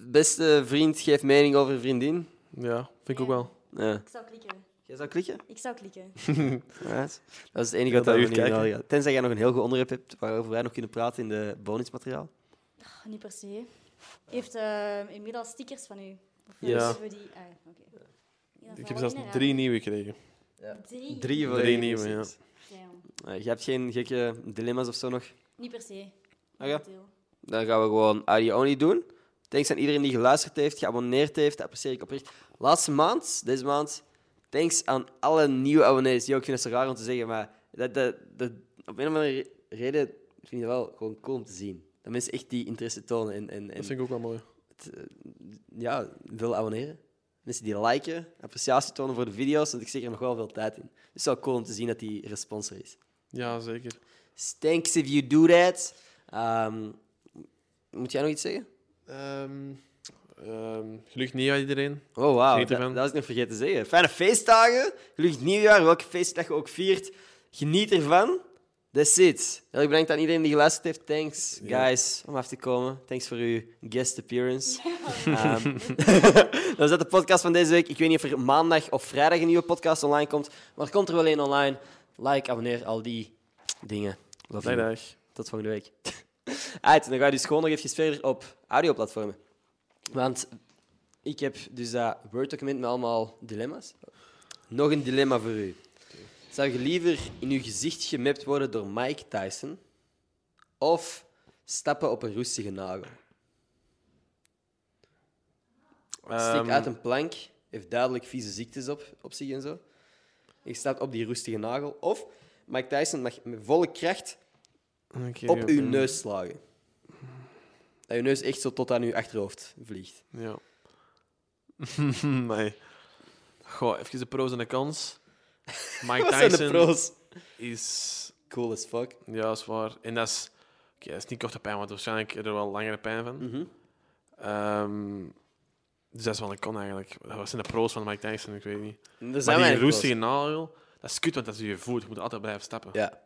Speaker 1: Beste vriend geeft mening over vriendin.
Speaker 2: Ja, vind ik ook wel.
Speaker 1: Ja.
Speaker 3: Ik zou klikken.
Speaker 1: Jij zou klikken?
Speaker 3: Ik zou klikken.
Speaker 1: Right. Dat is het enige
Speaker 2: Ja,
Speaker 1: wat
Speaker 2: dat
Speaker 1: we
Speaker 2: uur
Speaker 1: nu
Speaker 2: kijken.
Speaker 1: nodig hadden. Tenzij jij nog een heel goed onderwerp hebt waarover wij nog kunnen praten in de bonusmateriaal.
Speaker 3: Ah, niet per se. Heeft eh Emil al stickers van u? Of
Speaker 2: Ja.
Speaker 3: hebben we die... Ah, oké. Ja,
Speaker 2: Ik
Speaker 3: dat zal
Speaker 2: heb
Speaker 3: wel
Speaker 2: zelfs
Speaker 3: inderdaad.
Speaker 2: drie nieuwe gekregen.
Speaker 3: Drie?
Speaker 1: Drie voor
Speaker 2: Drie
Speaker 1: één.
Speaker 2: nieuwe, ja.
Speaker 3: Damn.
Speaker 1: Eh, je hebt geen gekke dilemma's of zo nog?
Speaker 3: Niet per se.
Speaker 1: Ah, ja.
Speaker 3: Momenteel.
Speaker 1: Dan gaan we gewoon audio only doen. Thanks aan iedereen die geluisterd heeft, geabonneerd heeft. Dat apprecieer ik oprecht. Laatste maand, deze maand, thanks aan alle nieuwe abonnees. Yo, ik vind het zo raar om te zeggen, maar dat, dat, dat, op een of andere re- reden vind ik het wel gewoon cool om te zien. Dat mensen echt die interesse tonen en, en, en
Speaker 2: Dat vind ik ook wel mooi.
Speaker 1: het, eh, ja, willen abonneren. mensen die liken, appreciatie tonen voor de video's, want ik steek er nog wel veel tijd in. Dus het is wel cool om te zien dat die respons er is.
Speaker 2: Ja, zeker.
Speaker 1: Thanks if you do that. Ehm, moet jij nog iets zeggen?
Speaker 2: Ehm ehm, gelukkig nieuwjaar iedereen.
Speaker 1: Oh, wauw.
Speaker 2: Geniet
Speaker 1: Dat,
Speaker 2: ervan.
Speaker 1: dat was ik nog vergeten te zeggen. Fijne feestdagen. Gelukkig nieuwjaar, welke feestdag je ook viert. Geniet ervan. That's it. Heel erg bedankt aan iedereen die geluisterd heeft. Thanks,
Speaker 2: Ja.
Speaker 1: guys, om af te komen. Thanks voor uw guest appearance. Ehm, dat was dat de podcast van deze week. Ik weet niet of er maandag of vrijdag een nieuwe podcast online komt. Maar er komt er wel één online. Like, abonneer, al die dingen. Love
Speaker 2: Dag,
Speaker 1: you.
Speaker 2: dag.
Speaker 1: Tot volgende week. Uit, dan ga je dus gewoon nog even verder op audioplatformen. Want ik heb dus dat Word-document met allemaal dilemma's. Nog een dilemma voor u. Zou je liever in uw gezicht gemapt worden door Mike Tyson of stappen op een roestige nagel? Steek
Speaker 2: Ehm,
Speaker 1: uit een plank, heeft duidelijk vieze ziektes op, op zich en zo. Je staat op die roestige nagel. Of Mike Tyson mag met volle kracht
Speaker 2: oké,
Speaker 1: op uw
Speaker 2: oké.
Speaker 1: neus slagen. Dat uw neus echt zo tot aan uw achterhoofd vliegt.
Speaker 2: Ja. nee. Goh, even de pros en de cons. Mike
Speaker 1: Wat zijn de
Speaker 2: Tyson
Speaker 1: pro's?
Speaker 2: is...
Speaker 1: Cool as fuck.
Speaker 2: Ja, is waar. En dat is... Oké, dat is niet korte pijn, want waarschijnlijk heb je er wel langere pijn van.
Speaker 1: Mhm.
Speaker 2: Ehm, dus dat is wel een con eigenlijk. Wat zijn de pros van Mike Tyson? Ik weet niet.
Speaker 1: Er
Speaker 2: Maar
Speaker 1: zijn
Speaker 2: die
Speaker 1: weinig pro's.
Speaker 2: roestige nagel, dat is kut, want dat is je voet. Je moet altijd blijven stappen.
Speaker 1: Ja.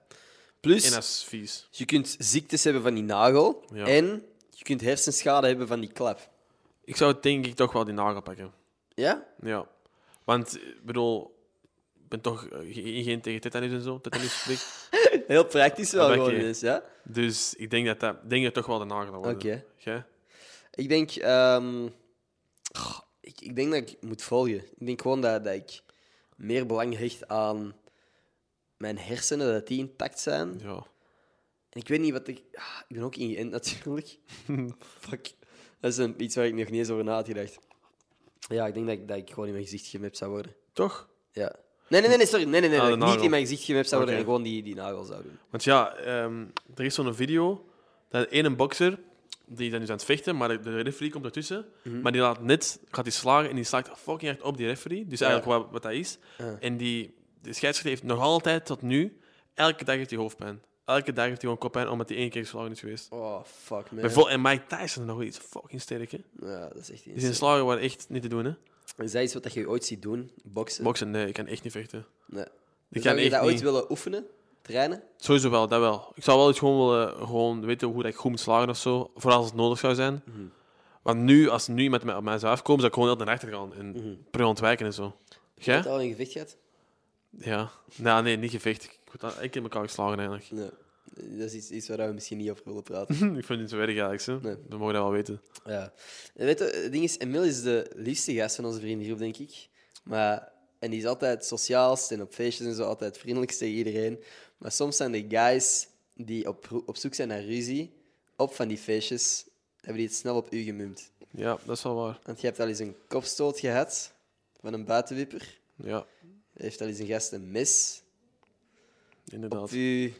Speaker 1: Plus,
Speaker 2: En dat is vies.
Speaker 1: je kunt ziektes hebben van die nagel.
Speaker 2: Ja.
Speaker 1: En je kunt hersenschade hebben van die klap.
Speaker 2: Ik zou denk ik toch wel die nagel pakken.
Speaker 1: Ja?
Speaker 2: Ja. Want, ik bedoel... Ik ben toch eh, ge- geen tegen tetanus en zo. Tetanus spreekt.
Speaker 1: Heel praktisch wel
Speaker 2: Oké.
Speaker 1: gewoon eens, ja?
Speaker 2: Dus ik denk dat dat denk dat toch wel de nagel wordt.
Speaker 1: Oké.
Speaker 2: Jij?
Speaker 1: Ik denk... ehm, goh, ik, ik denk dat ik moet volgen. Ik denk gewoon dat, dat ik meer belang hecht aan mijn hersenen, dat die intact zijn.
Speaker 2: Ja.
Speaker 1: En ik weet niet wat ik. Ah, ik ben ook ingeënt natuurlijk. Fuck. Dat is een, iets waar ik nog niet eens over na had gedacht. Ja, ik denk dat ik, dat ik gewoon in mijn gezicht gemapt zou worden.
Speaker 2: Toch?
Speaker 1: Ja. Nee, nee, nee, nee, sorry. Nee, nee, nee. dat
Speaker 2: Ah, de
Speaker 1: ik niet
Speaker 2: nagel.
Speaker 1: in mijn gezicht gemapt zou worden
Speaker 2: Oké.
Speaker 1: en gewoon die, die nagel zou doen.
Speaker 2: Want ja, ehm, er is zo'n video dat ene boxer die dan is aan het vechten, maar de- de referee komt ertussen,
Speaker 1: Mhm.
Speaker 2: maar die laat net gaat die slagen en die slaat fucking hard op die referee. Dus eigenlijk wat, wat dat is.
Speaker 1: Ja.
Speaker 2: En die de scheidsrechter heeft nog altijd tot nu elke dag heeft hij hoofdpijn. Elke dag heeft hij gewoon koppijn omdat hij één keer geslagen is geweest.
Speaker 1: Oh, fuck, man.
Speaker 2: Bijvoorbeeld, en Mike Tyson nog wel iets fucking sterk, hè?
Speaker 1: Ja, dat is echt
Speaker 2: Die zijn
Speaker 1: iets.
Speaker 2: slagen waren echt niet te doen, hè?
Speaker 1: Is dat iets wat je ooit ziet doen? Boksen?
Speaker 2: Boksen, nee, ik kan echt niet vechten.
Speaker 1: nee.
Speaker 2: Ik kan
Speaker 1: zou je
Speaker 2: echt
Speaker 1: dat ooit
Speaker 2: niet.
Speaker 1: willen oefenen? Trainen?
Speaker 2: Sowieso wel, dat wel. Ik zou wel eens gewoon willen gewoon weten hoe dat ik goed moet slagen of zo. Vooral als het nodig zou zijn.
Speaker 1: Mhm.
Speaker 2: Want nu, als nu iemand met op mij zou afkomen, zou ik gewoon heel naar achter gaan en
Speaker 1: Mhm.
Speaker 2: per ontwijken en zo.
Speaker 1: Heb je
Speaker 2: Jij?
Speaker 1: al een gevecht gehad?
Speaker 2: Ja. Nou, nee, niet gevecht. Ik, word al- ik heb elkaar geslagen eigenlijk.
Speaker 1: Nee. Dat is iets, iets waar we misschien niet over willen praten.
Speaker 2: ik vind het niet zo erg eigenlijk. Zo.
Speaker 1: Nee.
Speaker 2: We mogen dat wel weten.
Speaker 1: Ja. En Weet je, het ding is, Emil is de liefste gast van onze vriendengroep, denk ik. Maar, en die is altijd sociaalst en op feestjes en zo, altijd vriendelijkst tegen iedereen. Maar soms zijn de guys die op, ro- op zoek zijn naar ruzie, op van die feestjes, hebben die het snel op u gemunt.
Speaker 2: Ja, dat is wel waar.
Speaker 1: Want je hebt al eens een kopstoot gehad van een buitenwipper.
Speaker 2: Ja,
Speaker 1: Er heeft al eens een gast een mes
Speaker 2: inderdaad.
Speaker 1: op u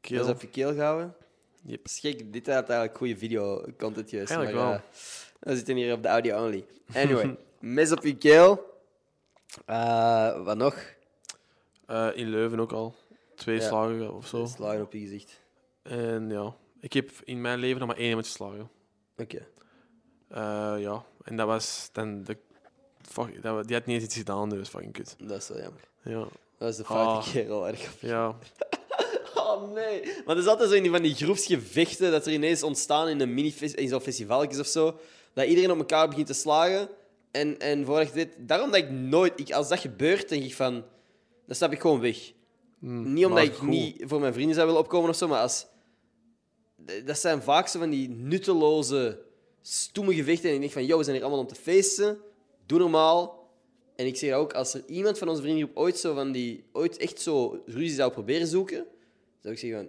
Speaker 2: Keel.
Speaker 1: op je keel gehouden.
Speaker 2: Yep.
Speaker 1: Dat is gek. Dit had eigenlijk goede video-content juist.
Speaker 2: Eigenlijk
Speaker 1: maar,
Speaker 2: wel.
Speaker 1: eh, we zitten hier op de audio only. Anyway, mes op je keel. Eh, wat nog?
Speaker 2: Eh, in Leuven ook al. Twee
Speaker 1: Ja.
Speaker 2: slagen of zo.
Speaker 1: Slagen op je gezicht.
Speaker 2: En ja, ik heb in mijn leven nog maar één iemand geslagen.
Speaker 1: Oké.
Speaker 2: Eh, ja, en dat was dan de. Fuck, dat, wa- die had niet eens iets gedaan, dus fucking kut.
Speaker 1: Dat is wel jammer.
Speaker 2: Ja,
Speaker 1: Dat was de foute
Speaker 2: Ah.
Speaker 1: kerel. Erg.
Speaker 2: ja,
Speaker 1: Oh nee. Want er is altijd zo in die van die groepsgevechten dat er ineens ontstaan in, een mini in zo'n festivaltjes of zo. Dat iedereen op elkaar begint te slagen. En, en voordat je dit... Daarom dat ik nooit... Ik, als dat gebeurt, denk ik van... Dan stap ik gewoon weg. niet omdat
Speaker 2: Hmm, maar
Speaker 1: ik
Speaker 2: goed.
Speaker 1: niet voor mijn vrienden zou willen opkomen of zo, maar als... D- Dat zijn vaak zo van die nutteloze, stoeme gevechten. En ik denk van, yo, we zijn hier allemaal om te feesten. Doe normaal. En ik zeg ook, als er iemand van onze vriendengroep ooit, zo van die, ooit echt zo ruzie zou proberen zoeken, zou ik zeggen van,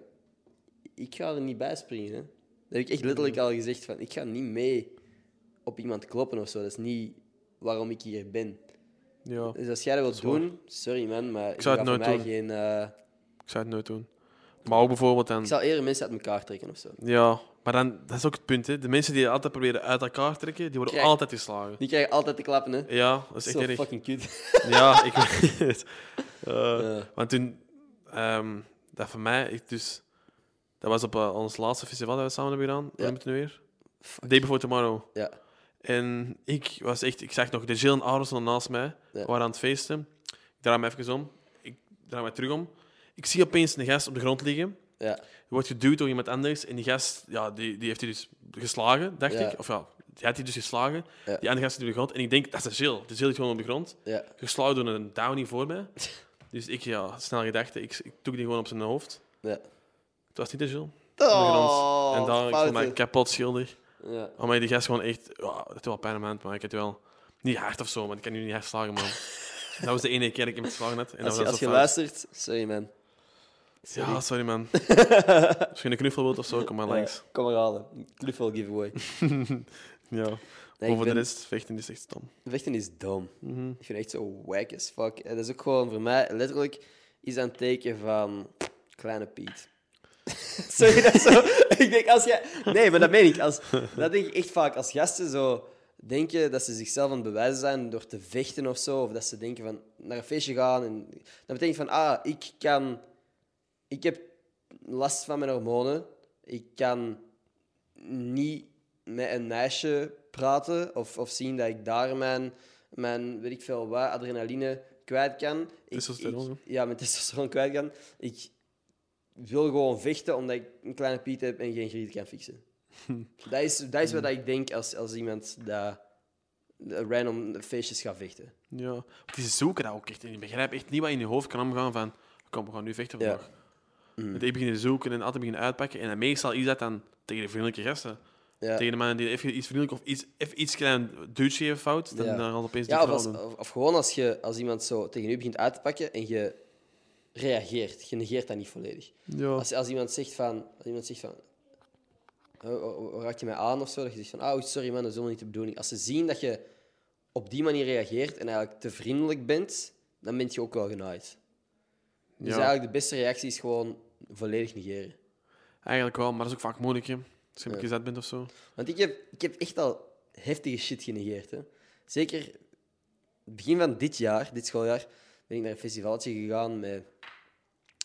Speaker 1: ik ga er niet bij springen. Hè. Dat heb ik echt letterlijk al gezegd van, ik ga niet mee op iemand kloppen of zo. Dat is niet waarom ik hier ben.
Speaker 2: ja,
Speaker 1: Dus als jij dat wilt
Speaker 2: is waar.
Speaker 1: doen, sorry man, maar ik
Speaker 2: zou het
Speaker 1: voor
Speaker 2: nooit
Speaker 1: mij
Speaker 2: doen.
Speaker 1: geen... eh,
Speaker 2: ik zou het nooit doen. Maar ook bijvoorbeeld dan.
Speaker 1: ik zou eerder mensen uit elkaar trekken of zo.
Speaker 2: Ja, Maar dan, dat is ook het punt. Hè. De mensen die altijd proberen uit elkaar trekken, die worden
Speaker 1: Kijk.
Speaker 2: altijd geslagen.
Speaker 1: Die krijgen altijd te klappen, hè?
Speaker 2: Ja, dat is echt
Speaker 1: Zo
Speaker 2: erg.
Speaker 1: fucking cute.
Speaker 2: Ja, ik weet het. Eh,
Speaker 1: Ja.
Speaker 2: Want toen, ehm, dat voor mij, ik dus, dat was op eh, ons laatste festival dat we samen hebben gedaan.
Speaker 1: Ja.
Speaker 2: Hoe noemt het nu weer? Day Before Tomorrow.
Speaker 1: Ja.
Speaker 2: En ik was echt, ik zag nog de Jill en Aronson naast mij,
Speaker 1: Ja.
Speaker 2: waren aan het feesten. Ik draai me even om, ik draai me terug om. Ik zie opeens een gast op de grond liggen.
Speaker 1: Ja.
Speaker 2: Je wordt geduwd door iemand anders en die gast, ja, die, die heeft hij dus geslagen, dacht
Speaker 1: Ja.
Speaker 2: ik. Of ja, die had hij dus geslagen.
Speaker 1: Ja.
Speaker 2: Die andere gast zit op de grond en ik denk, dat is de Jill. De Jill ligt gewoon op de grond
Speaker 1: Ja.
Speaker 2: geslagen door een downie voor mij. Dus ik, ja, snel gedachte, ik, ik toek die gewoon op zijn hoofd.
Speaker 1: Ja.
Speaker 2: Het was niet de Jules.
Speaker 1: Oh,
Speaker 2: en daar, ik voel
Speaker 1: fouten.
Speaker 2: mij kapot schuldig.
Speaker 1: Ja.
Speaker 2: Oh, maar die gast gewoon echt... Ja, het doet wel pijn aan mijn hand, maar ik heb het wel... Niet hard of zo, want ik kan nu niet hard slagen, man. dat was de ene keer dat ik hem geslagen had. En
Speaker 1: Als je,
Speaker 2: dat was
Speaker 1: als je
Speaker 2: zo fout.
Speaker 1: luistert, sorry man.
Speaker 2: Ja, sorry, man. Als je een knuffel wilt of zo, kom maar langs.
Speaker 1: Ja, kom maar halen. Kluffel giveaway.
Speaker 2: Ja.
Speaker 1: Nee, ik
Speaker 2: Over
Speaker 1: ben-
Speaker 2: de rest, vechten is echt stom.
Speaker 1: Vechten is dom. Ik vind het echt zo wack as fuck. En dat is ook gewoon voor mij letterlijk is aan het teken van kleine Piet. Sorry dat zo. ik denk als jij. Nee, maar dat meen ik. Als, dat denk ik echt vaak. Als gasten zo denken dat ze zichzelf aan het bewijzen zijn door te vechten of zo. Of dat ze denken van naar een feestje gaan. En, dan betekent van, ah, ik kan. Ik heb last van mijn hormonen. Ik kan niet met een meisje praten of, of zien dat ik daar mijn, mijn weet ik veel wat, adrenaline kwijt kan. Ik-
Speaker 2: Testosteron,
Speaker 1: ik- Ja, mijn testosteron kwijt kan. Ik wil gewoon vechten omdat ik een kleine piet heb en geen griet kan fixen. dat, is, dat is wat ik denk als, als iemand dat dat random feestjes gaat vechten.
Speaker 2: Ja. Die zoeken dat ook echt. En ik begrijp echt niet wat in je hoofd kan omgaan van... Kom, we gaan nu vechten
Speaker 1: Ja. Mm.
Speaker 2: vandaag. Want die beginnen zoeken en altijd beginnen uitpakken. En dan meestal is dat dan tegen de vriendelijke gasten.
Speaker 1: Ja.
Speaker 2: Tegen de mannen die even iets vriendelijk of iets, even iets klein duwtje heeft fout. Dan,
Speaker 1: Ja.
Speaker 2: dan gaat opeens
Speaker 1: Ja,
Speaker 2: die
Speaker 1: of, als,
Speaker 2: vrouw doen.
Speaker 1: of, of gewoon als, je, als iemand zo tegen je begint uit te pakken en je reageert. Je negeert dat niet volledig.
Speaker 2: Ja.
Speaker 1: Als, als iemand zegt van... Als iemand zegt van "Oh, oh, oh, raak je mij aan of zo? Dat je zegt van, oh, sorry man, dat is helemaal niet de bedoeling. Als ze zien dat je op die manier reageert en eigenlijk te vriendelijk bent, dan ben je ook wel genaaid. Dus
Speaker 2: Ja.
Speaker 1: eigenlijk de beste reactie is gewoon volledig negeren.
Speaker 2: Eigenlijk wel, maar dat is ook vaak moeilijk. Hè. Als je een beetje zat bent of zo.
Speaker 1: Want ik heb, ik heb echt al heftige shit genegeerd. Hè. Zeker begin van dit jaar, dit schooljaar, ben ik naar een festivaltje gegaan met...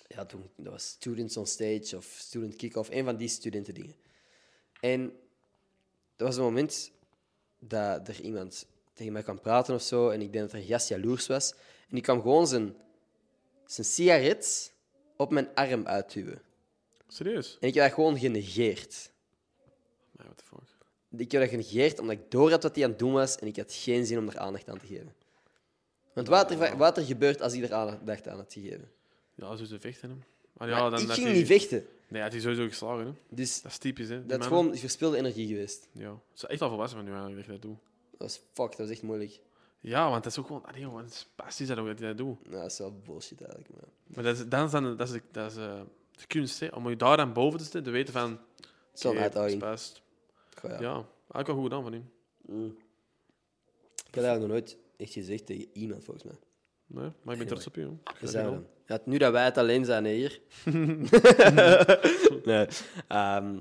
Speaker 1: Ja, toen dat was Students on Stage of Student Kick-Off. Een van die studentendingen. En dat was een moment dat er iemand tegen mij kwam praten of zo. En ik denk dat er een gast jaloers was. En die kwam gewoon zijn, zijn sigaret op mijn arm uitduwen.
Speaker 2: Serieus?
Speaker 1: En ik heb dat gewoon genegeerd.
Speaker 2: Nee, what the fuck.
Speaker 1: Ik heb dat genegeerd omdat ik door had wat hij aan het doen was en ik had geen zin om er aandacht aan te geven. Want wat er, wat er gebeurt als hij er aandacht aan had gegeven?
Speaker 2: Ja, zo ze vechten. Hè. Maar
Speaker 1: Maar
Speaker 2: ja, dan
Speaker 1: ik
Speaker 2: had
Speaker 1: ging
Speaker 2: hij-
Speaker 1: niet vechten.
Speaker 2: Nee, had hij sowieso geslagen. Hè.
Speaker 1: Dus
Speaker 2: Dat is typisch, hè. die
Speaker 1: dat is
Speaker 2: mannen.
Speaker 1: gewoon verspilde energie geweest.
Speaker 2: Ja. Ze zijn echt al volwassen van nu eigenlijk, dat ik dat doe.
Speaker 1: Dat was fuck, dat was echt moeilijk.
Speaker 2: Ja, want dat is ook gewoon... Allee, jongen, het is pastisch dat ook dat hij dat doet.
Speaker 1: Nou, dat is wel bullshit eigenlijk. Maar.
Speaker 2: Maar dat is, dat is, dan, dat is, dat is eh, de kunst, hè. Om je daar aan boven te zitten, te weten van...
Speaker 1: Het is wel een
Speaker 2: oké,
Speaker 1: uitdaging.
Speaker 2: het is best.
Speaker 1: Goh, ja.
Speaker 2: Ja, eigenlijk wel goed gedaan van hem.
Speaker 1: Ik heb dat nog nooit echt gezegd tegen iemand volgens mij.
Speaker 2: Nee, maar ik ben trots op je. joh.
Speaker 1: Dat zijn we. Ja, het- nu dat wij het alleen zijn hè, hier. nee. ehm,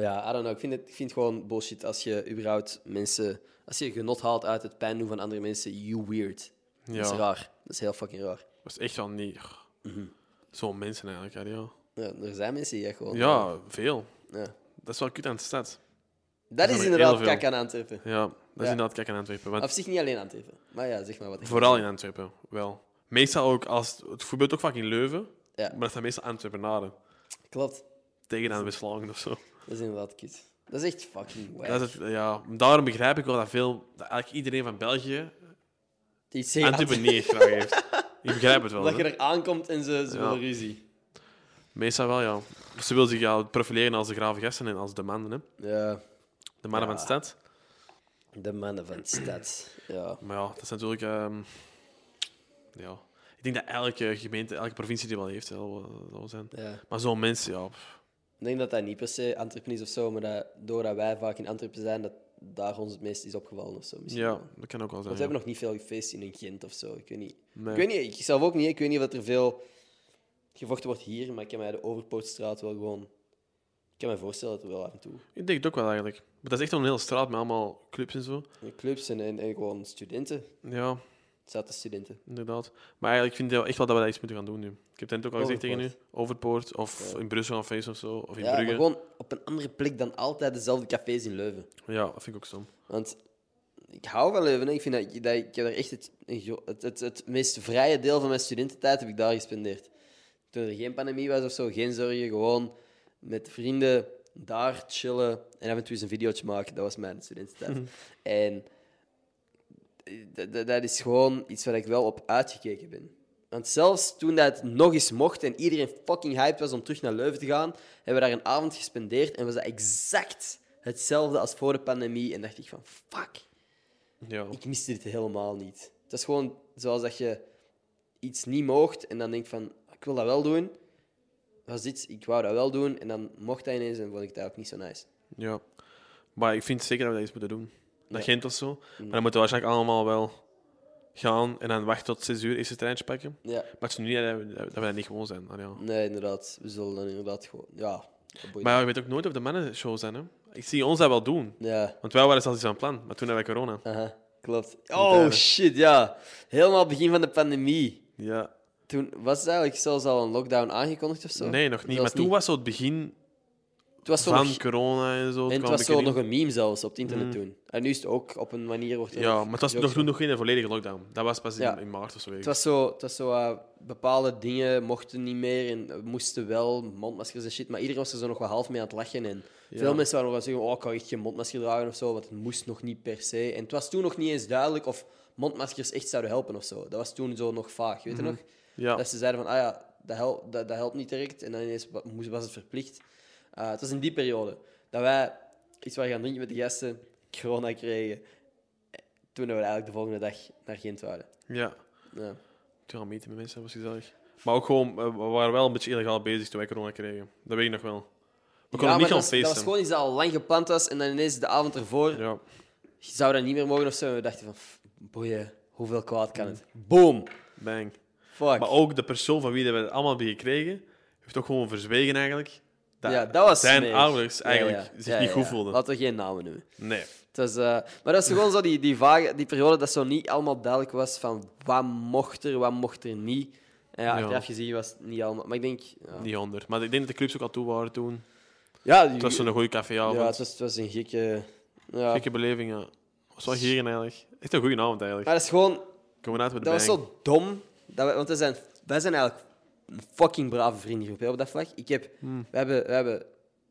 Speaker 1: ja, I don't know. Ik vind, het, ik vind het gewoon bullshit als je überhaupt mensen... Als je genot haalt uit het pijn doen van andere mensen, you weird. Dat is
Speaker 2: Ja.
Speaker 1: raar. Mhm. Dat is heel fucking raar.
Speaker 2: Dat is echt wel niet... Zo'n mensen eigenlijk, hè, ja.
Speaker 1: Ja, er zijn mensen die echt gewoon...
Speaker 2: Ja, veel.
Speaker 1: Ja.
Speaker 2: Dat is wel kut aan de stad.
Speaker 1: Dat
Speaker 2: zijn
Speaker 1: is
Speaker 2: er
Speaker 1: inderdaad
Speaker 2: heel veel.
Speaker 1: kak aan Antwerpen.
Speaker 2: Ja, dat is
Speaker 1: Ja.
Speaker 2: inderdaad kijk in Antwerpen. Want
Speaker 1: Of zich niet alleen Antwerpen. Maar ja, zeg maar wat. ik-
Speaker 2: vooral in Antwerpen, wel. Meestal ook als... Het gebeurt ook vaak in Leuven,
Speaker 1: Ja.
Speaker 2: maar dat zijn meestal Antwerpenaren.
Speaker 1: Klopt.
Speaker 2: Tegen aan de West-Vlamingen of zo.
Speaker 1: Dat is inderdaad kut. Dat is echt fucking wack.
Speaker 2: Dat is het, ja, daarom begrijp ik wel dat veel... Dat eigenlijk iedereen van België
Speaker 1: Iets zeggen
Speaker 2: Antwerpen niet graag heeft. Ik begrijp het wel.
Speaker 1: Antwerpen. Dat
Speaker 2: hè.
Speaker 1: je er aankomt en ze, ze
Speaker 2: Ja.
Speaker 1: willen ruzie.
Speaker 2: Meestal wel, ja. Ze wil zich ja, profileren als de grave gasten en als de mannen, hè.
Speaker 1: Ja,
Speaker 2: De mannen
Speaker 1: Ja.
Speaker 2: van de stad.
Speaker 1: de mannen van de stad. Ja.
Speaker 2: Maar ja, dat is natuurlijk... ehm, ja. Ik denk dat elke gemeente, elke provincie die wel heeft, hè, dat wel- dat wel zijn.
Speaker 1: ja.
Speaker 2: Maar zo'n mensen, ja... pff.
Speaker 1: Ik denk dat dat niet per se Antwerpen is of zo, maar dat, doordat wij vaak in Antwerpen zijn, dat daar ons het meest is opgevallen of zo. Misschien.
Speaker 2: Ja,
Speaker 1: Want
Speaker 2: dat kan ook wel
Speaker 1: we
Speaker 2: zijn.
Speaker 1: hebben nog niet veel feesten in Gent of zo. Ik weet niet.
Speaker 2: Nee.
Speaker 1: Ik weet niet, ik zelf ook niet. Ik weet niet of er veel gevochten wordt hier, maar ik kan mij de Overpoortstraat wel gewoon Ik kan me voorstellen dat wel af en toe.
Speaker 2: Ik denk het ook wel eigenlijk. Maar dat is echt een hele straat met allemaal clubs en zo.
Speaker 1: Clubs en, en, en gewoon studenten.
Speaker 2: Ja,
Speaker 1: Zaten studenten.
Speaker 2: inderdaad. Maar eigenlijk vind ik wel echt wel dat we daar iets moeten gaan doen nu. Ik heb het net ook al gezegd tegen u.
Speaker 1: Overpoort.
Speaker 2: Overpoort of
Speaker 1: Ja.
Speaker 2: in Brussel aan feest of zo. Of in
Speaker 1: Ja, maar
Speaker 2: Brugge.
Speaker 1: gewoon op een andere plek dan altijd dezelfde cafés in Leuven.
Speaker 2: Ja, dat vind ik ook stom.
Speaker 1: Want ik hou van Leuven. hè. Ik vind dat, dat ik ik heb daar echt het, het, het, het meest vrije deel van mijn studententijd heb ik daar gespendeerd. Toen er geen pandemie was of zo, geen zorgen. Gewoon met vrienden daar chillen en af en toe eens een videootje maken. Dat was mijn studententijd. en d- d- dat is gewoon iets waar ik wel op uitgekeken ben. Want zelfs toen dat nog eens mocht en iedereen fucking hyped was om terug naar Leuven te gaan, hebben we daar een avond gespendeerd en was dat exact hetzelfde als voor de pandemie. En dacht ik van, fuck,
Speaker 2: Ja.
Speaker 1: ik miste dit helemaal niet. Het is gewoon zoals dat je iets niet mocht en dan denkt van, ik wil dat wel doen. Was dit, ik wou dat wel doen en dan mocht dat ineens en vond ik dat ook niet zo nice.
Speaker 2: ja. Maar ik vind zeker dat we dat iets moeten doen. Dat
Speaker 1: Ja. Mm.
Speaker 2: Gent of zo. Maar dan moeten we waarschijnlijk allemaal wel gaan en dan wachten tot 6 uur eerst het treintje pakken.
Speaker 1: Ja,
Speaker 2: Maar het is nu niet dat we, dat we dat niet gewoon zijn. Allee, ja.
Speaker 1: nee, inderdaad. We zullen dan inderdaad gewoon, ja. dat boeit
Speaker 2: Maar je weet ook nooit of de mannen show zijn. Hè? Ik zie ons dat wel doen.
Speaker 1: niet. Ja,
Speaker 2: Want wij waren zelfs iets aan plan, maar toen hadden we corona.
Speaker 1: aha, klopt.
Speaker 2: daar,
Speaker 1: Oh
Speaker 2: hè.
Speaker 1: shit, ja. Helemaal begin van de pandemie.
Speaker 2: Ja.
Speaker 1: Toen was het eigenlijk zelfs al een lockdown aangekondigd of zo?
Speaker 2: Nee, nog niet.
Speaker 1: Zelfs
Speaker 2: Maar toen was zo het begin
Speaker 1: het was zo
Speaker 2: van
Speaker 1: nog-
Speaker 2: corona en zo.
Speaker 1: En het
Speaker 2: kwam
Speaker 1: was
Speaker 2: een
Speaker 1: zo
Speaker 2: beetje
Speaker 1: nog een meme zelfs op het internet toen. En nu is het ook op een manier... Wordt
Speaker 2: in. Ja, maar het was nog,
Speaker 1: nog
Speaker 2: toen nog geen volledige lockdown. Dat was pas in,
Speaker 1: Ja.
Speaker 2: in maart of zo.
Speaker 1: Het was zo, het was zo eh, bepaalde dingen mochten niet meer en eh, moesten wel, mondmaskers en shit. Maar iedereen was er zo nog wel half mee aan het lachen. En
Speaker 2: Ja.
Speaker 1: veel mensen waren nog wel zeggen, oh, ik kan echt geen mondmasker dragen of zo, want het moest nog niet per se. En het was toen nog niet eens duidelijk of mondmaskers echt zouden helpen of zo. Dat was toen zo nog vaag, weet je nog?
Speaker 2: Mhm. Ja.
Speaker 1: Dat ze zeiden van, ah ja, dat, hel- dat, dat helpt niet direct. En dan ineens wa- moest- was het verplicht. Eh, het was in die periode dat wij iets waren gaan drinken met de gasten, corona kregen. Eh, Toen we eigenlijk de volgende dag naar Gent waren.
Speaker 2: ja.
Speaker 1: Ja.
Speaker 2: Toen gaan meten met mensen, dat was gezellig. Maar ook gewoon, eh, we waren wel een beetje illegaal bezig toen wij corona kregen. Dat weet ik nog wel. We konden
Speaker 1: ja,
Speaker 2: niet
Speaker 1: maar dat was,
Speaker 2: gaan
Speaker 1: dat was
Speaker 2: feesten.
Speaker 1: gewoon iets dat al lang gepland was en dan ineens de avond ervoor
Speaker 2: Ja.
Speaker 1: zou dat niet meer mogen of zo. En we dachten van, "Pff, boeien, hoeveel kwaad kan het? Boom!
Speaker 2: Bang.
Speaker 1: Fuck.
Speaker 2: Maar ook de persoon van wie dat we het allemaal hebben gekregen, heeft ook gewoon verzwegen eigenlijk.
Speaker 1: ja, dat was
Speaker 2: zijn
Speaker 1: smerig.
Speaker 2: ouders
Speaker 1: Ja,
Speaker 2: eigenlijk
Speaker 1: ja.
Speaker 2: zich
Speaker 1: Ja,
Speaker 2: niet
Speaker 1: ja,
Speaker 2: goed
Speaker 1: ja.
Speaker 2: voelden.
Speaker 1: Laten we geen namen noemen.
Speaker 2: Nee.
Speaker 1: Het was, eh, maar dat is gewoon zo die, die, vage, die periode dat zo niet allemaal duidelijk was van wat mocht er, wat mocht er niet. En ja,
Speaker 2: Ja.
Speaker 1: achteraf gezien was het niet allemaal... Maar ik denk... Ja,
Speaker 2: Niet onder. Maar ik denk dat de clubs ook al toe waren toen.
Speaker 1: ja, die-
Speaker 2: Het was zo'n goede caféavond.
Speaker 1: ja, het, was, het was een gekke... Ja.
Speaker 2: Gekke beleving, ja. Was wel geren eigenlijk. Echt een goede avond eigenlijk.
Speaker 1: Maar dat is gewoon...
Speaker 2: Komen uit met de
Speaker 1: Dat was
Speaker 2: bang.
Speaker 1: zo dom. Dat wij, want wij zijn, wij zijn eigenlijk een fucking brave vriendengroep hè, op dat vlak. Ik heb,
Speaker 2: Hmm.
Speaker 1: we, hebben, we hebben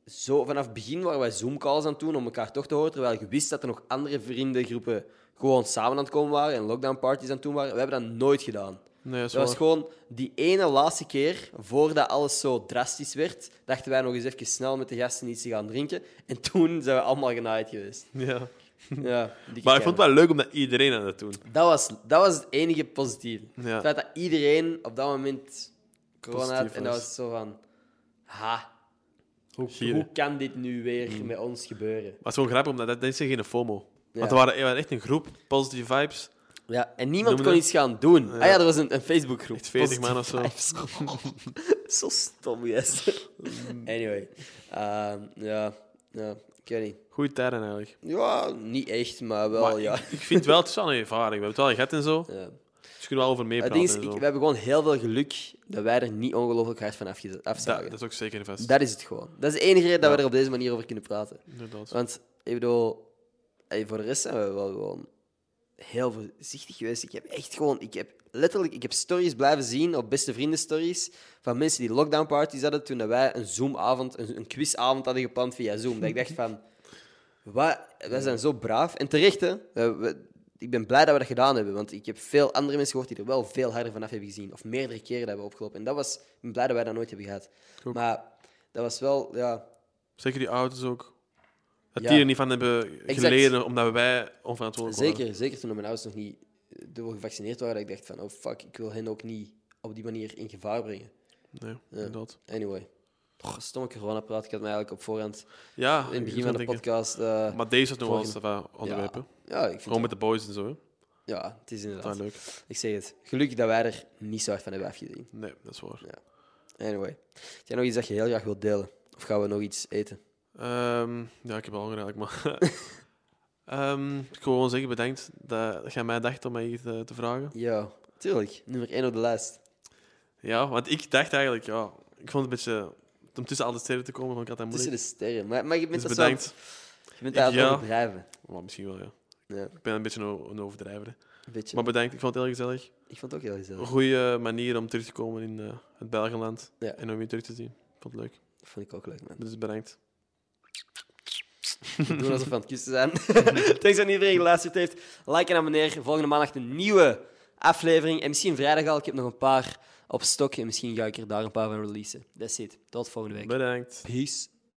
Speaker 1: zo, vanaf het begin waren wij Zoom-calls aan het doen om elkaar toch te horen. Terwijl ik wist dat er nog andere vriendengroepen gewoon samen aan het komen waren en lockdown-parties aan het doen waren. We hebben dat nooit gedaan.
Speaker 2: Nee, dat is
Speaker 1: Dat was
Speaker 2: waar.
Speaker 1: gewoon die ene laatste keer, voordat alles zo drastisch werd, dachten wij nog eens even snel met de gasten iets te gaan drinken. En toen zijn we allemaal genaaid geweest.
Speaker 2: Ja.
Speaker 1: Ja, dikke
Speaker 2: Maar ik
Speaker 1: kern.
Speaker 2: vond het wel leuk om dat iedereen aan het doen.
Speaker 1: Dat was, dat was het enige positieve.
Speaker 2: Ja.
Speaker 1: Het feit dat iedereen op dat moment corona had
Speaker 2: Positief
Speaker 1: en dat
Speaker 2: was.
Speaker 1: was zo van... Ha, hoe,
Speaker 2: Gieren.
Speaker 1: hoe kan dit nu weer
Speaker 2: Mm.
Speaker 1: met ons gebeuren?
Speaker 2: Maar het is gewoon grappig, omdat dat, dat is geen FOMO.
Speaker 1: Ja.
Speaker 2: Want we waren, we waren echt een groep, positive vibes.
Speaker 1: Ja, en niemand
Speaker 2: Noem
Speaker 1: kon
Speaker 2: dat?
Speaker 1: iets gaan doen. Ah ja, er was een, een Facebookgroep.
Speaker 2: Echt 40 man of zo.
Speaker 1: Positief vibes. zo stom, yes. anyway. Ehm, ja, ja, ik weet niet.
Speaker 2: Goede tijden eigenlijk.
Speaker 1: Ja, niet echt, maar wel,
Speaker 2: Maar
Speaker 1: ja.
Speaker 2: ik, ik vind wel, het is wel een ervaring. We hebben het wel gehad en zo.
Speaker 1: ja.
Speaker 2: Dus we kunnen wel over
Speaker 1: Het
Speaker 2: meepraten
Speaker 1: ding is,
Speaker 2: en
Speaker 1: ik-
Speaker 2: zo.
Speaker 1: we hebben gewoon heel veel geluk dat wij er niet ongelooflijk hard van afge-
Speaker 2: dat,
Speaker 1: afzagen.
Speaker 2: dat is ook zeker vast.
Speaker 1: Dat is het gewoon. Dat is de enige reden dat we
Speaker 2: Ja.
Speaker 1: er op deze manier over kunnen praten.
Speaker 2: Inderdaad.
Speaker 1: Want, ik bedoel, hey, voor de rest zijn we wel gewoon heel voorzichtig geweest. Ik heb echt gewoon, ik heb letterlijk, ik heb stories blijven zien op beste vrienden stories van mensen die lockdown parties hadden toen dat wij een Zoom-avond, een, een quizavond hadden gepland via Zoom. Dat ik dacht van, wat, wij zijn zo braaf. En terecht, hè. We- we- ik ben blij dat we dat gedaan hebben, want ik heb veel andere mensen gehoord die er wel veel harder vanaf hebben gezien. Of meerdere keren dat hebben opgelopen. En dat was, ik ben blij dat wij dat nooit hebben gehad.
Speaker 2: Ook.
Speaker 1: Maar dat was wel, ja,
Speaker 2: Zeker die auto's ook. Dat
Speaker 1: Ja.
Speaker 2: die er niet van hebben
Speaker 1: Exact.
Speaker 2: geleden, omdat wij onverantwoordelijk waren.
Speaker 1: Zeker, zeker toen mijn ouders nog niet eh, dubbel gevaccineerd waren, dat ik dacht van, oh fuck, ik wil hen ook niet op die manier in gevaar brengen.
Speaker 2: Nee, inderdaad.
Speaker 1: Anyway. Oh, stomme corona praat. Ik had mij eigenlijk op voorhand
Speaker 2: Ja,
Speaker 1: in het
Speaker 2: ik
Speaker 1: begin
Speaker 2: zou
Speaker 1: van de
Speaker 2: denken.
Speaker 1: podcast. eh,
Speaker 2: Maar deze had nog wel eens
Speaker 1: Volgende.
Speaker 2: wat onderwerpen.
Speaker 1: ja, ik vind
Speaker 2: Gewoon
Speaker 1: het,
Speaker 2: met de boys en zo. Hè.
Speaker 1: ja, het is
Speaker 2: Dat is
Speaker 1: inderdaad.
Speaker 2: Ah, leuk.
Speaker 1: Ik zeg het. Gelukkig dat wij er niet zo hard van hebben afgezien.
Speaker 2: Nee, dat is waar.
Speaker 1: Anyway. Is er nog iets dat je heel graag wilt delen? Of gaan we nog iets eten?
Speaker 2: Ehm, ja, ik heb al eigenlijk, maar... Ehm, ik wil gewoon zeggen, bedankt dat jij mij dacht om mij hier te, te vragen.
Speaker 1: Ja, tuurlijk. Nummer 1 op de lijst.
Speaker 2: Ja, want ik dacht eigenlijk, ja, ik vond het een beetje... Om tussen al de sterren te komen, vond ik altijd
Speaker 1: Tussen
Speaker 2: moeilijk.
Speaker 1: de sterren. Maar, maar je bent
Speaker 2: Dus
Speaker 1: dat zo-
Speaker 2: bedankt.
Speaker 1: Je bent
Speaker 2: Ik-
Speaker 1: daar aan het
Speaker 2: ja.
Speaker 1: overdrijven.
Speaker 2: Maar misschien wel, ja.
Speaker 1: Ja,
Speaker 2: Ik ben een beetje een, een overdrijver. hè.
Speaker 1: een beetje.
Speaker 2: Maar bedankt, ik vond het heel gezellig.
Speaker 1: ik vond het ook heel
Speaker 2: Een
Speaker 1: gezellig.
Speaker 2: goede manier om terug te komen in eh, het Belgenland.
Speaker 1: Ja.
Speaker 2: En om je terug te zien. Ik vond het leuk.
Speaker 1: Dat vond ik ook leuk, man.
Speaker 2: Dus bedankt.
Speaker 1: We doen alsof we aan het kussen zijn. Thanks aan iedereen die geluisterd heeft. Like en abonneer. Volgende maandag een nieuwe aflevering. En misschien vrijdag al. Ik heb nog een paar op stok. En misschien ga ik er daar een paar van releasen. That's it. Tot volgende week.
Speaker 2: Bedankt.
Speaker 1: Peace.